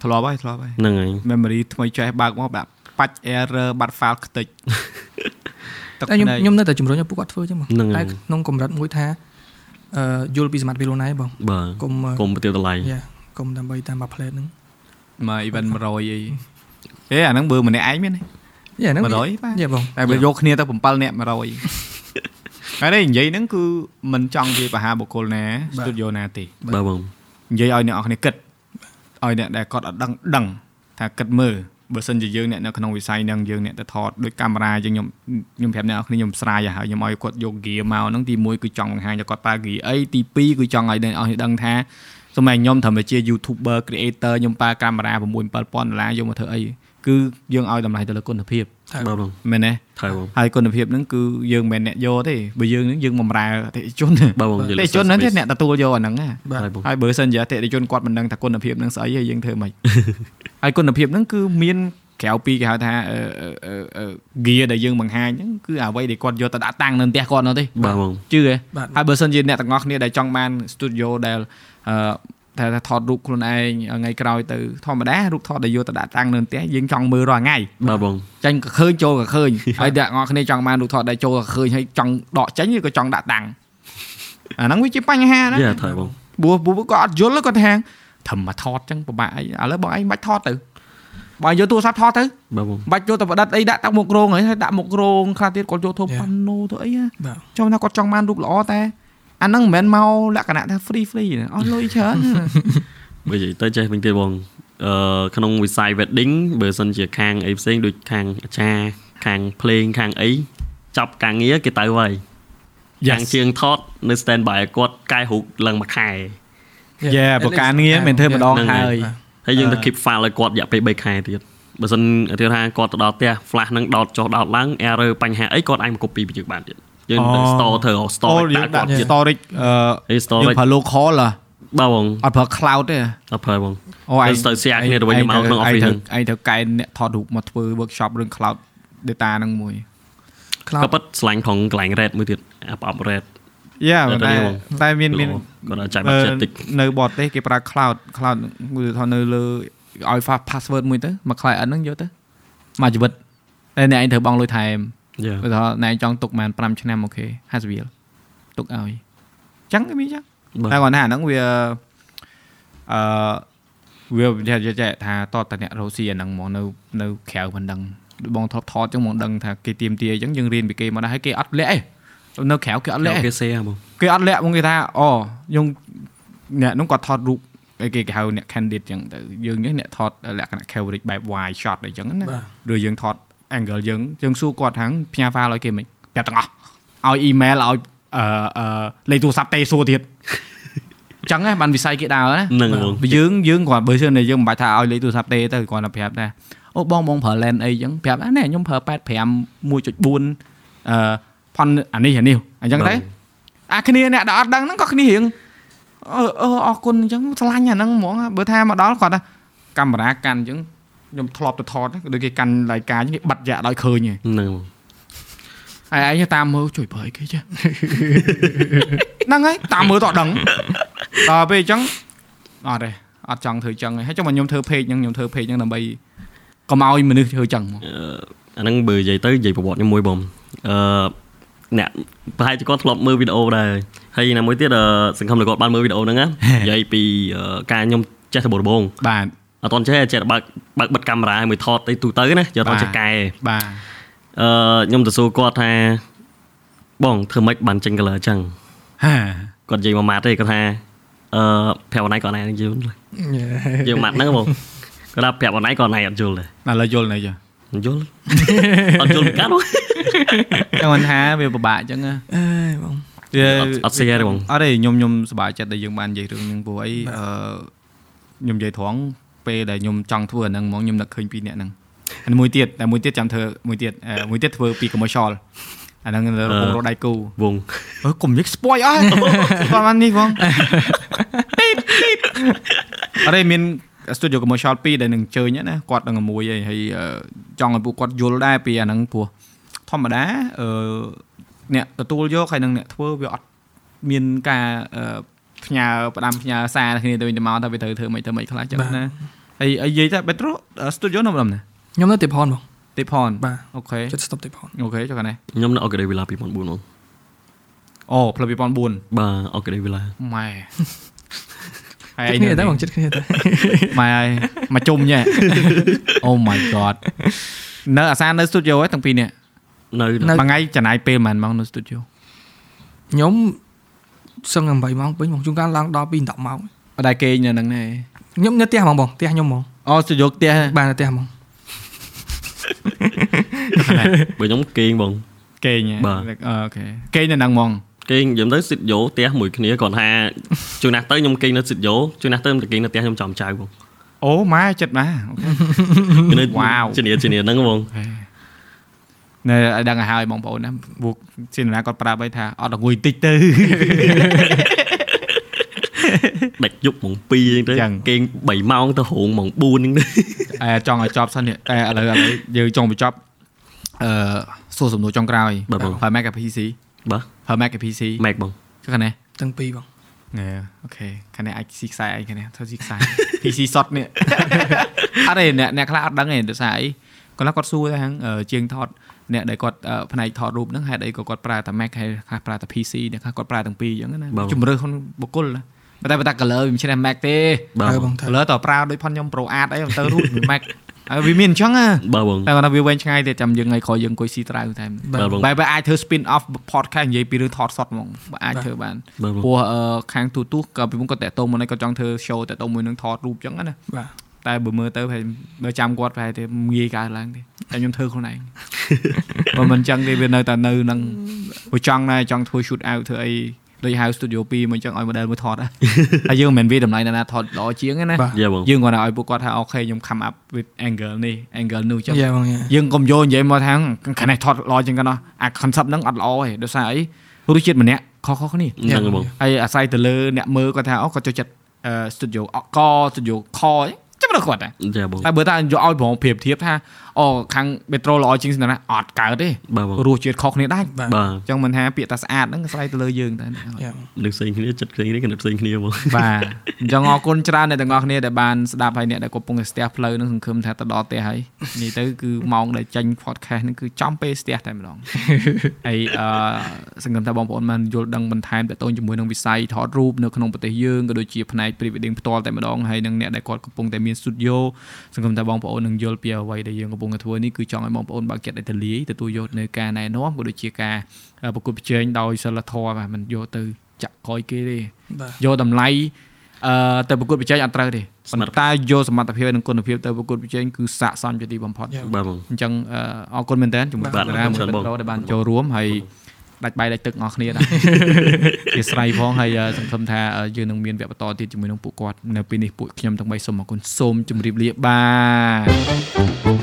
ធ្លាប់ហើយធ្លាប់ហើយ
ហ្នឹងហើយ
memory ថ្មីចេះបើកមកដាក់បាច់ error បាត់ file ខ្ទេច ទឹក
តែខ្ញុំ
ភ្នែក
ខ្ញុំនៅតែជំរុញឲ្យពួកគាត់ធ្វើចឹងបង
ហ្នឹងហើ
តែ
យ
ក្នុងកម្រិតមួយថាអឺយល់ពីសមត្ថភាពខ្លួនឯងបង
បាទ
គុំ
កុំប្រទះតម្លៃ
យេគុំដើម្បីតាមមួយផ្លេតហ្នឹង
មក event 100អីអេអាហ្នឹងបើម្នាក់ឯងមានទេ
យេហ្នឹង
100បាទ
យេបង
តែបើយកគ្នា ទៅ7នាក់100ហើយនេះនិយាយហ្នឹងគឺមិនចង់និយាយបរហាបុគ្គលណា
បាទ
studio ណាទេ
បាទបង
និយាយឲ្យអ្នកនរគ្នាគិតឲ្យអ្នកដែលគាត់អត់ដឹងដឹងថាគិតមើលបើសិនជាយើងអ្នកនៅក្នុងវិស័យហ្នឹងយើងអ្នកទៅថតដោយកាមេរ៉ាយើងខ្ញុំខ្ញុំប្រាប់អ្នកនរគ្នាខ្ញុំស្រាយហើយខ្ញុំឲ្យគាត់យក gear មកហ្នឹងទី1គឺចង់បង្ហាញថាគាត់ប្រើ gear អីទី2គឺចង់ឲ្យអ្នកនរគ្នាដឹងថាសម័យខ្ញុំធ្វើជា YouTuber creator ខ្ញុំប្រើកាមេរ៉ា6 7000ដុល្លារយកមកធ្វើអីគឺយើងឲ្យតម្លៃទៅលើគុណភាព
បាទបង
មែនទេ
ថើបង
ហើយគុណភាពហ្នឹងគឺយើងមិនមែនអ្នកយកទេបើយើងហ្នឹងយើងបំរើអតិថិជនអ
បាទបង
តិថិជនហ្នឹងទេអ្នកទទួលយកអាហ្នឹងណា
បាទ
ហើយបង
ហើយបើសិនជាអតិថិជនគាត់មិនដឹងថាគុណភាពហ្នឹងស្អីហើយយើងធ្វើ ម៉េច ហើយគុណភាពហ្នឹងគឺមានក្រៅពីគេហៅថាអឺអឺអឺ gear ដែលយើងបង្ហាញហ្នឹងគឺអ្វីដែលគាត់យកទៅដាក់តាំងនៅផ្ទះគាត់នោះទេ
បាទបង
ជឿទេ
បាទ
ហើយបើសិនជាអ្នកទាំងអស់គ្នាដែលចង់បាន studio ដែលអឺតែថាថតរូបខ្លួនឯងថ្ងៃក្រោយទៅធម្មតារូបថតដែលយកទៅដាក់តាំងនៅផ្ទះយើងចង់មើលរាល់ថ្ងៃ
បាទបង
ចាញ់ក៏ឃើញចូលក៏ឃើញ ហើយអ្នកនរគ្នាចង់បានរូបថតដែលចូលក៏ឃើញហើយចង់ដកចេញឬក៏ចង់ដាក់តាំងអាហ្នឹងវាជាបញ្ហាណា
យេថើបង
ព្រោះពួកគាត់អត់យល់ទេគាត់ថាធំមកថតចឹងពិបាកអីឥឡូវបងឯងមិនបាច់ថតទៅបងយកទូរស័ព្ទថតទៅ
បាទបង
មិនបាច់យកទៅប្រដិតអីដាក់តាមមុខរោងហើយហើយដាក់មុខរោងខ្លះទៀតគាត់យកធ្វើ
Yeah.
ប៉ាណូទៅអីណា
បាទ
ចាំថាគាត់ចង់បានរូបល្អតែអាហ្នឹងមិនមែនមកលក្ខណៈថា free free ណាអស់លុយច្រើនណា
បើនិយាយទៅចេះវិញទៀតបងអឺក្នុងវិស័យ wedding បើសិនជាខាងអីផ្សេងដូចខាងអាចារ្យខាងភ្លេងខាងអីចាប់ការងារគេទៅហើយយ៉ាងជាងថតនៅ stand by ឲ្យគាត់កែរូបឡើងមួយខែ
Yeah ប្រការងារមិនធ្វើម្ដង
ហ្នឹង
ហើយ
ហើយយើងទៅ keep file ឲ្យគាត់រយៈពេល3ខែទៀតបើសិនឧទាហរណ៍ថាគាត់ទៅដល់ផ្ទះ flash ហ្នឹងដោតចុះដោតឡើង error បញ្ហាអីគាត់អាចមក copy ពីយើងបានទៀតយើងទៅ
Oh.
store ធ្វើ store
អូ
ឲ្យ
យើ
ដាក់
ង
គា
ដាក់
ត់ទៀត
storage អ
អី
ឺ
store
យើង
វិញ
ប្រើ local ហ៎
បាទបង
អត់ប្រើ cloud ទេ
អត់ប្រើបង
អូ
យើងស្ទើរស្រាក់គ្នាទៅវិញទៅមកក្នុង office ហ្នឹង
ឯងត្រូវកែអ្នកថតរូបមកធ្វើ workshop រឿង cloud data ហ្នឹងមួយ
cloud
ក៏ប៉ិតស្លាញ់ផងកន្លែង red មួយទៀតអាប្រអប់ red
យ៉ា
តែ
តែ
នេះបង
តែមានមាន
គាត់អាចចាក់បាត់ចិត្តតិច
នៅបរទេសគេប្រើ cloud cloud គឺថតនៅលើឲ្យ fa- password មួយទៅមក client ហ្នឹងយកទៅមកជីវិតតែអ្នកឯងត្រូវបង់លុយថែម
Yeah.
ឧទាហរណ៍អ្នកឯងចង់ទុកប្រហែល5ឆ្នាំអូខេ50រៀលទុកឲ្យចឹងគឺមានចឹង
បាទ
តែគាត់ថាអាហ្នឹងវាអឺវាចេះចេះថាតតតអ្នករ៉ូស៊ីអាហ្នឹងហ្មងនៅនៅក្រៅមិនដឹងបងថតថតចឹងហ្មងដឹងថាគេទៀមទាអីចឹងយើងរៀនពីគេមកដែរហើយគេអត់លាក់ឯងនៅក្រៅគេអត់
លើ
លាក់ឯង
គេសេហ៎បង
គេអត់លាក់មកគេថាអូយើងអ្នកនោះគាត់ថតរូបអីគេគេហៅអ្នក candid ចឹងទៅយើងនេះអ្នកថតលក្ខណៈ coverage បែប wide shot អីចឹងណាឬយើងថត angle យើងយើងសួរគាត់ថាផ្ញើ file ឲ្យគេមិនប្រាប់ទាំងអស់ឲ្យ email ឲ្យអឺអឺលេខទូរស័ព្ទទេសួរទៀត ចឹងហ្នឹងបានវិស័យគេដើរណា
ហ្នឹងហ្មង
បើយើងយើងគ្រាន់បើសិនតែយើងមិនបាច់ថាឲ្យលេខទូរស័ព្ទទេទៅគ្រាន់តែប្រាប់ថាអូបងបងប្រើ lens អីចឹងប្រាប់ថាណែខ្ញុំប្រើ85 1.4អឺផនអានេះអានេះអញ្ចឹងទៅ អាគ្នាអ្នកដែលអត់ដឹងហ្នឹងក៏គ្នារៀងអឺអឺអរគុណអញ្ចឹងឆ្លាញ់អាហ្នឹងហ្មងបើថាមកដល់គាត់ថាកាមេរ៉ាកាន់អញ្ចឹងខ្ញុំធ្លាប់ទៅថតណាដូចគេកាន់ឡាយកាអញ្ចឹងគេបិទយ៉ាក់ដោយឃើញហ៎
ហ្នឹងបង
ហើយឯងតាមមើលជួយប្រើអីគេ ចេះ ហ្នឹងហើយតាមមើលតអត់ដឹងដល់ពេលអញ្ចឹងអត់ទេអត់ចង់ធ្វើអញ្ចឹងទេហើយចុះមកខ្ញុំធ្វើ page ហ្នឹងខ្ញុំធ្វើ page ហ្នឹងដើម្បី កុំឲ្យមនុស្សធ្វើចឹងមក
អឺអាហ្នឹងបើនិយាយទៅនិយាយប្រវត្តិខ្ញុំមួយបងអឺអ្នកប្រហែលជាគាត់ធ្លាប់មើលវីដេអូដែរហើយណាមួយទៀតអឺសង្ឃឹមថាគាត់បានមើលវីដេអូហ្នឹងណា និយាយពីអឺការខ្ញុំចេះដបងដបង
បាទ
អត់តន់ចេះចេះតែបើកបើកបិទកាមេរ៉ាឲ្យមួយថតអីទូទៅណាយកអត់ចេះកែ
បាទ
អឺខ្ញុំទៅសួរគាត់ថាបងធ្វើម៉េចបានចេញ color អញ្ចឹង
ហេ
គាត់និយាយមួយម៉ាត់ទេគាត់ថាអឺប្រាប់អនឡាញគាត់ណែនឹងយល់ យើងម៉ាត់ហ្នឹងបងគាត់ថាប្រាប់អនឡាញគាត់ណែអត់យល់ទេ
ដល់ឡើយយល់នៅចា
អត់យល់ អត់យល់មិនកើតបង
តែមិនថាវាពិបាកចឹងណា
អេបង
វា
អត់អត់សេរីទេបង
អត់ទេខ្ញុំខ្ញុំសប្បាយចិត្តដែលយើងបាននិយាយរឿងហ្នឹងព្រោះអីអឺខ្ញុំនិយាយត្រង់ពេលដែលខ្ញុំចង់ធ្វើអាហ្នឹងហ្មងខ្ញុំនឹកឃើញពីអ្នកហ្នឹងហើយមួយទៀតតែមួយទៀតចាំធ្វើមួយទៀតអឺមួយទៀតធ្វើពី commercial អាហ្នឹងនៅក្នុងរដៃគូ
វង
អើកុំនិយាយ spoil អស់ ប្រហែលនេះបង អរេមាន studio commercial 2ដែលនឹងអញ្ជើញណាគាត់នឹងមួយឯងហើយអឺចង់ឲ្យពួកគាត់យល់ដែរពីអាហ្នឹងព្រោះធម្មតាអឺអ្នកទទួលយកហើយនឹងអ្នកធ្វើវាអត់មានការអឺផ្ញើផ្ដាំផ្ញើសារគ្នាទៅវិញទៅមកថាវាត្រូវធ្វើម៉េចធ្វើម៉េចខ្លះចឹង
បាទ
ណាហើយហើយនិយាយតែ Petro studio នៅម្ដុំណា
ខ្ញុំនៅទីផនបង
តិផន
បាទ
អូខេ
ចិត្ត stop ទីផន
អូខេចុះកណ្ណែ
ខ្ញុំនៅអកដេវេលា2004ហ្មង
អូផ្លូវ2004
បាទអកដេវេលា
ម៉ែ ហើយ
ចិ
ឯ
ត្ត
ង
គ្នាតែ
នៅ
បងចិត្តគ្នាតែ
ម៉ែហើយមកជុំញ៉ែ Oh my god នៅអាសានៅ studio ហ្នឹងទាំងពីរនេះ
នៅ
នៅ
មួយថ្ងៃចំណាយពេលប៉ុន្មានម៉ោងនៅ studio
ខ្ញុំសឹង8ម៉ោងពេញបងជួនកាលឡើងដល់2 10ម៉ោង
អត់ដែរគេងនៅហ្នឹងទេ
ខ្ញុំនៅផ្ទះហ្មងបងផ្ទះខ្ញុំហ្មង
អូ studio ផ្ទះ
បាទនៅផ្ទះហ្មង
បើខ្ញុំគេងបង
គេងហ៎
បា
អូ
ទ
ខេគេងនៅហ្នឹងហ្មង
គេងយើងទៅសិតយោផ្ទះមួយគ្នាគាត់ថាជួនណាស់ទៅខ្ញុំគេងនៅសិតយោជួនណាស់ទៅខ្ញុំទៅគេងនៅផ្ទះខ្ញុំចំចៅបង
អូម៉ែចិត្តម៉ែ
គេនៅ
Wow
ជំនាញជំនាញហ្នឹងបង
នៅឲ្យដឹងឲ្យហើយបងប្អូនណាពួកសិនណាគាត់ប្រាប់ឲ្យថាអត់អង្គុយតិចទៅ
ដាច់យប់ម៉ោង2ហ្នឹងទៅ
ចឹង
គេង3ម៉ោងទៅរោងម៉ោង4ហ្នឹង ទៅ
អែចង់ឲ្យចប់សិននេះតែឥឡូវឥឡូវយើងចង់បញ្ចប់អឺសួរសំណួរចុងក្រោយហើយ Mac กับ PC
បាទ
ហើយ Mac กับ PC
ម៉ែកបង
ចុះខាងនេះ
ទាំងពីរបង
ណែអូខេខាងនេះអាចស៊ីខ្សែអីខាងនេះធ្វើស៊ីខ្សែ PC សតនេះ អត់ទេអ្នកអ្នកខ្លះអត់ដឹងទេដូចស្អីគាត់គាត់សួរថាហាងអឺជាងថតអ្នកដែលគាត់អឺផ្នែកថតរូបហ្នឹងហេតុអីក៏គាត់ប្រើតែ Mac ហើយខ្លះប្រើតែ PC អ្នកខ្លះគាត់ប្រើទាំងពីរអញ្ចឹងណាជំរឿនខ្លួនបុគ្គលណាប៉ុន្តែបើតា color វាមិនឆ្នៃ Mac ទេ
បាទ
ហើយ
ប
បង ងថា
color តើប្រើដូចផនខ្ញុំ Pro Art អីទៅរូបវា Mac ហើយវាមានអញ្ចឹងណា
បាទបង
តែគាត់ថាវាវែងឆ្ងាយទៀតចាំយើងថ្ងៃក្រោយយើងអង្គុយស៊ីត្រៅតែម
បាទបង
បែបអាចធ្វើ spin off podcast និយាយពីរឿងថតសតហ្មងបើអាចធ្វើបាន
បាទបង
ព្រោះអឺខាងទូទូសក៏ពីមុនគាត់តាក់ទងមកនេះគាត់ចង់ធ្វើ show តាក់ទងមួយនឹងថតរូបចឹងណា
បាទ
តែបើមើលទៅប្រហែលបើចាំគាត់ប្រហែលតែងាយកើតឡើងទេតែខ្ញុំធ្វើ ខ្លួនឯង បើមិនចឹងទេវានៅតែនៅនឹងព្រោះចង់ដែរចង់ធ្វើ shoot out ធ្វើអីដូចហៅ studio 2មកចឹងឲ្យ model មួយថ តដែរ ហើយយើងមិនមែនវាតម្លៃណាៗថតល្អជាងទេណា
បាទ
យ៉ាបង
យើងគាត់តែឲ្យពួកគាត់ថាអូខេខ្ញុំ come up with angle នេះ angle នោះចឹង
យ៉ាបងយ៉ា
យើងកុំយកនិយាយមកថាខាងនេះថតល្អជាងកណ្ដោះអា concept ហ្នឹងអត់ល្អទេដោយសារអីរសជាតិម្នាក់ខុសៗគ្នា
ហ្នឹងបង
ហើយអាស្រ័យទៅលើអ្នកមើលគាត់ថាអូគាត់ចូលចិត្តអឺ studio អក studio ខអីចាំមើលគាត់ដែរ
យ៉ាបង
តែបើតាយកឲ្យប្រងប្រៀបធៀបថាអូខាង metro ល្អជាងស្នណាអត់កើតទេ
បាទបង
រសជាតិខុសគ្នាដែរ
បាទ
បាទ
អញ្ចឹងមិនថាពាក្យថាស្អាតហ្នឹងអាស្រ័យទៅលើយើងតែ
យ៉ាបង
មនុស្សផ្សេងគ្នាចិត្តផ្សេងគ្នាគណិតផ្សេងគ្នា បង
បាទអញ្ចឹងអរគុណច្រើនអ្នកទាំងអស់គ្នាដែលបានស្ដាប់ហើយអ្នកដែលកំពុងតែស្ទះផ្លូវហ្នឹងសង្ឃឹមថាទៅដល់ផ្ទះហើយនិយាយទៅគឺម៉ោងដែលចេញ podcast ហ្នឹងគឺចំពេលស្ទះតែម្ដង ហើយអឺសង្ឃឹមថាបងប្អូនបានយល់ដឹងបន្ថែមទាក់ទងជាមួយនឹងវិស័យថតរូបនៅក្នុងប្រទេសយើងក៏ដូចជាផ្នែក pre-wedding ផ្ទាល់តែម្ដងហើយនឹងអ្នកដែលគាត់កំពុងតែមាន studio សង្ឃឹមថាបងប្អូននឹងយល់ពីអ្វីដែលយើងកំពុងតែធ្វើនេះគឺចង់ឲ្យបងប្អូនបើកចិត្តឲ្យទូលាយទទួលយកនៅការណែនាំក៏ដូចជាការអឺប្រកួតប្រជែងដោយសិលធម៌បាទមិនយកទៅចាក់កយគេទេ
បាទ
យកតម្លៃអឺទៅប្រកួតប្រជែងអត់ត្រូវទេ
សមត្ថភាព
ប៉ុន្តែយកសមត្ថភាពនិងគុណភាពទៅប្រកួតប្រជែងគឺស័ក្តិសមជាទីបំផុត
យ៉ា
បាទបង
អញ្ចឹងអឺអរគុណមែនតើជាមួយ
បាទ
តារាមួយ
អរគុណ
ប
បង
ទដែលបានចូលរួមហើយដាច់បាយដាច់ទឹកអស់គ្នា ដែរ អធិស្ឋានផងហើយអឺសង្ឃឹមថាអឺយើងនឹងមានវគ្គបន្តទៀតជាមួយនឹងពួកគាត់នៅពេលនេះពួកខ្ញុំទាំងបីសូមអរគុណសូមជម្រាបលាបាទ